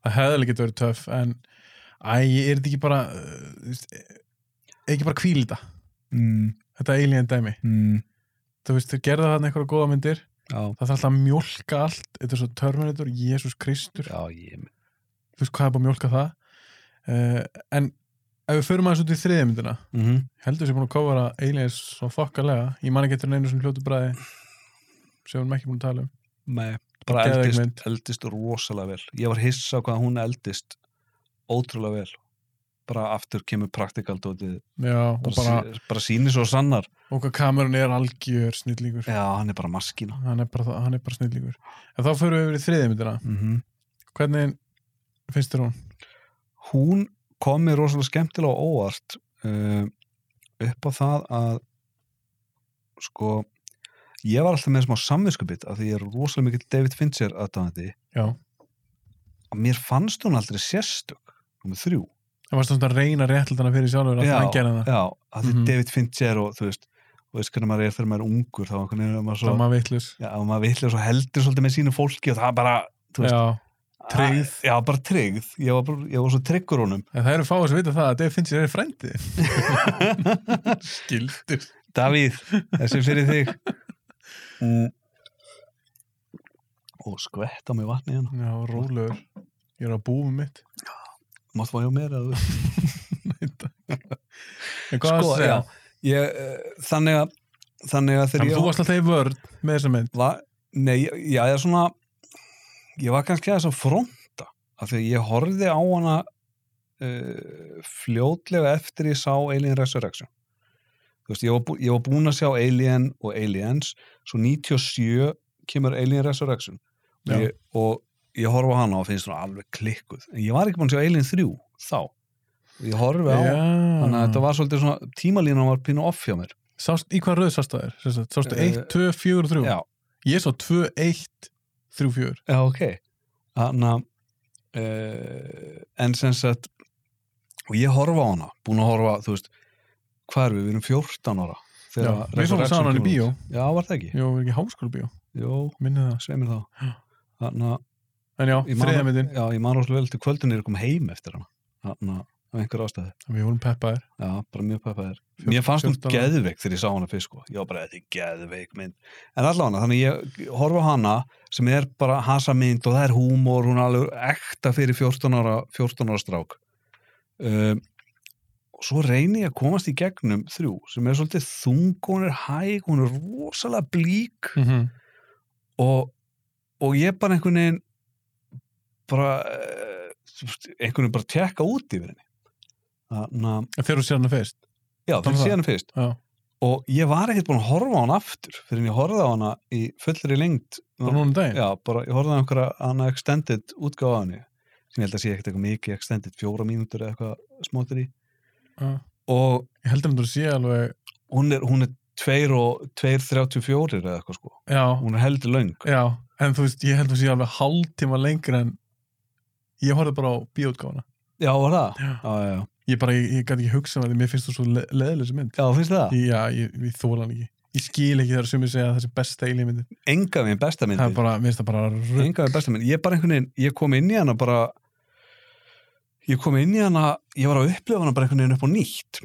Speaker 1: Það hefði alveg getið verið töff en æ, er þetta ekki bara uh, þú veist, er ekki bara kvíl þetta
Speaker 2: mm,
Speaker 1: þetta alien dæmi.
Speaker 2: mm,
Speaker 1: Þú veist, þau gerða þarna einhverja góða myndir
Speaker 2: já,
Speaker 1: það þarf alltaf að mjólka allt, þetta er svo Terminator Jésús Kristur,
Speaker 2: já, ég
Speaker 1: þú veist hvað er bara að mjólka það uh, en ef við förum aðeins út í þriðja myndina
Speaker 2: mm -hmm.
Speaker 1: heldur sem búin að kofara aliens svo fokkalega, ég man ekki eftir neinu sem hljótu bræði sem við erum ekki búin að tala um
Speaker 2: Nei, bara
Speaker 1: Geðveik
Speaker 2: eldist,
Speaker 1: mynd.
Speaker 2: eldist rosalega vel ég var hissa á hvað hún eldist ótrúlega vel bara aftur kemur praktikal dótið
Speaker 1: Já, og
Speaker 2: bara,
Speaker 1: bara
Speaker 2: bara, bara sýnir svo sannar
Speaker 1: og hvað kamerun er algjör snillingur
Speaker 2: já, hann er bara maskína
Speaker 1: hann er bara, það- hann er bara snillingur en þá
Speaker 2: Mhm.
Speaker 1: förum við yfir í þriðið myndina
Speaker 2: mm -hmm.
Speaker 1: hvernig finnst þér hún?
Speaker 2: hún komið rosalega skemmtilega og óvart uh, upp á það að sko ég var alltaf með smá samvinskupið af því ég er rosalega mikill David Fincher aðdáðandi
Speaker 1: Já.
Speaker 2: að mér fannst hún aldrei sérstök nummer þrjú
Speaker 1: Það varst svona að reyna réttlutana fyrir sjálfur að
Speaker 2: Já,
Speaker 1: það gera það.
Speaker 2: já, að því
Speaker 1: Mhm.
Speaker 2: David Fincher og þú veist og veist hvernig maður er þegar maður er ungur þá einhvern veginn er maður
Speaker 1: Það
Speaker 2: svo,
Speaker 1: maður vittlus.
Speaker 2: já, og maður vilja svo heldur svolítið með sínu fólki og það bara, þú veist
Speaker 1: Já, tryggð.
Speaker 2: að- já, bara tryggð, ég var, bara, ég var svo tryggur honum
Speaker 1: en það eru fáið sem vita það að Dave Fincher er frændi. Skildur.
Speaker 2: Davíð, þessi fyrir þig mm. og skvett á mig vatni hérna
Speaker 1: Já, rólegur. Ég er á búum mitt.
Speaker 2: máttu fá hjá mér að þú
Speaker 1: En hvað sko, að segja?
Speaker 2: ég, eh, þannig að þannig að
Speaker 1: Þannig
Speaker 2: þegar
Speaker 1: að þú
Speaker 2: ég
Speaker 1: varst alltaf í vörð með þessa mynd.
Speaker 2: var, nei, ég- já, ég er svona ég var kannski aðeins að fronta af því að ég horfði á hana uh, fljótlega eftir ég sá Alien Resurrection þú veist, ég var, bú, ég var búin að sjá Alien og Aliens svo 97 kemur Alien Resurrection
Speaker 1: Já.
Speaker 2: ég, og ég horfa á hana og finnst svona alveg klikkuð en ég var ekki búin að sjá Alien 3 þá og ég horfi á þannig að þetta var svolítið svona tímalínan var pínu off hjá mér
Speaker 1: Sást, í hvað röð sást það er? Sást, sástu
Speaker 2: Eh,
Speaker 1: 1, 2, 4 og 3?
Speaker 2: já,
Speaker 1: Ég sá 2, 1, 3, 4.
Speaker 2: já ok þannig að uh, en sem sagt og ég horfa á hana, búin að horfa þú veist, hvað erum við, við erum 14 ára
Speaker 1: Já,
Speaker 2: þegar
Speaker 1: við fórum
Speaker 2: Resurrection
Speaker 1: saman hann í
Speaker 2: kemur
Speaker 1: bíó.
Speaker 2: út. já, var það ekki,
Speaker 1: Jó, við erum ekki háskóla bíó.
Speaker 2: jú,
Speaker 1: Minni það.
Speaker 2: svei mér þá þannig að
Speaker 1: En já,
Speaker 2: ég man-
Speaker 1: þriða myndin.
Speaker 2: já, ég man rosalega vel til kvöldin er að koma heim eftir hana þannig að af einhver ástæði
Speaker 1: Við vorum peppaðir.
Speaker 2: já, bara mjög peppaðir
Speaker 1: Fjórtán-
Speaker 2: Mér fannst hún
Speaker 1: 14 ára.
Speaker 2: geðveik þegar ég sá hana fyrst sko. Ég var bara, þetta er geðveik mynd. En allavega, þannig ég horfa á hana sem er bara hasa mynd og það er húmor, hún er alveg ekta fyrir 14 ára, 14 ára strák. Um, og svo reyni ég að komast í gegnum þrjú sem er svolítið þung, hún er hæg, hún er rosalega blík
Speaker 1: Mm -hmm.
Speaker 2: og, og ég bara einhvern veginn bara eh, þú veist, einhvern veginn bara tekka út yfir henni. Þannig að,
Speaker 1: Þegar þú sér hana fyrst.
Speaker 2: já,
Speaker 1: Þannig
Speaker 2: þegar
Speaker 1: það.
Speaker 2: síðan fyrst
Speaker 1: Já.
Speaker 2: og ég var ekkert búin að horfa á hana aftur fyrir en ég horfði á hana í fullri lengt
Speaker 1: Bara núna um daginn.
Speaker 2: já, bara, ég horfði á einhverja hana extended útgáfa á henni sem ég held að sé ekkert eitthvað mikið extended fjóra mínútur eða eitthvað smóttir í
Speaker 1: Já.
Speaker 2: og
Speaker 1: Ég held að þú sé alveg,
Speaker 2: hún er, hún er 2 og 2.34 eða eitthvað sko,
Speaker 1: já,
Speaker 2: hún er heldur löng
Speaker 1: já, en þú veist, ég held að þú sé alveg hálftíma lengur en ég horfði bara á bíótgáfana.
Speaker 2: já, var það?
Speaker 1: Já.
Speaker 2: já, já, já,
Speaker 1: Ég bara, ég, ég gæti ekki hugsað að því, mér finnst þú svo le leðileg sem mynd.
Speaker 2: já, finnst þið það?
Speaker 1: Ég, já, ég, ég þóla hann ekki. Ég skil ekki þegar sumir segja að það sé besta eilímyndin.
Speaker 2: enga við besta
Speaker 1: Það
Speaker 2: myndi
Speaker 1: er bara, mér finnst það bara rugg.
Speaker 2: enga við besta myndi, ég bara einhvern veginn ég kom inn í hana bara ég kom inn í hana, ég var að upplifa hana bara einhvern veginn upp á nýtt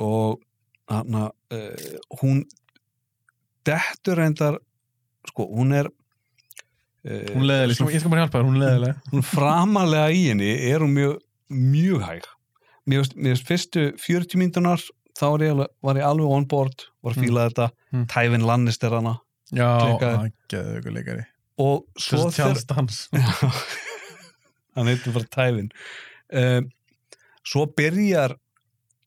Speaker 2: og hana, uh, hún dettur reyndar sko, hún er uh,
Speaker 1: Hún er leðileg, sko, ég skal bara hjálpa þér, hún er leðileg.
Speaker 2: hún framalega í henni er hún mjög, mjög hæg mér veist, mér veist fyrstu 40 mínútunar þá var ég, alveg- var ég alveg on board var að fíla þetta,
Speaker 1: Mm.
Speaker 2: Tævin Lannister hana
Speaker 1: Já,
Speaker 2: Klikkaði.
Speaker 1: hann geði ykkur leikari.
Speaker 2: og
Speaker 1: Svo
Speaker 2: svo
Speaker 1: þess
Speaker 2: þegar
Speaker 1: Charles Dance.
Speaker 2: Já. hann heitir bara Tævin um, svo byrjar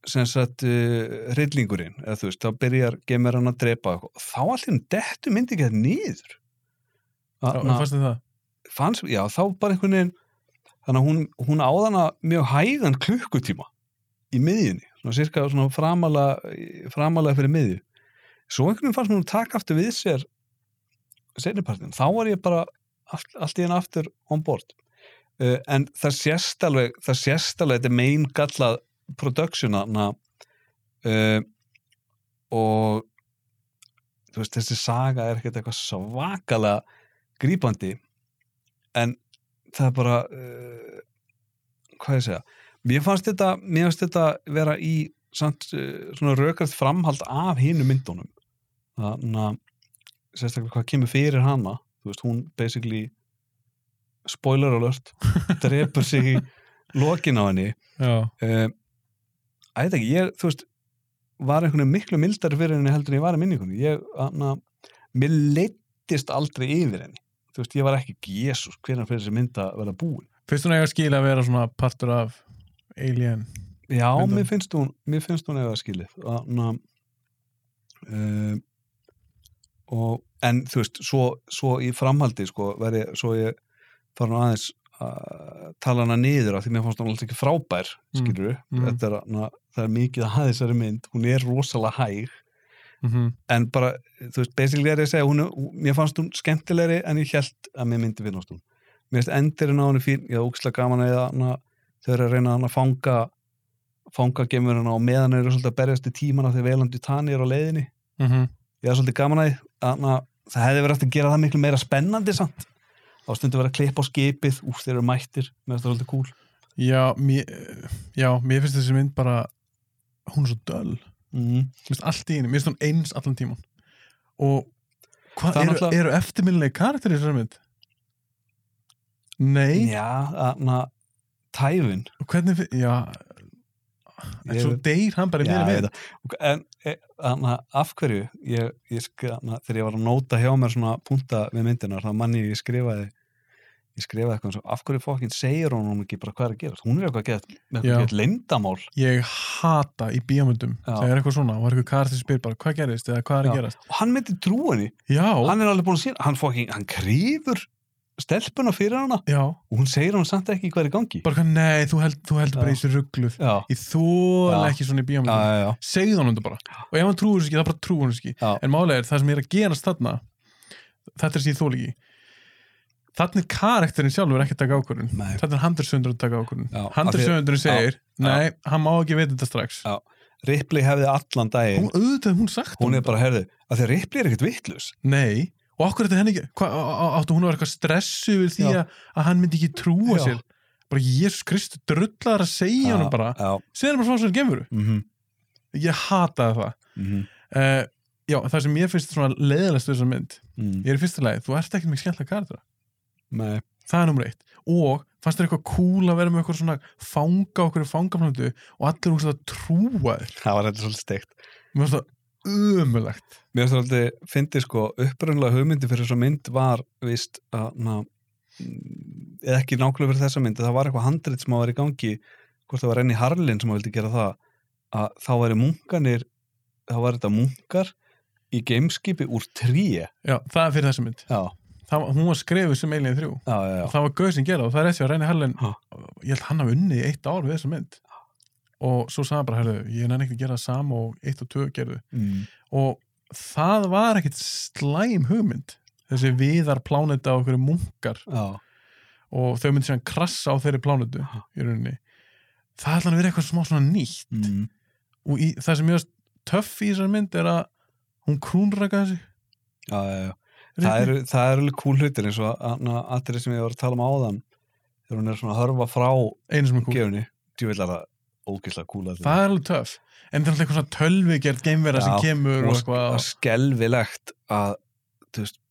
Speaker 2: sem sagt uh, reyllingurinn, eða þú veist, þá byrjar gemur hann að drepa eitthvað, þá allir um dettu myndi ekki þetta niður
Speaker 1: Já,
Speaker 2: Þarna
Speaker 1: fannst þið það?
Speaker 2: fannst, já, þá bara einhvern veginn þannig að hún, hún áðana mjög hægan klukkutíma í miðjunni, svona cirka svona framalega framalega fyrir miðju svo einhvern veginn fannst mér hún taka aftur við sér seinnipartin, þá var ég bara allt, allt í henni aftur on board uh, en það sést alveg það sést alveg, þetta er mein gallað productiona uh, og þú veist, þessi saga er ekkert eitthvað svakalega grípandi en það er bara uh, hvað ég segja mér fannst þetta, mér fannst þetta vera í samt, uh, svona rökrið framhald af hinu myndunum þannig að sérstaklega hvað kemur fyrir hana þú veist, hún basically spoiler alert drepur sig í lokin á henni
Speaker 1: Já.
Speaker 2: uh, að þetta ekki, ég, þú veist var einhvern veginn miklu mildari fyrir henni heldur en ég var í minningunni ég, anna, mér leittist aldrei yfir henni þú veist, ég var ekki, jésús, hvernig fyrir þessi mynd að vera búin
Speaker 1: Fyrst hún eiga að skila að vera svona partur af Alien.
Speaker 2: já,
Speaker 1: Myndin.
Speaker 2: mér finnst hún, mér finnst hún eða skilið anna, uh, og en þú veist, svo, svo í framhaldi sko, veri, svo ég farin aðeins að tala hana niður af því mér fannst hún alls ekki frábær
Speaker 1: Mm,
Speaker 2: skilur við,
Speaker 1: mm.
Speaker 2: þetta er hana, það er mikið að hafa þessari mynd, hún er rosalega hæg
Speaker 1: mhm,
Speaker 2: en bara, þú veist, basically er ég að segja hún, er- hún, mér fannst hún skemmtilegri en ég held að mér myndi finnast hún mér finnst endirinn á henni fín, ég hafði ógislega gaman að hana, þau eru að reyna hana að fanga fanga gemurina og meðan eru svolítið að berjast í tímana þegar velandi tani er á leiðinni
Speaker 1: mhm,
Speaker 2: ég hafði svolítið gaman að því, hana, það hefði verið hægt að gera það miklu meira spennandi samt á stundu verið að klippa á skipið úr þeir eru mættir, mér finnst það svolítið cool
Speaker 1: já, mér, já, mér finnst þessi mynd bara, hún er svo döl
Speaker 2: mm.
Speaker 1: Mér finnst allt í henni, mér finnst hún eins allan tíman og hvað
Speaker 2: Það er
Speaker 1: eru,
Speaker 2: náttúrulega-
Speaker 1: eru eftirminnilegi karakter í þessari mynd? Nei,
Speaker 2: já, hana, tæfin
Speaker 1: hvernig fi- já, en
Speaker 2: Ég
Speaker 1: svo
Speaker 2: veit-
Speaker 1: deyr hann bara í
Speaker 2: Já,
Speaker 1: miðri
Speaker 2: ég
Speaker 1: mynd
Speaker 2: veit það. en e, anna, af hverju ég, ég skra, anna, þegar ég var að nóta hjá mér svona punta við myndinar þá manni ég skrifaði ég skrifaði eitthvað eins og af hverju fókin segir hún hún ekki bara hvað er að gera hún er eitthvað að gera með
Speaker 1: Já.
Speaker 2: eitthvað að gera leyndamál
Speaker 1: ég hata í bíamöndum
Speaker 2: Já.
Speaker 1: það er eitthvað svona, og er eitthvað karakter sem spyr bara hvað gerist eða hvað er að
Speaker 2: Já.
Speaker 1: gerast
Speaker 2: og hann myndi trú henni,
Speaker 1: já,
Speaker 2: hann er alveg búin að sína hann fókin, hann krýfur stelpuna fyrir hana
Speaker 1: já,
Speaker 2: og hún segir hún samt ekki hvað er í gangi
Speaker 1: bara hvað, nei, þú, held, þú heldur bara
Speaker 2: Já.
Speaker 1: í þessu ruggluð
Speaker 2: já,
Speaker 1: ég þóla
Speaker 2: Já.
Speaker 1: ekki svona í
Speaker 2: já,
Speaker 1: bíamöndum
Speaker 2: já, já,
Speaker 1: segðu hann þetta bara, og ef hann trúur þessu ekki það bara trúur þessu ekki,
Speaker 2: já.
Speaker 1: en málega er það sem er að gerast þarna, þetta er sér þóla ekki þarna er karakterin sjálfur ekki að taka ákvörðun
Speaker 2: Nei.
Speaker 1: þarna er handursöndur að taka ákvörðun
Speaker 2: Já, af því-
Speaker 1: handursöndur segir,
Speaker 2: Já.
Speaker 1: nei, hann má ekki vita þetta strax
Speaker 2: Já. Ripley hefði allan daginn
Speaker 1: hún
Speaker 2: hún,
Speaker 1: auðvitað hún sagt honum
Speaker 2: er bara, herði, að því að Ripley er ekkert vittlus
Speaker 1: Nei, og okkur þetta henni ekki hva, á- á- áttu hún að vera eitthvað stressu yfir því
Speaker 2: Já.
Speaker 1: að, að hann myndi ekki trúa
Speaker 2: Já.
Speaker 1: sér bara Jésus Kristus drullar að segja honum bara
Speaker 2: já,
Speaker 1: segja hann bara frá sér gemuru
Speaker 2: mhm, mhm
Speaker 1: ég hataði það uh, já, það sem ég finnst svona leiðilegst við þessa mynd,
Speaker 2: Mm.
Speaker 1: ég er í fyrsta lagi þú ert ekkert mikið skemmtilega kardra,
Speaker 2: Nei,
Speaker 1: það er nummer eitt og fannst þér eitthvað cool að vera með eitthvað svona fanga okkur í fangaflandu og allir hún svona trúa þér
Speaker 2: það var þetta svolítið steikt.
Speaker 1: mér finnst það ömulegt
Speaker 2: Mér finnst það svolítið, fyndi sko, upprunnulega hugmyndi fyrir þessa mynd var, víst, að, na, mm, eða ekki nákvæmlega fyrir þessa mynd, það var eitthvað handrit sem að vera í gangi, hvort það var enni Harlin sem að vildi gera það, að þá væri munkanir, þá var þetta munkar í gameskipi úr tríi.
Speaker 1: já, það er fyrir þessa mynd,
Speaker 2: Já,
Speaker 1: það, var- hún var skrifuð sem Alien 3
Speaker 2: já, já, já.
Speaker 1: og það var gauð sem gera og það er eftir að Reyni Harlin
Speaker 2: Ha.
Speaker 1: ég held hann hafa unnið í eitt ár við þessa mynd og svo sagði hann bara, herðu, ég nenni ekkert að gera það sama og eitt og tvö gerðu
Speaker 2: Mm.
Speaker 1: og það var ekkert slæm hugmynd þessi viðar pláneta á okkur munkar
Speaker 2: Já,
Speaker 1: og þau myndi síðan krassa á þeirri plánetu
Speaker 2: Ha.
Speaker 1: í rauninni það ætla hann að vera eitthvað smá svona nýtt
Speaker 2: mm.
Speaker 1: og í, það sem ég veist töff í þessar mynd er að hún krúnraka þessi
Speaker 2: já, já, já. það eru, það eru alveg kúl hlutir eins og að, na, atrið sem ég var að tala um áðan, þegar hún er svona að hörfa frá
Speaker 1: einu sem er kúl,
Speaker 2: gefunni djúvillar það ógislega kúla
Speaker 1: það er alveg töff en það er alltaf eitthvað svona tölvigerð geimvera sem
Speaker 2: Já,
Speaker 1: kemur og
Speaker 2: það
Speaker 1: eitthvað
Speaker 2: er skelvilegt að þú veist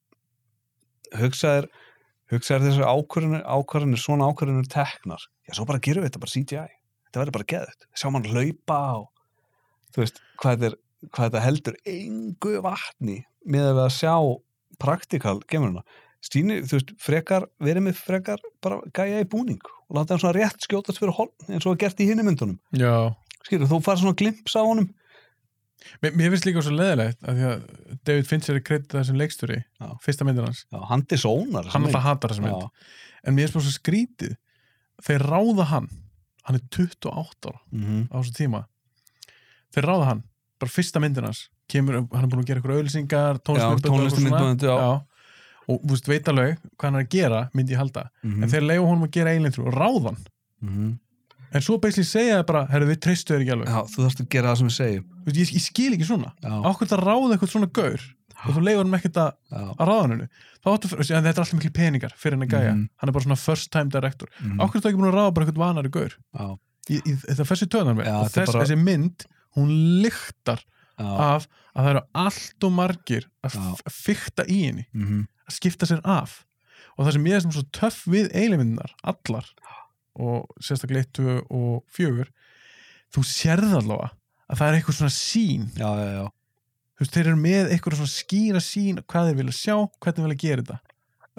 Speaker 2: hugsaðir hugsaðir þessar ákvörðunir, ákvörðunir svona ákvörðunir teknar, já svo bara gerum við þetta bara CGI þetta verður bara geðut, sjá mann hlaupa og þú veist hvað þetta, er, hvað þetta heldur engu vatni með að við að sjá praktikal gemurina Stíni, þú veist, frekar, verið með frekar bara gæja í búning og láta hann svona rétt skjótast fyrir holn eins og er gert í hinni myndunum
Speaker 1: já,
Speaker 2: skilur, þú farið svona glimps á honum
Speaker 1: Mér, mér finnst líka svo leðilegt að því að David Fincher er kreditað sem leikstjóri
Speaker 2: Já.
Speaker 1: fyrsta myndir hans,
Speaker 2: Já, hann disónar
Speaker 1: hann alltaf hatar þessa mynd en mér finnst bara svo skrítið þeir ráða hann, hann er 28 ára
Speaker 2: mm -hmm.
Speaker 1: á þessu tíma þeir ráða hann, bara fyrsta myndir hans kemur, hann er búin að gera ykkur auðlýsingar tónlistamyndbönd og eitthvað
Speaker 2: tónlistarmyndbönd,
Speaker 1: svona.
Speaker 2: já.
Speaker 1: Já. og þú veist, veit alveg hvað hann er að gera myndi ég halda,
Speaker 2: mm
Speaker 1: en þeir leiða honum að gera eiginlega og ráða hann, mhm. en svo basically segja það bara, herru við treystu þér ekki alveg
Speaker 2: Já, þú þarfst að gera það sem ég segi
Speaker 1: Þú veist, ég, ég skil ekki svona,
Speaker 2: Já,
Speaker 1: ákveð það ráða eitthvað svona gaur og þú leiður hann ekkert að
Speaker 2: já,
Speaker 1: á ráðaninu þá áttu, fyrir- en þetta er alltaf miklu peningar fyrir henni gæja
Speaker 2: Mhm.
Speaker 1: hann er bara svona first time director mm.
Speaker 2: mhm,
Speaker 1: okkur er það ekki búin að ráða bara eitthvað vanari gaur
Speaker 2: já,
Speaker 1: í, í, það fessi töðan með
Speaker 2: Já,
Speaker 1: og
Speaker 2: þetta er
Speaker 1: þess,
Speaker 2: bara-
Speaker 1: þessi mynd, hún lyktar
Speaker 2: já,
Speaker 1: af að það eru allt og margir að
Speaker 2: Já.
Speaker 1: f- fikta í henni
Speaker 2: mhm,
Speaker 1: að skipta sér af og það sem ég er sem svo töff við eiginmyndinar allar og sérstaklega 1 og 4 þú sérð allavega að það er eitthvað svona sín
Speaker 2: já, já, já,
Speaker 1: þú veist, þeir eru með eitthvað svona skýra sín hvað þeir vilja sjá, hvernig þeir vilja gera þetta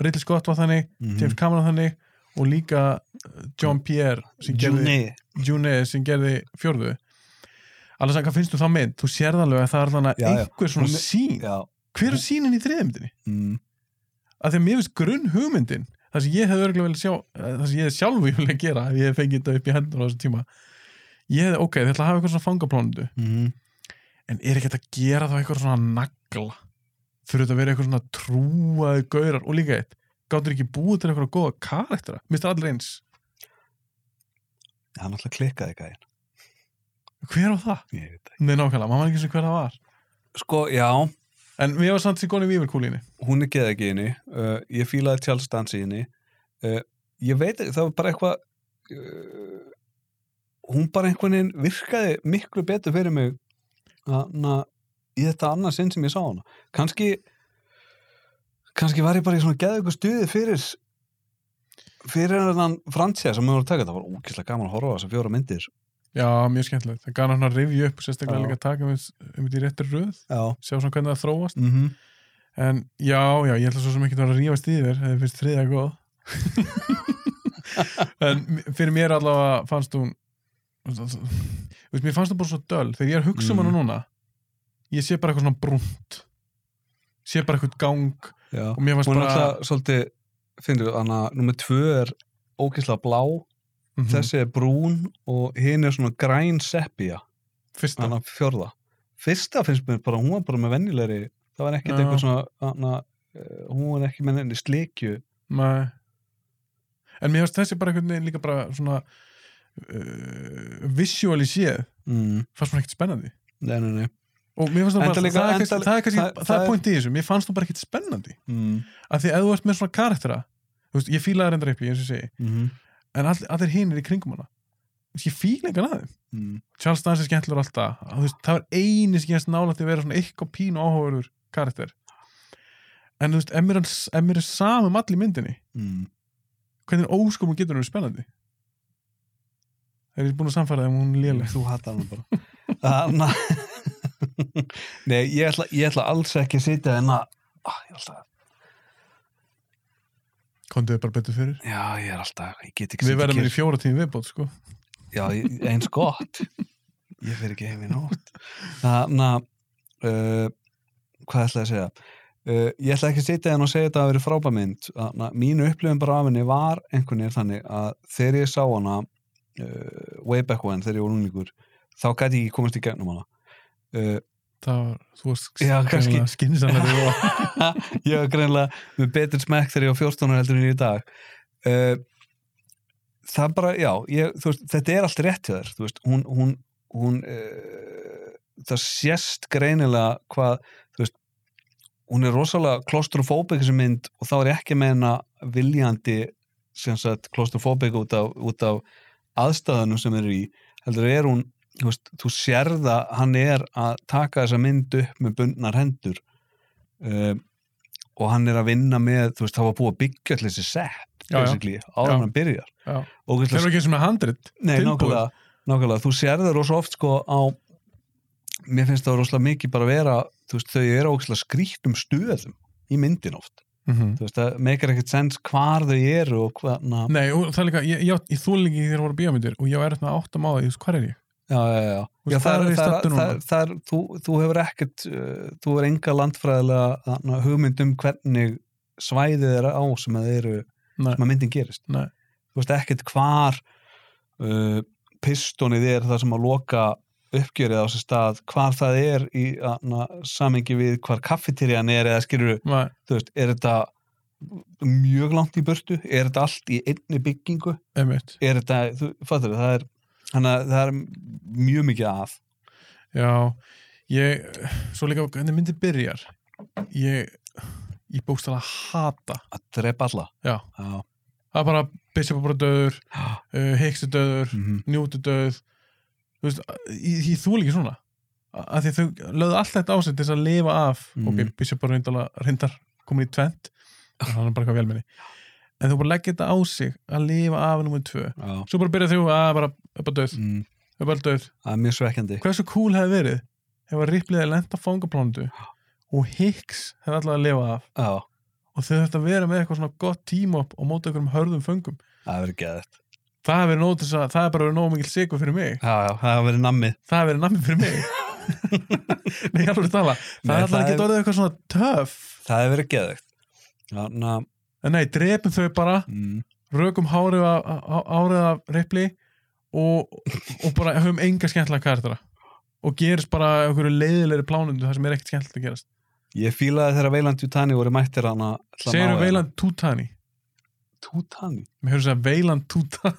Speaker 1: Ridley Scott var þannig, James
Speaker 2: mhm.
Speaker 1: Cameron þannig og líka uh, John Pierre sem gerði,
Speaker 2: Juni,
Speaker 1: June sem gerði fjörðu alveg hvað finnst þú þá mynd? Þú sérð alveg að það er þannig
Speaker 2: Já, já.
Speaker 1: einhver svona
Speaker 2: Hún-
Speaker 1: sín
Speaker 2: já,
Speaker 1: hver er sínin í þriðmyndinni?
Speaker 2: mhm,
Speaker 1: að því að mér finnst grunn hugmyndin það sem ég hefði örgulega vel sjá eh, það sem ég hefði sjálfu ég vilja gera ef ég hefði fengið þetta upp í hendur á þessum tíma ég hefði, ok, þið ætla að hafa eitthvað svona fangaplánundu
Speaker 2: -hmm.
Speaker 1: en er ekki hægt að gera þá eitthvað svona nagla fyrir þetta að vera eitthvað svona trúaði gaurar og líka eitt gáttur ekki búið til eitthvað góða karaktera mistur allir eins,
Speaker 2: hann alltaf klikkaði gæðin
Speaker 1: hver var það?
Speaker 2: ég veit það
Speaker 1: Nei, nákvæmlega, maður man ekki sem hver það var
Speaker 2: sko, já,
Speaker 1: en mér var samt sér góðin í víverkúlinni
Speaker 2: hún er geða ekki inni uh, ég fílaði tjálstansi inni uh, ég veit ekki, það var bara eitthvað uh, hún bara einhvern veginn virkaði miklu betur fyrir mig hana, í þetta annað sinn sem ég sá hana kannski kannski var ég bara í svona geða ykkur stuði fyrir fyrir hennan Francia sem við vorum að taka það var ókýrslega gaman að horfa á þessar fjóra myndir
Speaker 1: já, mjög skemmtilegt, það gana hann að rifja upp sérstaklega
Speaker 2: Já.
Speaker 1: líka að taka um um þetta í réttir röð
Speaker 2: já,
Speaker 1: sjá svona hvernig það þróast
Speaker 2: mm -hmm.
Speaker 1: en já, já, ég ætla svo sem ekki að vera að rífast í þér eða finnst þriðja góð en m- fyrir mér allavega fannst hún veist, mér fannst hún bara svo döl þegar ég er að hugsa um
Speaker 2: Mm.
Speaker 1: hana núna ég sé bara eitthvað svona brúnt sé bara eitthvað gang
Speaker 2: já.
Speaker 1: og mér fannst
Speaker 2: hún er
Speaker 1: bara
Speaker 2: alltaf svolítið finnir við, hana, nummer tvö er ókýrslega blá
Speaker 1: Mhm,
Speaker 2: þessi er brún og hinn er svona græn sepia,
Speaker 1: fyrsta
Speaker 2: hann að fjörða fyrsta finnst mér bara, hún var bara með venjulegri það var ekkert
Speaker 1: Já.
Speaker 2: einhver svona hana, eh, hún var ekki með henni slikju
Speaker 1: Nei. en mér fannst þessi bara einhvern veginn líka bara svona uh, visuáli séð
Speaker 2: mm.
Speaker 1: fannst hún ekkert spennandi
Speaker 2: nei, nei, nei
Speaker 1: og mér fannst hún
Speaker 2: Enda
Speaker 1: bara,
Speaker 2: líka-
Speaker 1: það er
Speaker 2: enda-
Speaker 1: kannski- það er kannski-
Speaker 2: það-
Speaker 1: það
Speaker 2: það
Speaker 1: er
Speaker 2: er-
Speaker 1: point í þessu mér fannst hún bara ekkert spennandi
Speaker 2: mm.
Speaker 1: af því að þú ert með svona karaktera þú veist, ég fílaði reyndar upp í eins og ég segi
Speaker 2: Mm
Speaker 1: en all, allir hinir í kringum hana Þú veist, ég fíla engan aðeim
Speaker 2: -hmm.
Speaker 1: Charles Dance er skemmtlur alltaf Þú veist, það var eini sem ég hans nálætti að vera svona eitthvað pínu áhugaverður karakter en þú veist, ef mér, er hann- ef mér er samum allir myndinni
Speaker 2: Mm.
Speaker 1: hvernig óskupum getur hún verið spennandi er ég búin að samfæra það um hún er léleg
Speaker 2: þú hattar hann bara hana nei, ég ætla, ég ætla alls ekki að sitja en að Ah, ég, ætla,
Speaker 1: kontuðu bara betur fyrir
Speaker 2: já, ég er alltaf, ég get ekki
Speaker 1: við
Speaker 2: setið
Speaker 1: verðum
Speaker 2: kyrr.
Speaker 1: hér í fjóra tími viðbót sko.
Speaker 2: Já, ég- eins gott Ég fer ekki heim í nótt Þannig að uh, Hvað ætla ég að segja? Uh, ég ætla ekki að sitja hérna og segja þetta að vera frábæmynd Þannig að mínu upplifun bara af henni var einhvern veginn þannig að þegar ég sá hana uh, way back when þegar ég var unglíkur þá gæti ég ekki komast í gegnum hana uh,
Speaker 1: það var, þú
Speaker 2: Já, kannski.
Speaker 1: varst skynsannari og
Speaker 2: ég var greinlega með betur smekk þegar ég var 14 ára heldur en ég er í dag uh, það bara, já ég, þú veist, þetta er allt rétt hjá þér þú veist, hún, hún, hún uh, það sést greinilega hvað, þú veist hún er rosalega klostrofóbik sem mynd og þá er ég ekki að meina viljandi sem sagt klostrofóbik út af, út af aðstæðanum sem er í heldur er hún, þú veist, þú sérða hann er að taka þessa mynd upp með bundnar hendur um, og hann er að vinna með, þú veist, það var búið að byggja allir þessi set,
Speaker 1: Já, já.
Speaker 2: basically, áður
Speaker 1: Já.
Speaker 2: en hann byrjar
Speaker 1: Já.
Speaker 2: og
Speaker 1: þeir eru ekki eins og með handrit
Speaker 2: Nei,
Speaker 1: Tilbúið.
Speaker 2: nákvæmlega, nákvæmlega, þú sér það rosa oft sko á mér finnst það rosalega mikið bara að vera þú veist, þau eru ókslega skrýttum stöðum í myndin oft,
Speaker 1: mm -hmm.
Speaker 2: þú veist, það meikar ekkert sens hvar þau eru og hverna
Speaker 1: Nei, og það er líka, ég, ég, ég þúl ekki þegar voru bíómyndir og ég var eftir að átta máða, ég veist, hvað er ég?
Speaker 2: Já, já, já,
Speaker 1: Þú
Speaker 2: já
Speaker 1: veist, hvar
Speaker 2: það,
Speaker 1: er
Speaker 2: er,
Speaker 1: ég
Speaker 2: það,
Speaker 1: staddur
Speaker 2: er-
Speaker 1: núna?
Speaker 2: það, er- það, er- þú, þú hefur ekkert uh, þú hefur enga landfræðilega þarna, hugmynd um hvernig svæðið er á sem að, þeir eru,
Speaker 1: Nei.
Speaker 2: sem að myndin gerist
Speaker 1: Nei.
Speaker 2: þú veist ekkert hvar uh, pistónið er það sem að loka uppgjörið á sér stað hvar það er í na, samengi við hvar kaffeterían er eða skilur,
Speaker 1: Nei,
Speaker 2: þú veist, er þetta mjög langt í burtu er þetta allt í einni byggingu
Speaker 1: einmitt.
Speaker 2: er þetta, þú fattur það er, hana, það er mjög mikið að
Speaker 1: Já, ég, svo líka, hvernig myndin byrjar, ég, ég bókstala hata,
Speaker 2: að drepa alla
Speaker 1: já,
Speaker 2: já,
Speaker 1: það er bara, Bishop er bara döður, uh, Hicks er döður,
Speaker 2: mm
Speaker 1: Newt er döð, þú veist, ég, ég þúl ekki svona, að því þau lögðu allt þetta á sig til þess að lifa af,
Speaker 2: Mhm.
Speaker 1: ok, Bishop er reyndar, reyndar komin í tvent, hann er bara eitthvað velmenni, en þú bara leggja þetta á sig að lifa af nummer tvö,
Speaker 2: já.
Speaker 1: svo bara byrja þrjú að bara, bara döð,
Speaker 2: Mm,
Speaker 1: er bara döð
Speaker 2: það er mjög svekkjandi
Speaker 1: hversu cool hefði verið ef að Ripley hefði lent á fangaplándu og Hicks hefði allavega að lifa af
Speaker 2: já,
Speaker 1: og þau þurfti að vera með eitthvað svona gott team up og móta einhverjum hörðum fangum
Speaker 2: það hefur geðið
Speaker 1: það hefði verið nóg til þess að það hefði bara verið nóg mikil sigur fyrir mig
Speaker 2: já, já, það hefur verið nammið
Speaker 1: það hefði verið nammi fyrir mig Nei, ég alveg tala, það
Speaker 2: Nei,
Speaker 1: hefði allavega
Speaker 2: það
Speaker 1: ekki
Speaker 2: er-
Speaker 1: orðið eitthvað svona töff
Speaker 2: það hefur verið geðið þannig að
Speaker 1: en nei, drepum þau bara
Speaker 2: mm.
Speaker 1: rökum hárið af, á- árið af ripli og, og bara höfum enga skemmtilega karaktera og gerist bara einhverju leiðilegri plánundu það sem er ekkert skemmtilegt að gerast
Speaker 2: ég fílaði þegar Veiland Tutani voru mættir hana
Speaker 1: segir Veiland Tutani
Speaker 2: Tutani
Speaker 1: mér höfum segja Veiland Tutani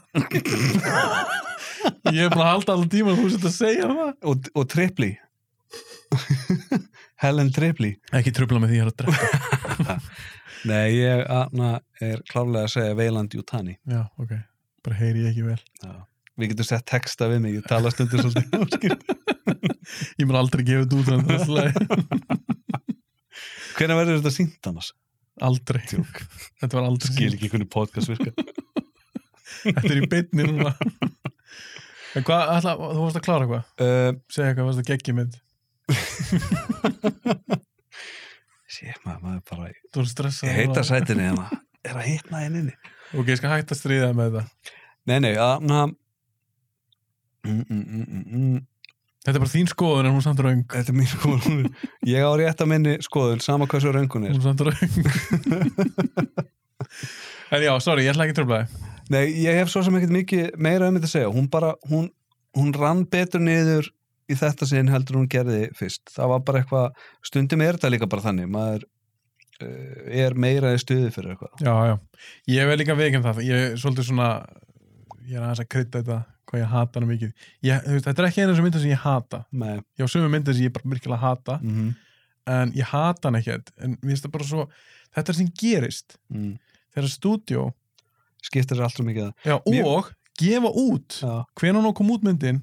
Speaker 1: ég er bara að halda allan tíma þú sett að segja það
Speaker 2: og, og Tripli Helen Tripli
Speaker 1: ekki tröfla með því að drepa
Speaker 2: nei, ég Anna, er klárlega að segja Veiland Tutani
Speaker 1: já, ok, bara heyri ég ekki vel
Speaker 2: við getum sett texta við mig, ég tala stundur svolítið um
Speaker 1: ég mér aldrei gefið út þannig þessu lagi.
Speaker 2: hvernig verður þetta sínt annars?
Speaker 1: aldrei,
Speaker 2: Tjók.
Speaker 1: þetta var aldrei
Speaker 2: skil ekki hvernig podcast virka
Speaker 1: þetta er í beinni núna en hvað, ætla, þú varst að klára eitthvað
Speaker 2: uh,
Speaker 1: segja eitthvað, varst að geggi mynd
Speaker 2: sér maður, maður er bara
Speaker 1: Þú erum stressað
Speaker 2: ég heita hérna. sætinni hana er að hitna henni inni
Speaker 1: Ok, ég skal hætta að stríða þér með þetta
Speaker 2: nei, nei, Anna mm, mm, mm, mm, mm.
Speaker 1: Þetta er bara þín skoðun en hún er samt raung
Speaker 2: þetta er mín skoðun ég á rétt að minni skoðun, sama hversu röngun
Speaker 1: Hún
Speaker 2: er
Speaker 1: er samt raung En já, sorry, ég ætla ekki að tröfla þig
Speaker 2: nei, ég hef svo sem ekkert mikið meira um þetta að segja hún bara, hún, hún rann betur niður í þetta sinn heldur en hún gerði fyrst, það var bara eitthvað stundum er þetta líka bara þannig maður uh, er meira í stuði fyrir eitthvað
Speaker 1: Já, já, ég er líka veikinn það Ég er svolítið svona Ég er aðeins að krydda þetta hvað ég hata hana mikið ég, þú veist, Þetta er ekki einu sem myndir sem ég hata
Speaker 2: með,
Speaker 1: Ég á sömu myndir sem ég bara virkilega hata
Speaker 2: mm -hmm.
Speaker 1: En ég hata hana ekki En mér finnst það bara svo Þetta er sem gerist
Speaker 2: mm.
Speaker 1: Þegar stúdíó
Speaker 2: skiptir sér allt svo mikið að-
Speaker 1: Já, og
Speaker 2: Mér-
Speaker 1: gefa út
Speaker 2: já,
Speaker 1: Hvenær hún kom út myndin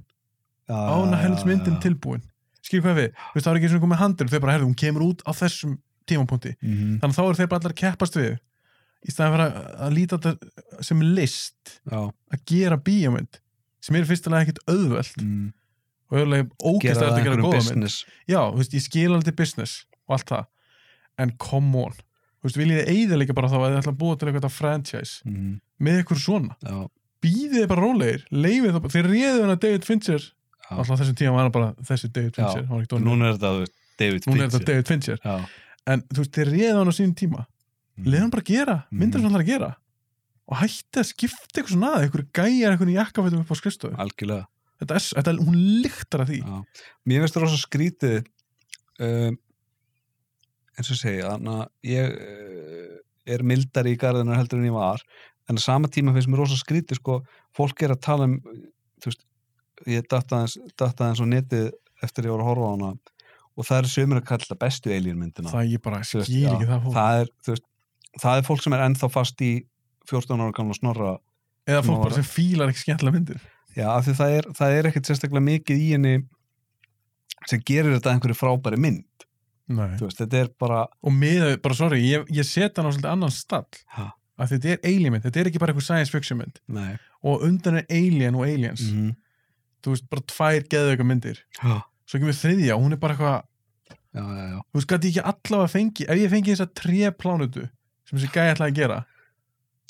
Speaker 2: já,
Speaker 1: á hún
Speaker 2: já,
Speaker 1: að helst
Speaker 2: já,
Speaker 1: myndin
Speaker 2: já.
Speaker 1: tilbúin skil hvað við, þú veist það er ekki eins og komið handur þau bara herðu, hún kemur út á þessum tímapunkti
Speaker 2: Mhm,
Speaker 1: þannig að þá eru þeir bara allar að keppast við í staðan fyrir að, að líta þetta sem list
Speaker 2: já,
Speaker 1: að gera bíómynd sem er fyrstulega ekkit auðvelt
Speaker 2: mm.
Speaker 1: og auðvitað ógist að þetta gera góða mynd
Speaker 2: business
Speaker 1: já, þú veist, ég skil alveg til business og allt það, en come on þú veist, viljið þið eigða líka bara þá að þið ætla að búa til eitthvað franchise
Speaker 2: mm.
Speaker 1: með ykkur svona,
Speaker 2: já,
Speaker 1: býðið þið bara rólegir leifið það, þeir réðu hann að David Fincher
Speaker 2: Já.
Speaker 1: alltaf á þessum tíma var hann bara þessi David
Speaker 2: Já.
Speaker 1: Fincher, hann var ekki dónið
Speaker 2: núna er þetta þú veist, David
Speaker 1: núna er þetta
Speaker 2: Fincher.
Speaker 1: David Fincher
Speaker 2: já,
Speaker 1: en þú veist, þeir réða hann á sínum tíma
Speaker 2: mm.
Speaker 1: leiða hann bara að gera, mynda
Speaker 2: Mm.
Speaker 1: sem hann ætlar að gera og hætti að skipta eitthvað svona að eitthvað gæjar eitthvað í jakkafætum upp á skrifstofu
Speaker 2: Mm. algjörlega
Speaker 1: þetta er, þetta, hún lyktar að því
Speaker 2: já. mér finnst það rosa skrítið um, eins og ég segi þannig að ég uh, er mildari í garðinu heldur en ég var en á sama tíma finnst mér rosa skrítið sko, fólk er að tala um þú veist, ég dattaðans dattaðans og netið eftir ég voru að horfa á hana og það er sömur að kalla þetta bestu alien myndina
Speaker 1: það ég bara
Speaker 2: Þú veist,
Speaker 1: skýr
Speaker 2: já,
Speaker 1: ekki það fólk
Speaker 2: það er, þú veist, það er fólk sem er ennþá fast í 14 ára gamla snorra
Speaker 1: eða fólk
Speaker 2: Nú
Speaker 1: bara
Speaker 2: var-
Speaker 1: sem fílar ekki skemmtilega myndir
Speaker 2: já, af því það er, það er ekkert sérstaklega mikið í henni sem gerir þetta að einhverju frábæri mynd
Speaker 1: Nei.
Speaker 2: þú veist, þetta er bara
Speaker 1: og miða, bara sorry, ég, ég set hann á svolítið annan stall
Speaker 2: Ha.
Speaker 1: að þetta er alien mynd, þetta er ekki bara eitthvað science fiction mynd
Speaker 2: nei,
Speaker 1: og undan er alien og aliens
Speaker 2: mm
Speaker 1: þú veist, bara tvær geðveika myndir
Speaker 2: já,
Speaker 1: svo kemur þriðja og hún er bara eitthvað
Speaker 2: já, já, já.
Speaker 1: þú veist, gæti ég ekki allavega fengi ef ég fengi þessa tre plánutu sem þessi gæi ætlaði að gera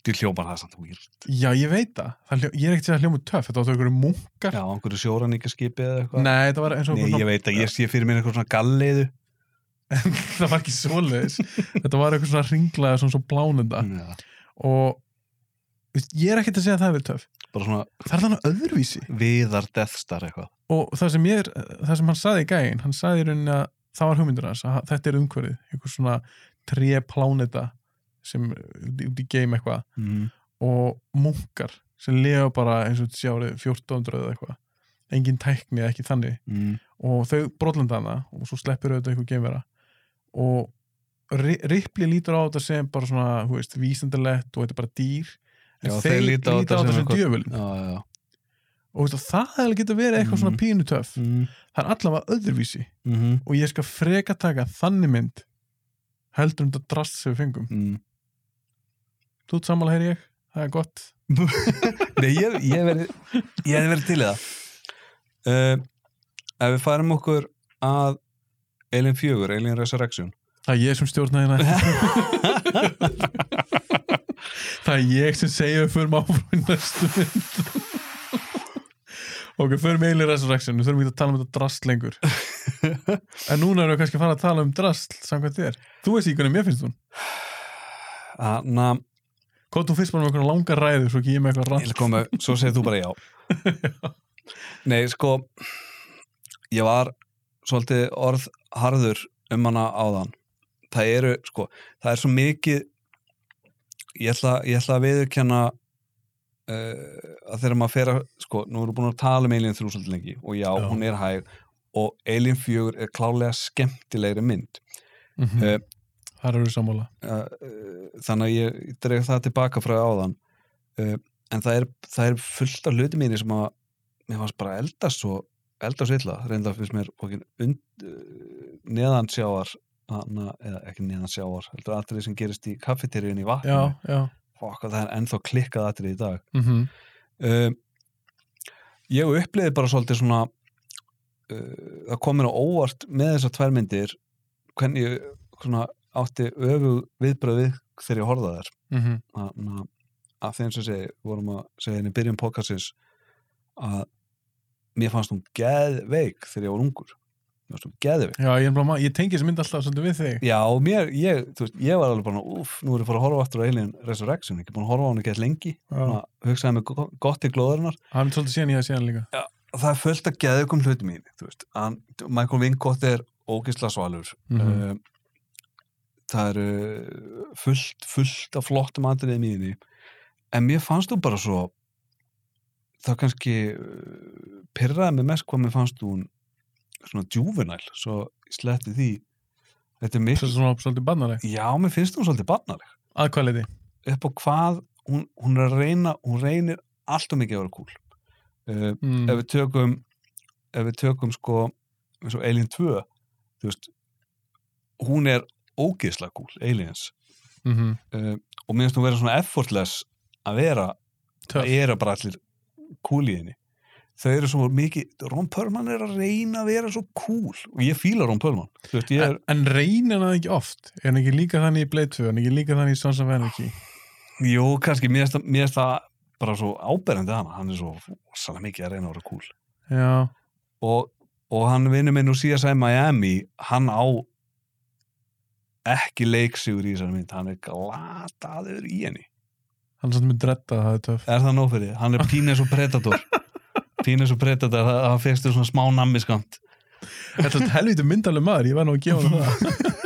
Speaker 2: þú hljópar það samt weird
Speaker 1: já, ég veit það, það hljó, ég er ekkert sér að hljóma töff þetta áttu einhverju munkar
Speaker 2: já, einhverju sjóraningaskipi eða eitthvað
Speaker 1: nei, það var eins og
Speaker 2: Nei, ég
Speaker 1: einhver
Speaker 2: veit að ég sé fyrir mér eitthvað svona galliðu
Speaker 1: svona, það var ekki svoleiðis þetta var eitthvað svona ringlaða, svona svo plánunda
Speaker 2: Mm, Já,
Speaker 1: og þú veist, ég er ekkert að segja að það er töff
Speaker 2: bara svona
Speaker 1: það er þannig öðruvísi
Speaker 2: viðar deathstar eitthvað
Speaker 1: og það sem, ég, er- það sem hann saði í gæin hann saði í rauninni að það var hugmyndur hans að þetta er umhverfið, einhver svona tre plánuta sem út í- út í game eitthvað
Speaker 2: mm.
Speaker 1: og munkar sem lifa bara eins og þessi árið 1400 eða eitthvað engin tækni ekki þannig
Speaker 2: Mm.
Speaker 1: og þau brotlanda hana og svo sleppir auðvitað einhver geimvera og Ri- Ripley lítur á þetta sem bara svona, hú veist, vísindalegt og þetta er bara dýr en
Speaker 2: Já,
Speaker 1: þeir líta á þetta sem, sem
Speaker 2: eitthvað-
Speaker 1: djöfulin
Speaker 2: já, já, já.
Speaker 1: og veist, og það hefði getur verið eitthvað
Speaker 2: Mhm.
Speaker 1: svona pínutöf
Speaker 2: Mm.
Speaker 1: það er allavega öðruvísi
Speaker 2: Mm.
Speaker 1: og ég skal freka taka þannig mynd heldur um þetta drast sem við fengum
Speaker 2: Mm.
Speaker 1: þú ert sammála heyr ég, það er gott
Speaker 2: Nei, ég, ég, veri, ég hef verið til í það uh, Ef við færum okkur að Alien 4, Alien Resurrection
Speaker 1: Það er ég sem stjórna hérna Það er ég sem segja við förum áfram í næstu mynd Ok, förum eiginlega resurrection Við þurfum ekki að tala um þetta drast lengur En núna erum við kannski að fara að tala um drast samkvæmt þér Þú veist ekki hvernig mér finnst hún
Speaker 2: þannig að
Speaker 1: Hvað þú fyrst bara með einhverja langar ræðu svo ekki ég með eitthvað
Speaker 2: Ég
Speaker 1: rann
Speaker 2: vil koma, svo segir þú bara já. Nei, sko, ég var svolítið orðharður um hana áðan. Það eru, sko, það er svo mikið, ég ætla, ég ætla að viðurkenna uh, að þegar maður fer að, sko, nú erum við búin að tala um Alien 3 svolítið lengi og já,
Speaker 1: Já.
Speaker 2: hún er hæg og Alien 4 er klálega skemmtilegri mynd.
Speaker 1: mm
Speaker 2: Eh,
Speaker 1: -hmm. Þar eru sammála
Speaker 2: Uh, þannig að ég ég dreg það tilbaka frá áðan uh, en það er, það er fullt af hluti mínir sem að mér fannst bara eldast svo eldast illa, reynda fyrst mér bókin und, uh, neðansjáar hana, eða ekki neðansjáar heldur atrið sem gerist í kaffeteríun í vatni
Speaker 1: Já, já
Speaker 2: Fokk, það er ennþá klikkað atrið í dag
Speaker 1: mm
Speaker 2: um, ég uppliði bara svolítið svona uh, það kom mér á óvart með þessar tvær myndir hvernig ég svona, átti öfu viðbröð við þegar ég horfði á þær
Speaker 1: Mhm.
Speaker 2: þannig að- að þeim sem segi vorum að segja henni í byrjun podcastins að mér fannst hún geðveik þegar ég var ungur mér fannst hún geðveik
Speaker 1: Já, ég, er bara, ma- ég tengi þessi mynd alltaf svolítið við þig
Speaker 2: já og mér, ég, þú veist, ég var alveg bara uff, nú er ég fór að horfa aftur á Alien Resurrection ekki búin að horfa á henni gett lengi
Speaker 1: Já.
Speaker 2: Svona, hugsaði mig go- gott í glóðurnar
Speaker 1: Það er svolítið síðan ég að síðan líka
Speaker 2: það er fullt að geða ykkur um hlutum í henni, þú veist, hann, Michael Vincott er ógisla svalur mm
Speaker 1: Mhm.
Speaker 2: það eru fullt, fullt af flottum atriðum í henni en mér fannst þú bara svo það kannski uh, pyrraði mig mest hvað mér fannst hún svona djúvinæl, svo ég sletti því þetta er
Speaker 1: Svolítið
Speaker 2: mikil
Speaker 1: svona svolítið bannaleg
Speaker 2: já, mér finnst hún svolítið barnaleg
Speaker 1: Að hvað leiti?
Speaker 2: upp á hvað, hún, hún er að reyna hún reynir allt og mikið að vera kúl uh,
Speaker 1: Mm.
Speaker 2: ef við tökum ef við tökum sko eins og Alien 2 þú veist, hún er ógeðslega gúl, Aliens
Speaker 1: Mm
Speaker 2: uh, og minnst hún vera svona effortless að vera,
Speaker 1: Töff.
Speaker 2: það eru bara allir kúl í henni þau eru svo mikið, Ron Perlman er að reyna að vera svo kúl og ég fíla Ron Perlman þú veist, ég er,
Speaker 1: En, en reynir hann það ekki oft? Er hann ekki líka þannig í Blade 2? Er hann ekki líka þannig í Sons of Anarchy?
Speaker 2: jú, kannski mér finnst það- mér finnst það bara svo áberandi hana, hann er svo sannlega mikið að reyna að vera kúl
Speaker 1: Já,
Speaker 2: og, og hann vinnur minn úr CSI Miami hann á ekki leiksigur í þessari mynd hann er glataður í henni
Speaker 1: hann er svolítið með dretta, það er töff
Speaker 2: er það nóg fyrir, þið? hann er pínes og predator pínes og predator, það, það fyrstu svona smá nammiskamt
Speaker 1: Þetta er helvítið myndaleg maður, ég var nú að gefa hann það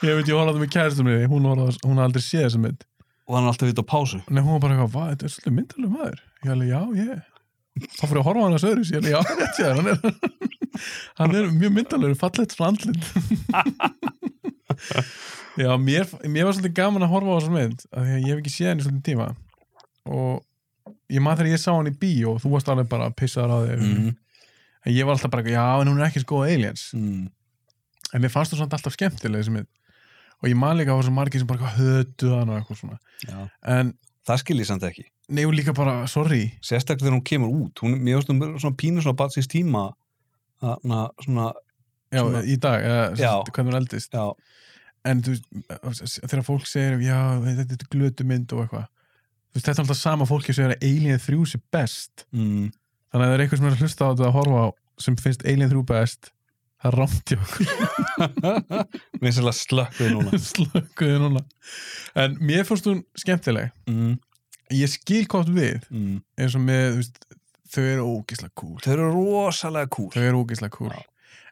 Speaker 1: Ég veit, ég horfði á það með kæristum minni Hún, horfði á- hún hafði aldrei séð þessa mynd
Speaker 2: og hann er alltaf út á pásu
Speaker 1: Nei, hún var bara eitthvað, "Vá, þetta er svolítið myndaleg maður Ég alveg, já, ég Þá fyrir að horfa á hann að söðuris, ég alveg, já, rétt séð Hann er, hann er mjög myndalegur, fallegt svona andlit Já, mér, mér var svolítið gaman að horfa á þessa mynd af Því að ég hef ekki séð hann í svolítið tíma Og ég maður þegar ég sá hann í bíó Þú varst alveg bara að pissa á þig
Speaker 2: mm.
Speaker 1: En ég var alltaf bara, eitthvað, já, en hún er ekki sko aliens.
Speaker 2: Mm.
Speaker 1: En mér fannst þú samt alltaf skemmtileg sem mynd. Og ég man líka að það var svo margir sem bara eitthvað hötuð hann og eitthvað svona.
Speaker 2: Já.
Speaker 1: En
Speaker 2: það skil ég samt ekki
Speaker 1: nefnum líka bara, sorry,
Speaker 2: sérstaklega þegar hún kemur út hún, mér finnst hún vera svona pínes og batsins tíma þarna svona,
Speaker 1: já,
Speaker 2: Svona.
Speaker 1: í dag, eða, sem
Speaker 2: Já.
Speaker 1: sagt, hvernig hún eldist.
Speaker 2: já,
Speaker 1: En þú, veist, þegar fólk segir, já, þetta er glötu mynd og eitthvað. Þú veist, Þetta er alltaf sama fólki sem segir að Alien 3 sé best.
Speaker 2: mm.
Speaker 1: Þannig að það er eitthvað sem er að hlusta á þetta að horfa á sem finnst Alien 3 best. Það rámt ég okkur
Speaker 2: mér finnst það slökkuð núna
Speaker 1: slökuði núna. En mér fannst hún skemmtileg.
Speaker 2: mm.
Speaker 1: Ég skil hvort við
Speaker 2: Mm.
Speaker 1: eins og með, þú veist, þau eru ógislega cool
Speaker 2: þau eru rosalega kúl
Speaker 1: þau eru ógislega cool
Speaker 2: Já.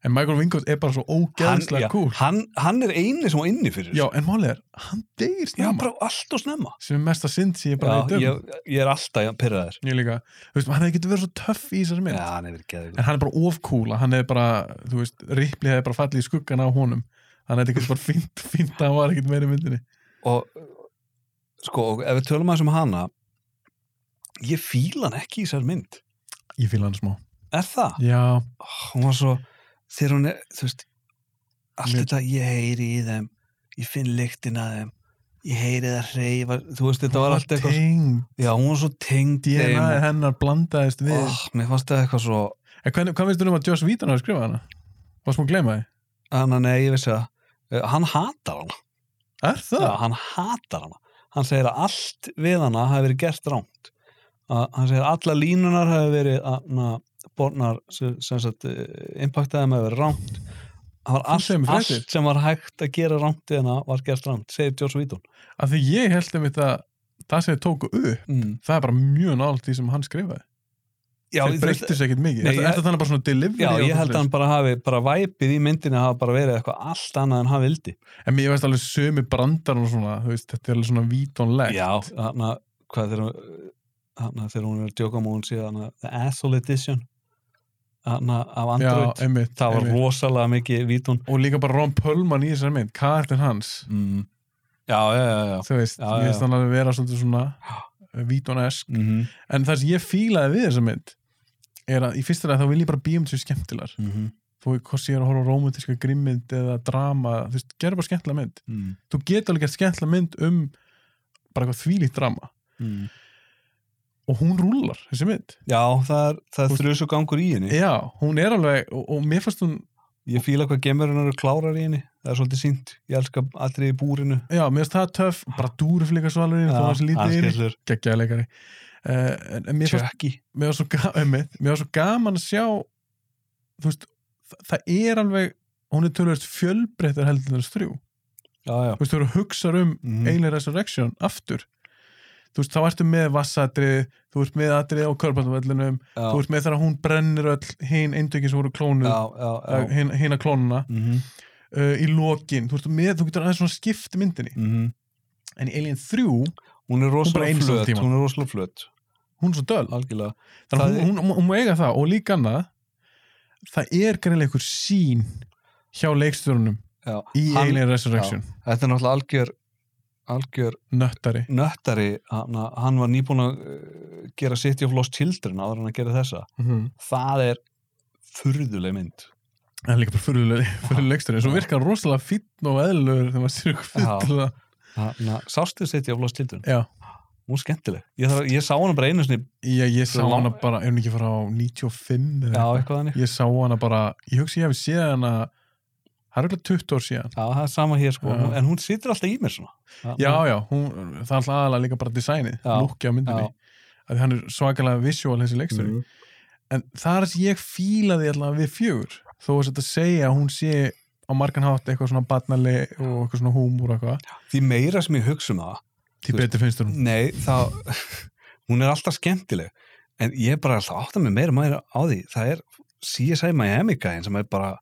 Speaker 1: en Michael Vincott er bara svo
Speaker 2: Hann- já,
Speaker 1: ógeðslega cool
Speaker 2: hann, hann er eini sem á inni fyrir
Speaker 1: já, en málið er, hann deyr
Speaker 2: já
Speaker 1: snemma
Speaker 2: bara allt og snemma
Speaker 1: sem er mesta synd sem ég bara veit
Speaker 2: já,
Speaker 1: um
Speaker 2: ég, ég er alltaf pyrraður
Speaker 1: ég líka, þú veist, hann hefði getið verið svo töff í þessari mynd
Speaker 2: já, hann er geður
Speaker 1: en hann er bara ofkúl, hann hefði bara þú veist, Ripley hefði bara fallið í skuggan á honum hann hefði ekkert bara fínt, fínt að hann var ekkert meira í myndinni
Speaker 2: og sko, og ef við tölum aðeins um hana ég fíla hann ekki í sér mynd
Speaker 1: ég fíla hann smá,
Speaker 2: er það?
Speaker 1: já,
Speaker 2: Ó, hún var svo, þegar hún er þú veist, allt
Speaker 1: Mér-
Speaker 2: þetta ég heyri í þeim, ég finn lyktin að þeim ég heyri það hreyfa þú veist, þetta var allt eitthvað
Speaker 1: teng
Speaker 2: já, hún var svo tengd í
Speaker 1: DNA
Speaker 2: þeim
Speaker 1: hennar blandaðist við
Speaker 2: oh, mér fannst það eitthvað svo
Speaker 1: en hvernig, hvað veist þú um að Joss Whedon hafi skrifað hana? varst múið að gleyma þið?
Speaker 2: Hanna, nei, ég vissi það. Eh, Hann hatar hana.
Speaker 1: er það?
Speaker 2: Já, hann hatar hana. Hann segir að allt við hana hafi verið gert rámt. Að, hann segir að alla línunar hafi verið að bornar sem sem sagt eh, impactaði með verið rámt. það var
Speaker 1: Þú segir mér
Speaker 2: allt,
Speaker 1: fréttir.
Speaker 2: allt sem var hægt að gera rámt í hana var gert rámt, segir Joss Vítun
Speaker 1: Af því ég held um þetta það sem þið tóku upp,
Speaker 2: mm.
Speaker 1: það er bara mjög nált því sem hann skrifaði.
Speaker 2: já,
Speaker 1: þeir
Speaker 2: þú veist,
Speaker 1: breyttu sér ekkert mikið.
Speaker 2: Nei,
Speaker 1: Þetta
Speaker 2: ég-
Speaker 1: er þannig bara svona delivery. og
Speaker 2: já, ég
Speaker 1: eitthvað
Speaker 2: held að hann bara hafi bara væpið í myndinu hafa bara verið eitthvað allt annað en hann vildi
Speaker 1: svoleiðis. En mér veist alveg sömu brandar og svona, þú veist, þetta er alveg svona vítónlegt.
Speaker 2: já, hann að hvað þegar hún- hann að þegar hún er að djóka um að hún sé hann að The Asshole Edition hann að af Android
Speaker 1: einmitt.
Speaker 2: það var
Speaker 1: einmitt.
Speaker 2: rosalega mikið Vítun
Speaker 1: Og líka bara Ron Pullman í þessari mynd, kartin hans,
Speaker 2: mm. já, já, já, já.
Speaker 1: þú veist,
Speaker 2: Já,
Speaker 1: ég
Speaker 2: já,
Speaker 1: veist
Speaker 2: já.
Speaker 1: hann alveg vera svolítið svona vítónesk.
Speaker 2: Mm
Speaker 1: En það sem ég fílaði við þessa mynd er að í fyrsta ræð þá vil ég bara bíum til skemmtilar.
Speaker 2: -hmm.
Speaker 1: Þú veist, hvort sem ég er að horfa á romantíska grimmynd eða drama, þú veist, gerðu bara skemmtilega mynd.
Speaker 2: Mm
Speaker 1: Þú getur alveg gert skemmtilega mynd um bara eitthvað þvílíkt drama
Speaker 2: -hmm.
Speaker 1: og hún rúlar, þessi mynd.
Speaker 2: já, það er, það
Speaker 1: Þú- Eh.
Speaker 2: er þrjus og gangur í henni
Speaker 1: Já, hún er alveg, og, og mér fannst hún,
Speaker 2: ég fíla hvað gemurinn eru klárar í henni það er svolítið sínt, ég elska allri í búrinu
Speaker 1: já, mér fannst það töff, bara dúru flikar svalurinn, þú varst lítið yfir,
Speaker 2: allskillur,
Speaker 1: geggjaði leikari. Uh, en, en mér fannst
Speaker 2: tjökki
Speaker 1: mér var svo, ga einmitt, mér var svo gaman að sjá þú veist, þa- það er alveg hún er tölvöld fjölbreyttar heldur en þessu þrjú
Speaker 2: já, já
Speaker 1: þú veist, þú eru að hugsa um
Speaker 2: Mhm.
Speaker 1: Alien Resurrection aftur þú veist, þá ertu með vassadrið þú ert með atrið á körbátumvellinum
Speaker 2: já,
Speaker 1: þú ert með þar að hún brennir öll hinn eindökin sem voru klónuð
Speaker 2: já, já, já.
Speaker 1: hinn hin að klónuna
Speaker 2: Mm -hmm.
Speaker 1: uh, í lokin, þú veist, með, þú getur aðeins svona skipt myndinni, en í Alien 3
Speaker 2: mhm. hún er
Speaker 1: bara
Speaker 2: rosalega
Speaker 1: eins allan
Speaker 2: flöt
Speaker 1: tímann.
Speaker 2: hún er rosalega flöt,
Speaker 1: hún er svo döl
Speaker 2: algjörlega
Speaker 1: þannig
Speaker 2: Það
Speaker 1: að hún, hún, hún má eiga það og líka annað það er greinlega einhver sín hjá leikstjórnum
Speaker 2: já.
Speaker 1: í
Speaker 2: Hann-
Speaker 1: Alien Resurrection
Speaker 2: þetta er náttúrulega algjör algjör
Speaker 1: nöttari
Speaker 2: nöttari hann, hann var nýbúin að uh, gera City of Lost Children áður en að gera þessa það er furðuleg mynd
Speaker 1: það er líka bara fyrir leikstjórnum svo virkar hann rosalega fítn og eðlur þegar maður sér ykkur
Speaker 2: Já.
Speaker 1: fyrir það
Speaker 2: Þarna- sástu City of Lost Children
Speaker 1: já,
Speaker 2: hún er skemmtileg, ég, þarf, ég sá hana bara einu sinni
Speaker 1: ég, ég sá
Speaker 2: Svo lang-
Speaker 1: hana bara ef hún ekki fara á 95
Speaker 2: já,
Speaker 1: eða eitthvað.
Speaker 2: eitthvað þannig
Speaker 1: ég sá hana bara, ég hugsi ég hef séð hana það er eitthvað 20 ár síðan
Speaker 2: Já, það er sama hér sko,
Speaker 1: Já.
Speaker 2: en hún situr alltaf í mér svona.
Speaker 1: já, já, hún, það er alltaf aðalega líka bara designið,
Speaker 2: Já.
Speaker 1: lúkja á myndinni
Speaker 2: Já.
Speaker 1: að hann er svakalega visual þessi leikstjóri
Speaker 2: Mm.
Speaker 1: en það er það sem ég fílaði allavega við fjögur þó að þetta segja að hún sé á margan hátt eitthvað svona batnali og eitthvað svona húmúr og eitthvað
Speaker 2: Því meira sem ég hugsa um það,
Speaker 1: því
Speaker 2: Þú
Speaker 1: betur finnst þér hún
Speaker 2: nei, þá, hún er alltaf skemmtileg, en ég er bara alltaf átt að mig meira og meira á því, það er CSI Miami gæðin sem er bara,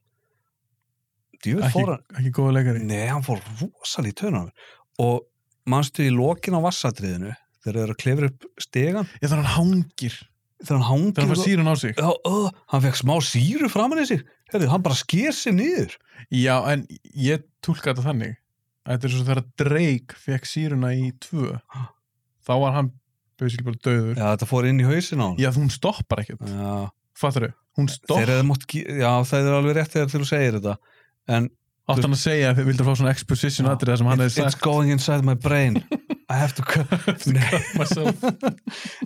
Speaker 2: djúið
Speaker 1: ekki,
Speaker 2: fór hann,
Speaker 1: ekki góða leikari
Speaker 2: nei, hann fór rosalega í tönan og manstu í lokin á vassatriðinu, þegar þeir eru að klefra upp stegan,
Speaker 1: ég þarf hann hangir,
Speaker 2: þegar hann hangir,
Speaker 1: þarf hann fær
Speaker 2: og-
Speaker 1: sírun á sig
Speaker 2: Já, ó, hann fekk smá síru framan í sig, herrðu, hann bara sker sig niður.
Speaker 1: já en ég tólka þetta þannig að þetta er svo þegar Drake fekk síruna í tvö þá var hann basically bara döður
Speaker 2: Já, þetta fór inn í hausin á hann.
Speaker 1: já þú hún stoppar ekkert,
Speaker 2: Já.
Speaker 1: fattur þau hún
Speaker 2: Mm. Þeir
Speaker 1: stopp,
Speaker 2: hefðu mátt, ge- já það er alveg rétt þegar þegar þú segir þetta en
Speaker 1: átt hann að segja að þið vildur fá svona exposition
Speaker 2: Já.
Speaker 1: atrið það sem hann
Speaker 2: it's,
Speaker 1: hefði
Speaker 2: it's
Speaker 1: sagt
Speaker 2: going inside my brain I have to cut Nei,
Speaker 1: myself.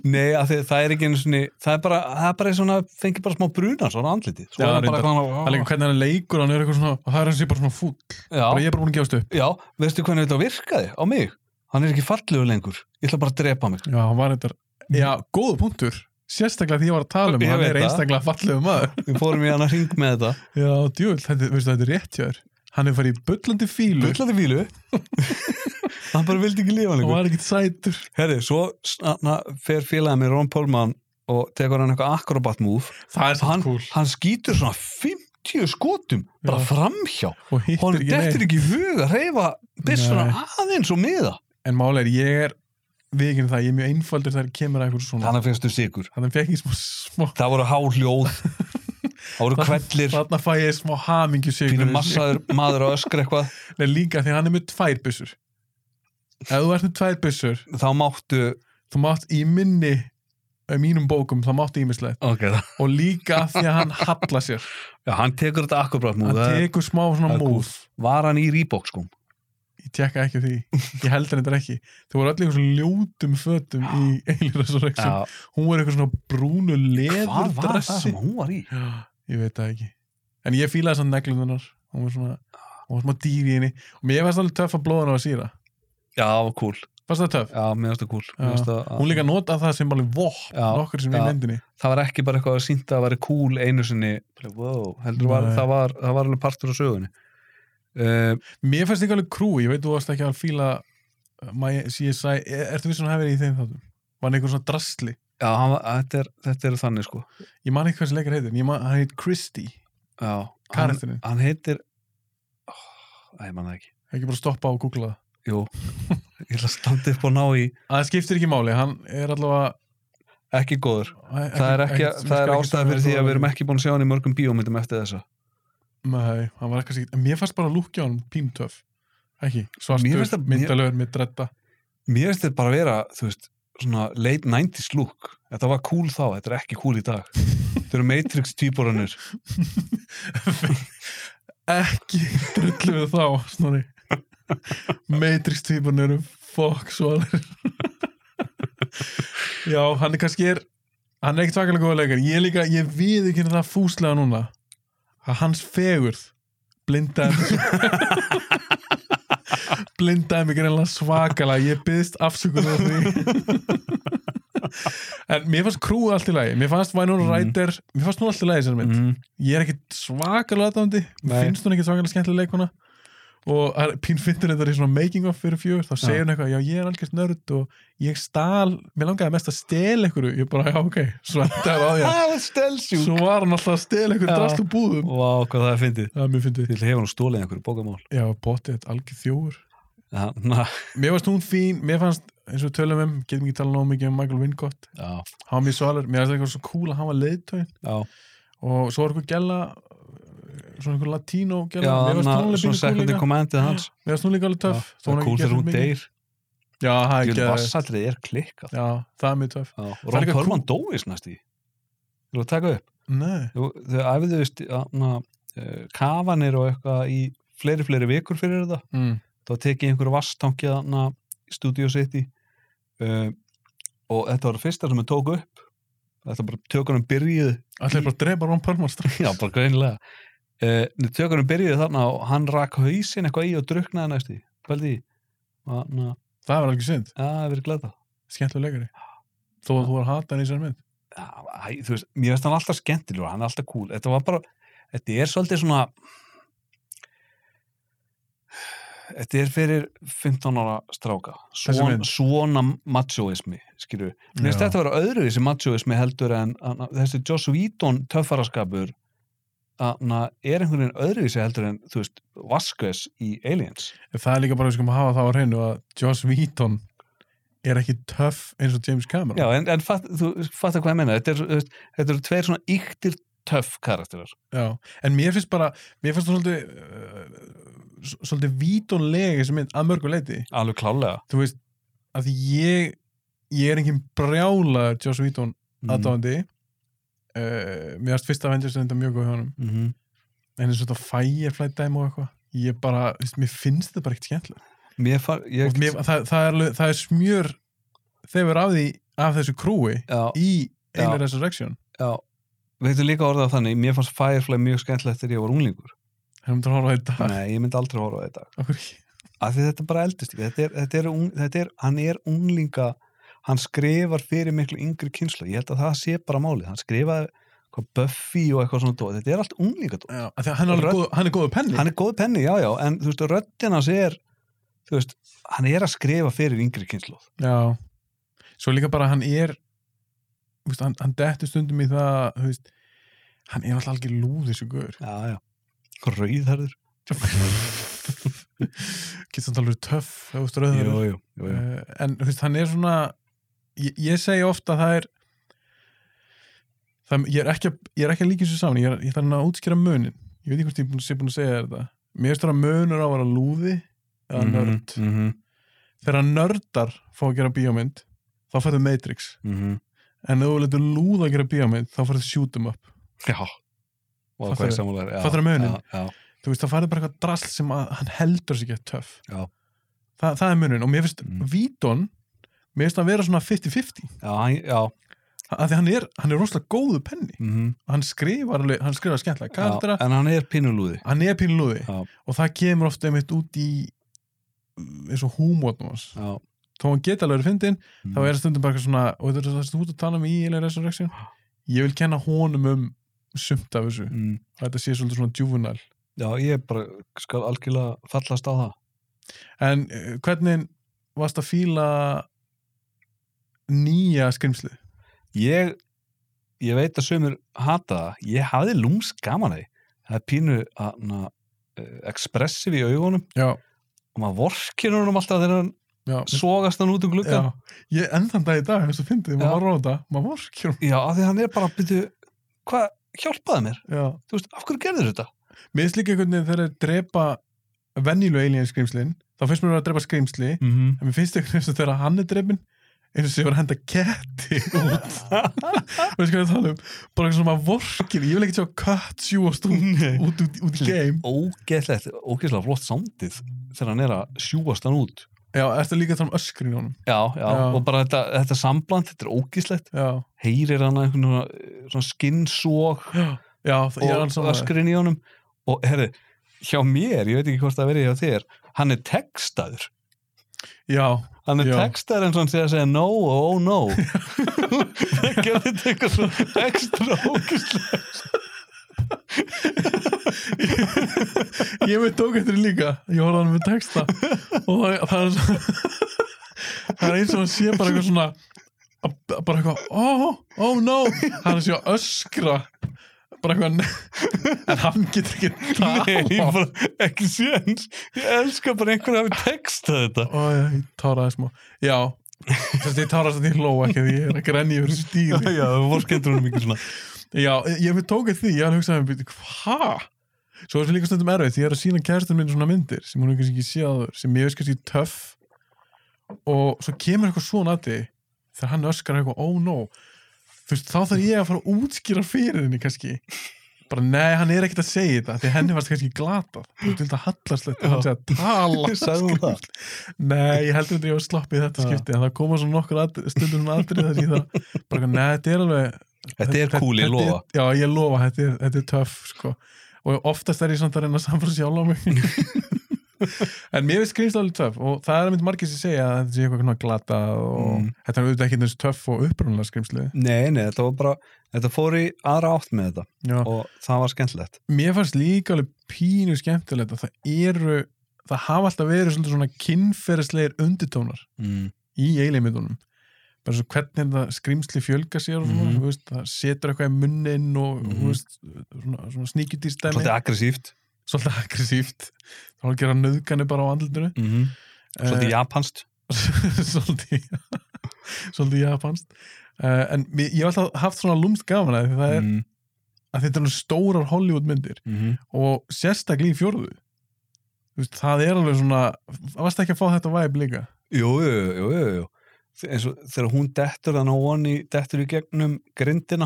Speaker 2: nei af því að það er ekki einu svona það er bara, það er bara svona, fengið bara smá bruna svona andliti, svo
Speaker 1: Já,
Speaker 2: er það bara
Speaker 1: reyndar. Það er líka
Speaker 2: hvað
Speaker 1: hvernig hann leikur, hann er eitthvað svona, það er hans ég bara svona fúll, bara
Speaker 2: já,
Speaker 1: ég er bara búin að gefast upp.
Speaker 2: já, veistu hvernig þetta virkaði á mig, hann er ekki fallegur lengur ég ætla bara að drepa mig
Speaker 1: Já, hann var eitthvað, já, góðu punktur sérstaklega því ég var að tala um,
Speaker 2: Ég
Speaker 1: hann er
Speaker 2: veit það.
Speaker 1: einstaklega fallegu maður
Speaker 2: við fórum í hann að ring með þetta
Speaker 1: Já, djúvill, þetta, veistu, þetta er rétt hjá þér hann er farið í bullandi fílu
Speaker 2: bullandi fílu hann bara vildi ekki lifa
Speaker 1: og
Speaker 2: lengur
Speaker 1: var ekkert sætur
Speaker 2: herri, svo snarna fer félagið með Ron Pólman og tekur hann eitthvað akrobat move
Speaker 1: það er
Speaker 2: hann,
Speaker 1: samt cool
Speaker 2: hann skýtur svona 50 skotum bara
Speaker 1: Já.
Speaker 2: framhjá
Speaker 1: og hittir
Speaker 2: honum
Speaker 1: ekki
Speaker 2: dettur
Speaker 1: neitt
Speaker 2: ekki í hug að reyfa byssuna aðeins og miða
Speaker 1: en máli er, ég er vikin það, ég er mjög einfaldur þegar kemur að eitthvað svona
Speaker 2: þannig fyrstu sigur
Speaker 1: þannig fekk ég smá, smá
Speaker 2: það voru háljóð það voru kvellir
Speaker 1: þarna fæ ég smá hamingju sigur
Speaker 2: fyrir massaður maður að öskra eitthvað
Speaker 1: Nei, líka því hann er með tvær byssur ef þú ert með tvær byssur
Speaker 2: þá máttu
Speaker 1: þú mátt í minni í mínum bókum, þá mátt ímislegt
Speaker 2: okay.
Speaker 1: og líka af því að hann halla sér
Speaker 2: Já, hann tekur þetta akkurat
Speaker 1: hann
Speaker 2: múð
Speaker 1: tekur smá svona
Speaker 2: það er
Speaker 1: móð
Speaker 2: var hann í Reebok sko
Speaker 1: ég tekka ekki á því, ég held hann þetta ekki þau voru allir eitthvað svona ljótum fötum í Alien Resurrection,
Speaker 2: Já,
Speaker 1: hún var eitthvað svona brúnu leður
Speaker 2: hvað var það sem hún var í
Speaker 1: ég veit það ekki en ég fílaði þess að neglunar hún var svona, hún var smá dýr í henni og mér fannst alveg töff að blóða hann á að síra
Speaker 2: já, kúl
Speaker 1: Fast það töf.
Speaker 2: já, mér finnst það cool
Speaker 1: Já.
Speaker 2: Mér finnst það,
Speaker 1: Hún líka nota það sem alveg vopn
Speaker 2: Já,
Speaker 1: nokkur sem í
Speaker 2: já.
Speaker 1: myndinni.
Speaker 2: það var ekki bara eitthvað að sýnta að vera cool einu sinni Bara, wow, heldur var,
Speaker 1: Nei.
Speaker 2: það, var, það var alveg partur af sögunni uh,
Speaker 1: Mér fannst ekki alveg krú, ég veit þú varst ekki að fíla uh, my CSI, er, ertu vissun að hafa verið í þeim þáttum? Var hann einhver svona drastli?
Speaker 2: já, hann, var- þetta, er, þetta er þannig sko
Speaker 1: Ég man ekki hvað sem leikar heitir, en ég man, hann heit Christie,
Speaker 2: já, hann,
Speaker 1: karakterinn.
Speaker 2: hann heitir oh, æ, ég manna ekki
Speaker 1: Ekki bara stoppa og googla það.
Speaker 2: jú, ég ætla að standa upp og ná í
Speaker 1: Það skiptir ekki máli, hann er allavega...
Speaker 2: ekki góður það er, ekki, það er ástæða fyrir því að við erum ekki búin að sjá hann í mörgum bíómyndum eftir þessa
Speaker 1: Nei, hann var ekkert Mér fannst bara lúkja á hann píntöf Ekki,
Speaker 2: Mér
Speaker 1: svartur,
Speaker 2: finnst það-
Speaker 1: myndalögur með dretta
Speaker 2: mér finnst þetta bara að vera þú veist, svona late 90s look þetta var cool þá, þetta er ekki cool í dag þetta eru Matrix týporunir
Speaker 1: Ekki drullu við þá Snorri Matrix týpan eru fokk svalir Já, hann er kannski er Hann er ekki tvakalega góða leikar Ég líka, ég við ekki það fúslega núna að hans fegurð blindaði mig- blindaði mig greinlega svakalega ég byðst afsökunar á því en mér fannst krúið allt í lagi mér fannst Vænur
Speaker 2: Mhm.
Speaker 1: Ræder mér fannst hún allt í lagi sér mynd
Speaker 2: mm.
Speaker 1: ég er ekkit svakalega aðdándi
Speaker 2: Nei.
Speaker 1: mér finnst hún ekkit svakalega skemmtilega leikona og það er- pín finnur þetta í svona making of fyrir fjögur þá segir hún eitthvað, já ég er algjörst nörd og ég stal, mér langaði mest að stela einhverju ég bara, já ok, svendaður á því að-"
Speaker 2: það stels
Speaker 1: svo var hann alltaf að stela einhverju
Speaker 2: Já.
Speaker 1: drast og búðum
Speaker 2: Vá, hvað það er fyndið
Speaker 1: það er mjög fyndið,
Speaker 2: Til hefur hún stólið einhverju bókamál
Speaker 1: já bótið algjör þjófur
Speaker 2: Já, na,
Speaker 1: mér fannst hún fín, mér fannst eins og við tölum um, getum ekki talað nóg mikið um Michael Wincott
Speaker 2: já,
Speaker 1: hann var mjög svalur, mér fannst eitthvað svo cool að hann var leiðtögin
Speaker 2: já,
Speaker 1: og svo var eitthvað gæla svona einhver latínó
Speaker 2: já
Speaker 1: gæla, mér fannst hún
Speaker 2: na,
Speaker 1: alveg
Speaker 2: svo
Speaker 1: pínu cool
Speaker 2: second
Speaker 1: líka.
Speaker 2: in commandið hans
Speaker 1: Mér finnst hún líka alveg töff. þó
Speaker 2: það
Speaker 1: hún
Speaker 2: er
Speaker 1: hafi
Speaker 2: cool
Speaker 1: ekki gert
Speaker 2: þegar hún
Speaker 1: mikið.
Speaker 2: deyr
Speaker 1: Já, það er
Speaker 2: Ég
Speaker 1: ekki
Speaker 2: vil vassatrið er klikkað
Speaker 1: Já, það er mjög töff.
Speaker 2: Já, og
Speaker 1: er
Speaker 2: Ron
Speaker 1: líka
Speaker 2: Perlman dóis næst í Þú að taka upp
Speaker 1: Nei.
Speaker 2: Þau- Þau æfðu veist, na, kafanir og eitthvað í fleiri, fleiri vikur fyrir þetta
Speaker 1: Mm.
Speaker 2: þá tekið ég einhverju vasstangi þarna í Studio City uh, og þetta var það fyrsta sem ég tók upp þetta bara tökunum byrjuð
Speaker 1: Allir bara drepa Ron Perlman strax.
Speaker 2: já, bara greinlega uh, tökunum byrjuð þarna og hann rak hausinn eitthvað í og druknaði næst í pældi í þannig að
Speaker 1: Það var alveg synd.
Speaker 2: það er verið glada
Speaker 1: Skemmtilega leikari. Þó að þú var hatan í sér mynd.
Speaker 2: já, æ, þú veist, mér finnst hann alltaf skemmtilegur hann er alltaf cool, þetta var bara þetta er svolítið svona þetta er fyrir 15 ára stráka
Speaker 1: Þessi
Speaker 2: svona,
Speaker 1: mynd.
Speaker 2: svona machoismi skilju, Mér finnst
Speaker 1: Já.
Speaker 2: þetta að vera öðruvísi machoismi heldur en en þessi Joss Whedon töffaraskapur að er einhvern veginn öðruvísi heldur en þú veist, Vasquez í Aliens
Speaker 1: En Það er líka bara við skum að hafa það á hreinu að Joss Whedon er ekki töff eins og James Cameron.
Speaker 2: Já, en, en fatt, þú fattar hvað ég meina þetta eru þú veist, þetta eru tveir svona yktir töff karakterar
Speaker 1: En mér finnst bara, mér finnst þú svolítið, uh, s- svolítið vítonlega þessi mynd að mörgu leiti.
Speaker 2: alveg klálega
Speaker 1: Þú veist, að því ég, ég er engin brjálaður Joss Whedon
Speaker 2: Mhm.
Speaker 1: aðdáðandi. Uh, mér finnst fyrsta Avengers reynda mjög góð hjá honum.
Speaker 2: mm -hmm.
Speaker 1: en eins og þetta Firefly dæmi og eitthvað ég bara, veist, mér finnst þetta bara ekkert skemmtilegt
Speaker 2: Mér far, ég,
Speaker 1: og mér, það, það, er, alveg- það er smjör þegar af því af þessu krúi
Speaker 2: já,
Speaker 1: í
Speaker 2: Já.
Speaker 1: Alien Resurrection
Speaker 2: já Við veitum líka orðað þannig, mér fannst Firefly mjög skemmtilegt þegar ég var unglingur.
Speaker 1: hefum þú að horfa á þetta
Speaker 2: Nei, ég myndi aldrei horfa á þetta.
Speaker 1: Af hverju ekki?
Speaker 2: af því þetta bara eldist ekki þetta er, þetta er, ung, þetta er, hann er unglinga hann skrifar fyrir miklu yngri kynslu, ég held að það sé bara málið hann skrifaði hvað Buffy og eitthvað svona dót, þetta er allt unglinga dót
Speaker 1: Já, af því að hann er,
Speaker 2: Rödd-
Speaker 1: alveg góð, hann er góðu penni
Speaker 2: hann er góð penni, já, já, en þú veist, röddina hans er, þú veist, hann er að skrifa fyrir yngri kynslu
Speaker 1: Já, svo líka bara hann er þú veist, hann, hann dettur stundum í það þú veist, hann er alltaf algjör lúð þessu guður
Speaker 2: já, já, rauðherður
Speaker 1: getur hann alveg töff ef þú veist rauður
Speaker 2: jú, jú, jú, jú.
Speaker 1: uh, en þú veist, hann er svona ég, ég segi ofta að það er það, ég, er ekki, að- ég er ekki að líka þessu saman ég er, ég er að útskýra munin ég veit ekki hvort ég er búin- sé búin að segja þér þetta mér finnst það að munur á að vera lúði eða nörd
Speaker 2: mm -hmm,
Speaker 1: þegar nördar fá að gera bíómynd þá færðu Matrix
Speaker 2: mm -hmm.
Speaker 1: en ef þú letur lúða að gera bíómynd þá færðu Shoot 'em Up
Speaker 2: já og hvað
Speaker 1: Fattarðu-
Speaker 2: er samúlar
Speaker 1: fattarðu um muninn?
Speaker 2: já,
Speaker 1: þú veist, þá færðu bara eitthvað drasl sem að, hann heldur sig ekki töff
Speaker 2: Já.
Speaker 1: Þa, það er munin og mér finnst
Speaker 2: Mm.
Speaker 1: Víton mér finnst að vera svona 50-50
Speaker 2: já, hann- já,
Speaker 1: að því hann er, hann er rosalega góðu penni
Speaker 2: mm -hmm.
Speaker 1: hann skrifar alveg, hann skrifar skemmtilega kardra,
Speaker 2: en hann er pinulúði
Speaker 1: hann er pínu lúði
Speaker 2: Já.
Speaker 1: og það kemur ofta einmitt út í uh, eins og húmótnum hans
Speaker 2: já, Mm.
Speaker 1: þó hann geta alveg verið fyndin þá er stundum bara eitthvað svona og þetta er það sem þú ert að tala um í Alien Resurrection ég vil kenna honum um sumt af þessu,
Speaker 2: mm.
Speaker 1: að þetta sé svolítið svona juvenal
Speaker 2: Já, ég bara skal algjörlega fallast á það
Speaker 1: en eh, hvernig varst að fíla nýja skrimsli
Speaker 2: Ég, ég veit að sömur hata það, ég hafði lúms gaman af því það er pínu að, na, expressiv í augunum
Speaker 1: já,
Speaker 2: og maður vorkir honum alltaf þegar hann
Speaker 1: já,
Speaker 2: sogast hann út um gluggan
Speaker 1: já ég endan dag í dag, þess að fyndið,
Speaker 2: Já.
Speaker 1: maður horfir á þetta maður vorkjum
Speaker 2: Já, af því hann er bara að byrja, hvað, hjálpaði mér?
Speaker 1: já.
Speaker 2: Þú veist, af hverju gerður þetta?
Speaker 1: mér finnst líka einhvern veginn þegar þeir drepa venjulega alien skrimslin þá finnst mér að vera að drepa skrimsli
Speaker 2: Mm -hmm.
Speaker 1: en mér finnst einhvern veginn eins og þegar hann er drefin eins og sé var að henda ketti út veist hvað ég er að tala um bara eitthvað svona vorkir, ég vil ekki sjá kött sjúast út,
Speaker 2: Nei.
Speaker 1: út, út, út í game
Speaker 2: Ógeðlegt, ógeðslega flott sándið þegar hann er að sjúast hann út
Speaker 1: já, ertu líka að tala um öskrin í honum
Speaker 2: Já, já,
Speaker 1: Já.
Speaker 2: og bara þetta, þetta sambland, þetta er ógíslegt,
Speaker 1: já,
Speaker 2: heyrir hann einhvern veginn svona, eh, svona skinnsók
Speaker 1: já það er alls
Speaker 2: og öskurinn í honum og herri, hjá mér, ég veit ekki hvort það verið hjá þér, hann er textaður
Speaker 1: já,
Speaker 2: hann er
Speaker 1: Já.
Speaker 2: textaður eins og hann sé að segja no og oh no það gerði þetta eitthvað svona ekstra ógíslegt
Speaker 1: ég veit tók eftir því líka ég horfði á hann með texta og það, það er svo- það er eins og hann sé bara eitthvað svona bara eitthvað, oh, oh no hann er sér að öskra bara eitthvað en hann getur ekki
Speaker 2: Nei,
Speaker 1: talað.
Speaker 2: bara, ekki séns ég elska bara einhvern að hafa textað þetta
Speaker 1: Ó, ég táraði smá. Já, þess að ég táraði þess að ég hló ekki því ég er að grenja yfir þessu stíli.
Speaker 2: Já, það voru skemmtur honum mikið svona
Speaker 1: Já, ég hef tókað því, ég hafði hugsað mér, hva? Svo er það líka stundum erfið því ég er að sína kæristur minn svona myndir sem hún hefur kannski ekki séð áður, sem ég veist kannski töff og svo kemur eitthvað svona að því þegar hann öskar eitthvað, oh no þú veist, þá þarf ég að fara að útskýra fyrir henni kannski bara nei, hann er ekkert að segja þetta því henni varst kannski glatað þú veist, þetta hallast þetta, hann sé að tala
Speaker 2: Sagði hún það?
Speaker 1: Nei, ég heldur þetta ég var sloppið í þetta
Speaker 2: Já.
Speaker 1: skipti en það koma svona nokkur atri, stundum svona atrið þar ég það bara, eitthvað, nei, þetta er alveg
Speaker 2: Þetta er cool, ég
Speaker 1: þetta
Speaker 2: lofa
Speaker 1: er- Já, ég lofa, þetta er, þetta er töff sko. og oftast er ég samt að reyna að samfara sjálf á mig en mér finnst skrýmst alveg töff og það er mynd margir sem segja að þetta sé eitthvað svona glata og
Speaker 2: Mm.
Speaker 1: þetta er auðvitað ekki þessu töff og upprunalega skrýmsli
Speaker 2: Nei, nei, þetta var bara, þetta fór í aðra átt með þetta
Speaker 1: Já.
Speaker 2: og það var skemmtilegt.
Speaker 1: mér fannst líka alveg pínu skemmtilegt að það eru það hafa alltaf verið svolítið svona kynferðislegir undirtónar
Speaker 2: Mm.
Speaker 1: í eiginmyndunum bara svo hvernig það skrimsli fjölga sér og svona,
Speaker 2: Mhm.
Speaker 1: þú veist, það setur eitthvað í munnin og, mm
Speaker 2: Mhm.
Speaker 1: veist, svona, svona sníkjudýrstæmi
Speaker 2: Svolítið aggressíft,
Speaker 1: svolítið aggressíft þá er að gera nöðgani bara á andlutinu
Speaker 2: Mhm.
Speaker 1: Eh,
Speaker 2: svolítið japanst.
Speaker 1: svolítið svolítið japanst uh, en mér- ég hef alltaf haft svona lúmst gaman að, það er,
Speaker 2: Mm.
Speaker 1: að þetta er nú stórar Hollywood myndir
Speaker 2: Mm.
Speaker 1: og sérstaklega í fjórðu Þú veist, það er alveg svona varst ekki að fá þetta vibe líka
Speaker 2: Jú, jú, jú, jú, jú. Þe- eins og þegar hún dettur þannig að hún í, dettur í gegnum grindina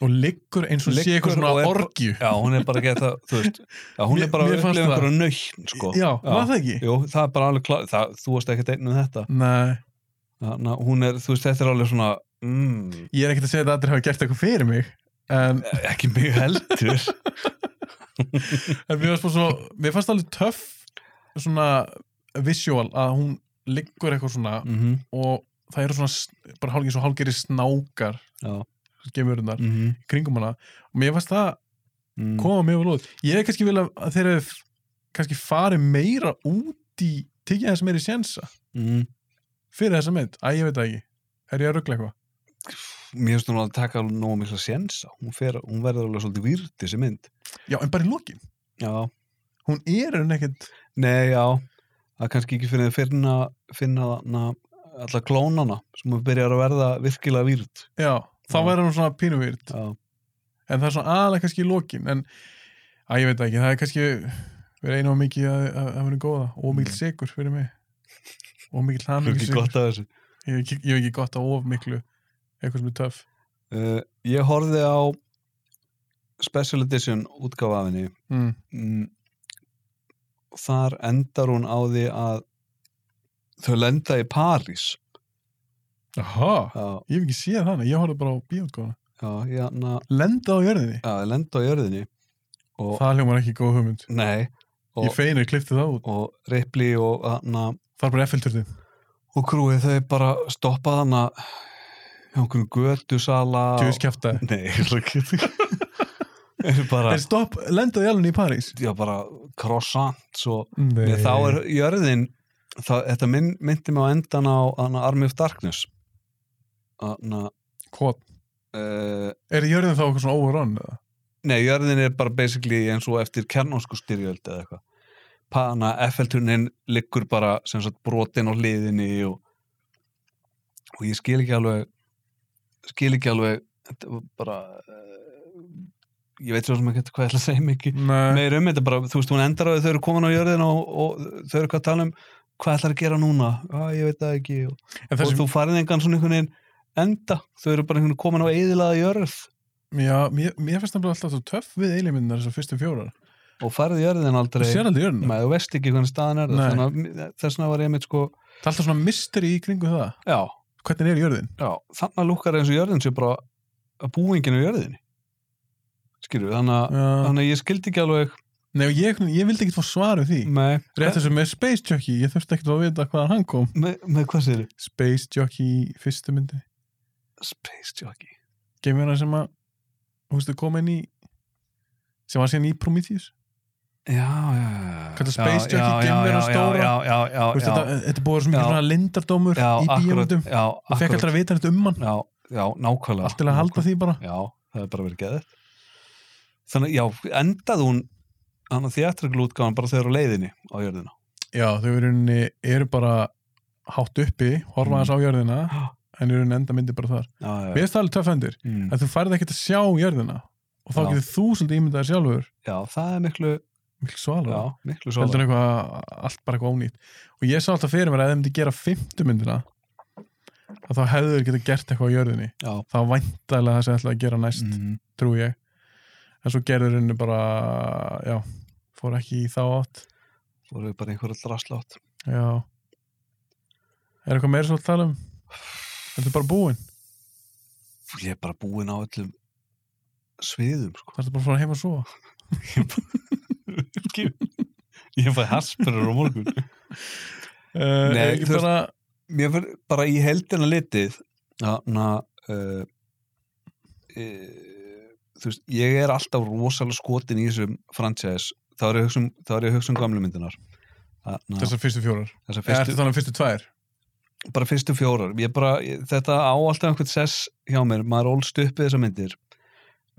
Speaker 1: og liggur eins og sé
Speaker 2: Liggur
Speaker 1: eitthvað svona
Speaker 2: og er-
Speaker 1: orgju
Speaker 2: já, hún er bara að geta, þú veist já, hún
Speaker 1: Mér-
Speaker 2: er bara að
Speaker 1: mér fannst
Speaker 2: upplifa
Speaker 1: það.
Speaker 2: einhverja nöytn sko.
Speaker 1: já, var það ekki?
Speaker 2: Jú, það er bara alveg klá, það, þú varst ekkert einn um þetta
Speaker 1: Nei,
Speaker 2: Þannig að hún er, þú veist, þetta er alveg svona mm,
Speaker 1: ég er ekkert að segja að allir hafa gert eitthvað fyrir mig en,
Speaker 2: ekki mjög heldur
Speaker 1: en mér, fannst bara svo, mér fannst alveg töff svona visual að hún liggur eitthvað svona
Speaker 2: mm -hmm.
Speaker 1: og það eru svona s- bara hálfgeir svo hálfgeiri snákar
Speaker 2: já,
Speaker 1: gemurinnar
Speaker 2: mm -hmm.
Speaker 1: kringum hana og mér fannst það
Speaker 2: Mm.
Speaker 1: koma mjög vel út ég er kannski vilja að þeir eru kannski farið meira út í tekið þess meiri sjensa
Speaker 2: Mm.
Speaker 1: fyrir þessa mynd, að ég veit það ekki er ég að ruggla eitthvað?
Speaker 2: mér finnst hún að taka alveg nógu mikla sénsa hún, fer, hún verður alveg svolítið výrt þessi mynd
Speaker 1: Já, en bara í lokin,
Speaker 2: já,
Speaker 1: hún er en ekkert
Speaker 2: nei, já það er kannski ekki fyrir að finna, finna na, alla klónana sem byrjar að verða virkilega výrt
Speaker 1: já, þá
Speaker 2: Já.
Speaker 1: væri hún svona pínuvýrt
Speaker 2: já,
Speaker 1: en það er svona aðalega kannski í lokin en að ég veit það ekki, það er kannski verið einu og mikið að, að, að vera góða og mikill
Speaker 2: Mm.
Speaker 1: sigur fyrir mig og mikill
Speaker 2: það er ekki
Speaker 1: hamingisegur
Speaker 2: gott að þessu
Speaker 1: ég hef ekki- ég hef ekki gott á of miklu eitthvað sem er töff
Speaker 2: uh, ég horfði á Special Edition útgáfafinni
Speaker 1: mm.
Speaker 2: mm, þar endar hún á því að þau lenda í París
Speaker 1: Aha,
Speaker 2: já,
Speaker 1: ég hef ekki séð þannig, ég horfði bara á bíótgóðana
Speaker 2: já, já, na,
Speaker 1: lenda á jörðinni,
Speaker 2: já, þau lenda á jörðinni og,
Speaker 1: það hljómar ekki góð hugmynd
Speaker 2: nei
Speaker 1: ég feinir klippti það út,
Speaker 2: og Ripley og, na,
Speaker 1: það er bara F-filturðin
Speaker 2: og krúið þau bara stoppað hana hjá einhverjum götusala
Speaker 1: Tjóðis kjaftaði.
Speaker 2: Nei, ég ætla ekki Eru bara,
Speaker 1: En stopp, lendaði alveg í París.
Speaker 2: já bara croissants og
Speaker 1: Nei.
Speaker 2: Nei. þá er jörðin það, þetta minn, myndi mig á endan á hana, Army of Darkness hana,
Speaker 1: Hvað?
Speaker 2: uh,
Speaker 1: Er jörðin þá eitthvað svona overrun eða?
Speaker 2: Nei, jörðin er bara basically eins og eftir kjarnónsku styrjöld eða eitthvað Pana, FL-tunin liggur bara sem sagt brotin á hliðinni og, og ég skil ekki alveg skil ekki alveg þetta var bara uh, ég veit svo sem ekki hvað ég ætla að segja mikið
Speaker 1: Nei.
Speaker 2: meir um þetta bara, þú veist, hún endar á því þau eru komin á jörðin og, og þau eru hvað að tala um hvað ætlar að gera núna, ah, ég veit það ekki og,
Speaker 1: En þessi,
Speaker 2: og þú farið engan svona einhvern veginn enda, þau eru bara einhvern veginn komin á eðilaða jörð
Speaker 1: já, mér, mér finnst það bara alltaf svo töff við eilimyndunar þessar fyrstu fjórar.
Speaker 2: og farið jörðin aldrei
Speaker 1: Þú sér aldrei jörðina.
Speaker 2: með þú veist ekki hvernig staðan er
Speaker 1: Nei.
Speaker 2: það þannig að þess vegna var ég mitt sko
Speaker 1: Það er alltaf svona mysteri í kringu það.
Speaker 2: já,
Speaker 1: Hvernig er jörðin?
Speaker 2: já, þannig að lúkkar eins og jörðin sé bara að búinginu jörðinni skilju, þannig að
Speaker 1: Já.
Speaker 2: þannig að ég skildi ekki alveg
Speaker 1: Nei, og ég, ég vildi ekki fá svar um því.
Speaker 2: með,
Speaker 1: Rétt þessu með Space Jockey, ég þurfti ekkert að vita hvaðan hann kom.
Speaker 2: með, með hvað sér
Speaker 1: Space Jockey í fyrstu myndi.
Speaker 2: Space Jockey
Speaker 1: Geimverðan sem að, þú veist, kom inn í, sem var síðan í Prometheus.
Speaker 2: já, já, já
Speaker 1: Kallar Space Jockey
Speaker 2: já, já,
Speaker 1: geimveran
Speaker 2: já,
Speaker 1: stóra?
Speaker 2: já, já, já,
Speaker 1: Þú veist,
Speaker 2: já,
Speaker 1: þetta, þetta búið að vera svo mikið
Speaker 2: Já.
Speaker 1: svona lindardómur
Speaker 2: já,
Speaker 1: í
Speaker 2: akkurat,
Speaker 1: bíómyndum.
Speaker 2: já,
Speaker 1: Þú fekk
Speaker 2: akkurat
Speaker 1: alltaf að vita þetta um hann.
Speaker 2: já, já, nákvæmlega
Speaker 1: Allt til að halda því bara.
Speaker 2: já, það er bara verið geðið þannig, já, endað hún hann að þjáttraglútgáðan bara þegar á leiðinni á jörðina
Speaker 1: Já, þau eru, í rauninni- eru bara hátt uppi,
Speaker 2: Mm.
Speaker 1: horfa þess á jörðina,
Speaker 2: já,
Speaker 1: en eru enda myndi bara þar.
Speaker 2: já,
Speaker 1: Við erum það alveg töffendur,
Speaker 2: Mm.
Speaker 1: að þú færði ekkert að sjá jörðina og þá
Speaker 2: Já.
Speaker 1: getur þú svolítið ímyndaðir sjálfur,
Speaker 2: Já, það er miklu,
Speaker 1: mikil svalar.
Speaker 2: já, miklu svo
Speaker 1: heldur en eitthvað, allt bara eitthvað ónýtt og ég sá alltaf fyrir mér að ef þeim myndi gera fymtu myndina að þá hefðu þeir geta gert eitthvað á jörðinni
Speaker 2: Já,
Speaker 1: þá væntalega það sem ætlaði að gera næst
Speaker 2: mm,
Speaker 1: trú ég, en svo gerður henni bara, já, fór ekki í þá átt,
Speaker 2: voru bara einhverja draslátt.
Speaker 1: já er eitthvað meira svo að tala um þetta er bara búin,
Speaker 2: Ég er bara búinn á öllum sviðum, sko.
Speaker 1: það er bara að fara heim og svo
Speaker 2: Ég fæði harsperur á morgun.
Speaker 1: uh,
Speaker 2: Nei,
Speaker 1: er ekki
Speaker 2: þú veist-
Speaker 1: bara
Speaker 2: Mér fyrir bara í heldina litið, þannig að, uh, uh, þú veist, ég er alltaf rosalega skotin í þessum franchise. Þá er ég að hugsa um, þá er ég að hugsa um gamlu myndunar. Þessar
Speaker 1: þessar fyrstu fjórar, eða
Speaker 2: um fyrstu,
Speaker 1: ertu þannig fyrstu tvær
Speaker 2: bara fyrstu fjórar ég bara, ég, þetta á alltaf einhvern sess hjá mér, maður ólst upp við þessar myndir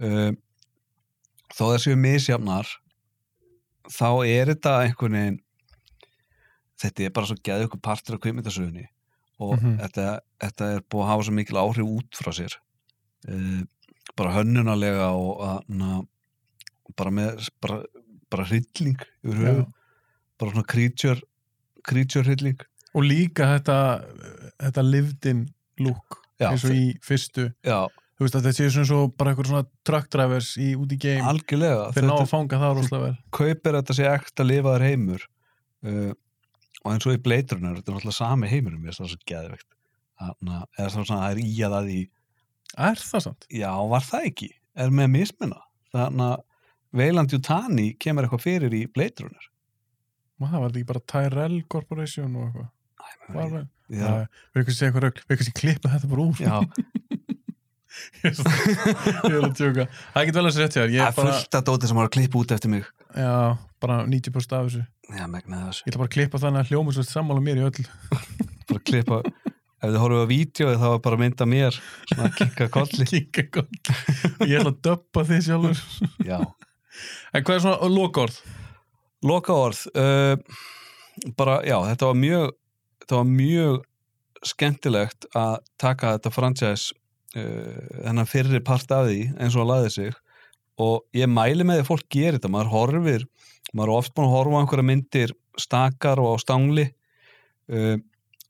Speaker 2: uh, þó það séu misjafnar þá er þetta einhvern veginn þetta er bara svo geðu ykkur partur af kvikmyndasögunni og
Speaker 1: Mhm.
Speaker 2: þetta, þetta er búið að hafa svo mikil áhrif út frá sér uh, bara hönnunarlega og að, na, bara með bara, bara hrylling yfir
Speaker 1: Já.
Speaker 2: höfu bara svona creature creature hrylling
Speaker 1: og líka þetta þetta livdin lúk
Speaker 2: Já,
Speaker 1: eins og í fyrstu
Speaker 2: já,
Speaker 1: þú veist að þetta séu svona svo bara eitthvað svona truck drivers í, út í game
Speaker 2: algjörlega
Speaker 1: þeir ná
Speaker 2: Þetta-
Speaker 1: að fanga það rosalega vel
Speaker 2: kaupir þetta sé ekta lifaður heimur uh, og eins og í bleiturinn er þetta náttúrulega sami heimurum ég er það svo geðveikt Þarna, eða þá svona það er í að að í
Speaker 1: er það samt?
Speaker 2: já var það ekki, er með mismuna þannig að Veiland Jutani kemur eitthvað fyrir í bleiturunar
Speaker 1: maður það var þetta ekki bara Tyrell Corporation og eitthvað var vel
Speaker 2: já,
Speaker 1: Æ, við eitthvað segja eitthvað rögl við eitthvað sem klippa þetta bara úr
Speaker 2: já,
Speaker 1: ég er svo- ég er að tjóka það getur vel að sér rétt hjá þér.
Speaker 2: það
Speaker 1: ég
Speaker 2: er
Speaker 1: er bara,
Speaker 2: fullt að dóti sem var að klippa út eftir mig
Speaker 1: já, bara 90% af þessu ég
Speaker 2: já, megna þessu,
Speaker 1: ætla bara að klippa þannig að hljóma svo sammála mér í öll
Speaker 2: bara að klippa ef þið horfum á vídeo þá er bara að mynda mér svona að kikka kolli
Speaker 1: kinga koll ég ætla að döppa þið sjálfur
Speaker 2: já
Speaker 1: en hvað er svona lokaorð?
Speaker 2: Loka orð uh, bara, já, þetta var mjög þetta var mjög skemmtilegt að taka þetta franchise uh, þennan fyrri part af því eins og að laði sig og ég mæli með því að fólk gerir þetta maður horfir, maður er oft búin að horfa á einhverja myndir stakar og á stangli uh,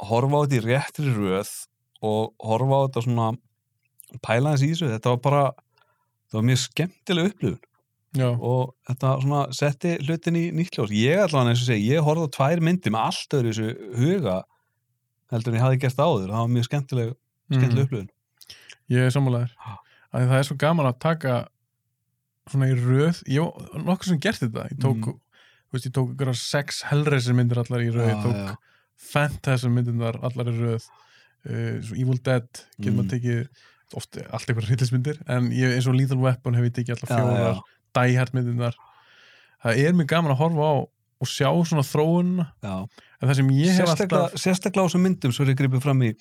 Speaker 2: horfa á þetta í réttri röð og horfa á þetta svona pæla hans í þessu, þetta var bara þetta var mjög skemmtileg upplifun
Speaker 1: já,
Speaker 2: og þetta svona setti hlutin í nýtt ljós. Ég allan eins og segi, ég horfði á tvær myndir með allt öðru þessu huga heldur en ég hafi gert áður, það var mjög skemmtileg,
Speaker 1: Mhm.
Speaker 2: skemmtileg upplifun.
Speaker 1: Mm, Ég er sammálaður.
Speaker 2: Ha.
Speaker 1: Af því Það er svo gaman að taka svona í röð. Ég var nokkur sem gert þetta. Ég tók,
Speaker 2: Mm.
Speaker 1: þú veist, ég tók ykkur sex hellreyser myndir allar í röð.
Speaker 2: Já,
Speaker 1: ég tók
Speaker 2: já.
Speaker 1: fantasy myndirnar allar eru röð uh, svo Evil Dead getur
Speaker 2: Mm.
Speaker 1: maður tekið oft allt eitthvað hryllismyndir en ég, eins og Lethal Weapon hef ég tekið allar fjórar
Speaker 2: já,
Speaker 1: Die Hard myndirnar það er mjög gaman að horfa á og sjá svona þróun
Speaker 2: já.
Speaker 1: en það sem ég hef
Speaker 2: sérstaklega,
Speaker 1: alltaf
Speaker 2: sérstaklega á þessum myndum svo er ég gripið fram í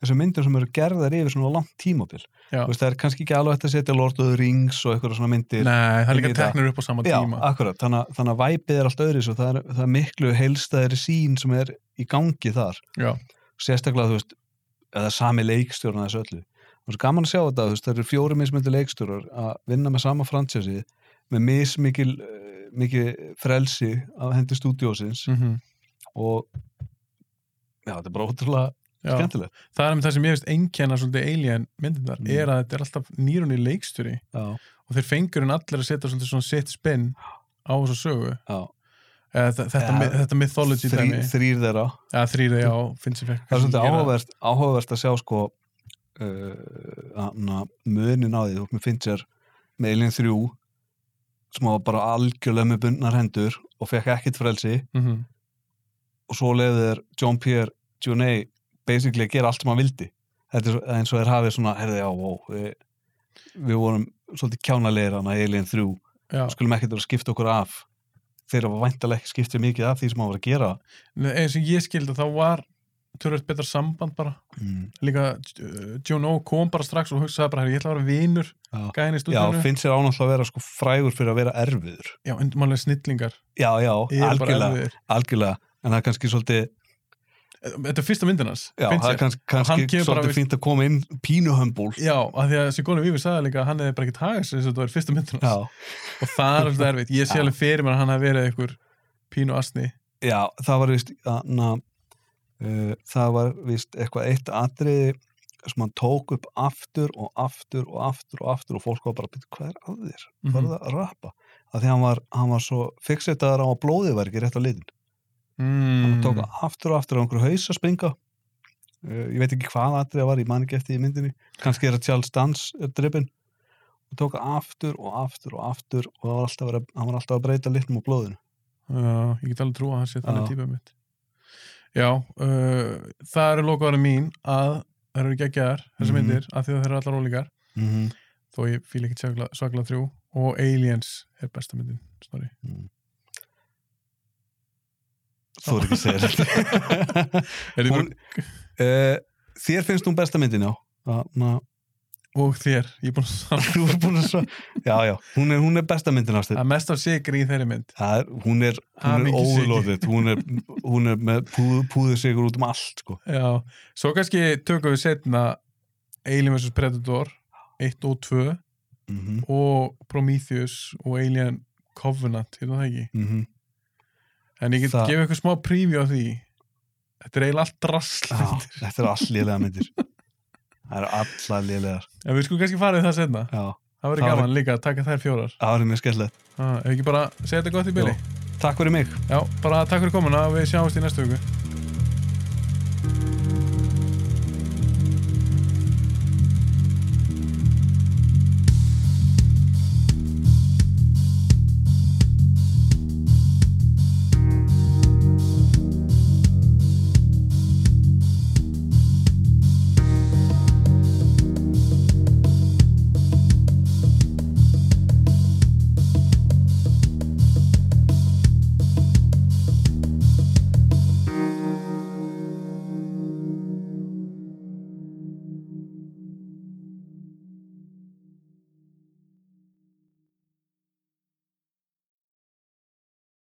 Speaker 2: þessum myndum sem eru gerðar yfir svona langt tímabil
Speaker 1: já,
Speaker 2: Þú veist, það er kannski ekki alveg hægt að setja Lord of the Rings og eitthvað svona myndir
Speaker 1: nei, það er
Speaker 2: inn í
Speaker 1: líka
Speaker 2: þetta.
Speaker 1: teknir upp á sama
Speaker 2: Já,
Speaker 1: tíma
Speaker 2: akkurat, þannig, að- þannig að væpið er allt öðris og það er, það er miklu heilstæðri sín sem er í gangi þar
Speaker 1: já,
Speaker 2: sérstaklega, þú veist, eða sami leikstjórn að þessu öllu. Og svo gaman að sjá þetta, þú veist, það eru fjóri mismöndi leikstjórar að vinna með sama fransjösi með mismikil eh, mikið frelsi af hendi stúdiósins
Speaker 1: mm
Speaker 2: og já, þetta er bara ótrúlega
Speaker 1: já.
Speaker 2: skemmtilegt.
Speaker 1: það er með það sem ég veist einkenna svolítið Alien myndirnar
Speaker 2: Mm.
Speaker 1: er að þetta er alltaf nýrunni leiksturi
Speaker 2: Já,
Speaker 1: og þeir fengur en allir að setja svolítið svona sitt spinn á þessa sögu
Speaker 2: já.
Speaker 1: Eða, þe- þetta,
Speaker 2: Ja,
Speaker 1: ja, þetta mythology
Speaker 2: Þrý-
Speaker 1: dæmi
Speaker 2: Þrýr þeirra.
Speaker 1: eða þrýri, já, finnst ég fekk
Speaker 2: Það er svolítið áhugavert, áhugavert að sjá sko uh, munin á því, þú veist, mér finnst sér með Alien 3 sem var bara algjörlega með bundnar hendur og fekk ekkit frelsi
Speaker 1: mm
Speaker 2: og svo leiði þeir John Pierre Jeunet basically að gera allt sem hann vildi þetta er svo- eins og þeir hafið svona herði já, wow, við, við vorum svolítið kjánalegir hann að Alien 3
Speaker 1: já,
Speaker 2: skulum ekkert vera að skipta okkur af þeir hafa væntalega ekki skiptið mikið af því sem hann var að gera
Speaker 1: Nei, eins og ég skildi þá var törvöld betra samband bara
Speaker 2: mm.
Speaker 1: líka uh, John O kom bara strax og hugsaði bara, "Herri, ég ætla að vera vinur
Speaker 2: já.
Speaker 1: gæðin í
Speaker 2: já,
Speaker 1: stúdíunum,
Speaker 2: finnst sér ánáttúrulega að vera sko frægur fyrir að vera erfiður
Speaker 1: já, undumálega snillingar
Speaker 2: já, já,
Speaker 1: Eru bara
Speaker 2: algjörlega,
Speaker 1: erfiðir.
Speaker 2: algjörlega en það er kannski svolítið
Speaker 1: þetta er fyrsta myndinans
Speaker 2: já, það er kannski,
Speaker 1: hann
Speaker 2: kannski
Speaker 1: kemur bara
Speaker 2: svolítið
Speaker 1: við-
Speaker 2: fínt að koma inn pínuhömbul
Speaker 1: Já, af því að Sigóli Vífi sagði líka að hann hefði bara ekkert hagað sér þess að þetta var fyrsta myndunars
Speaker 2: já,
Speaker 1: og það er alltaf erfitt, ég sé
Speaker 2: Já.
Speaker 1: alveg fyrir mér að hann hafi verið einhver pínu asni
Speaker 2: Já, það var vist na, uh, það var vist eitthvað eitt atriði sem hann tók upp aftur og aftur og aftur og aftur og fólk var bara, "Bíddu, hvað er að þér?
Speaker 1: mm
Speaker 2: Hvað er það að rappa? Það því hann var, hann var svo fixetaður á að blóðið var ekki rétt á litin.
Speaker 1: Hmm.
Speaker 2: Hann tók aftur og aftur á einhverju haus að springa. Uh, ég veit ekki hvað atriði það var, ég man ekki eftir í myndinni. Kannski er að Charles Dance er drippin. Og tók aftur og aftur og aftur og það var alltaf að, vera- hann var alltaf að breyta litnum á blóðinu.
Speaker 1: Já, ég get alveg trúa að hann sé þannig
Speaker 2: Já.
Speaker 1: típa mitt Já, uh, það eru lokaðarinn mín að það eru geggjaðar þessar
Speaker 2: Mhm.
Speaker 1: myndir af því að það eru allar ólíkar
Speaker 2: Mm -hmm.
Speaker 1: þó ég fíl ekki svagla, svagla þrjú og Aliens er besta myndin snorri.
Speaker 2: mm. Þú er ekki að segja þetta.
Speaker 1: Er ég
Speaker 2: Hún-
Speaker 1: búin-
Speaker 2: Eh, Þér finnst hún besta myndin, já Þarna,
Speaker 1: Og þér, ég er búin að sanna
Speaker 2: Þú er búin að svo Já, já, hún er, hún er besta myndin ástu
Speaker 1: að mest af sigri í þeirri mynd
Speaker 2: er, Hún er, hún er
Speaker 1: Hamingjusyki.
Speaker 2: óðlóðið hún, er- hún er með púðu, púðu sigur út um allt sko.
Speaker 1: Já, svo kannski tökum við setna Alien vs Predator 1 og 2
Speaker 2: mm -hmm.
Speaker 1: og Prometheus og Alien Covenant, hérna það ekki
Speaker 2: mhm.
Speaker 1: en ég get
Speaker 2: Það-
Speaker 1: gefið eitthvað smá preview á því þetta er eiginlega allt drasl
Speaker 2: já, Þetta eru all lélega myndir Það eru allar lélegar
Speaker 1: en við skulum kannski farið það senna
Speaker 2: Já,
Speaker 1: það
Speaker 2: Það
Speaker 1: verður
Speaker 2: var-
Speaker 1: gaman líka að taka þær fjórar
Speaker 2: það var mjög skellilegt
Speaker 1: ah, ef ekki bara segja þetta gott í byli
Speaker 2: Takk fyrir mig
Speaker 1: já, bara takk fyrir komuna og við sjáumst í næstu viku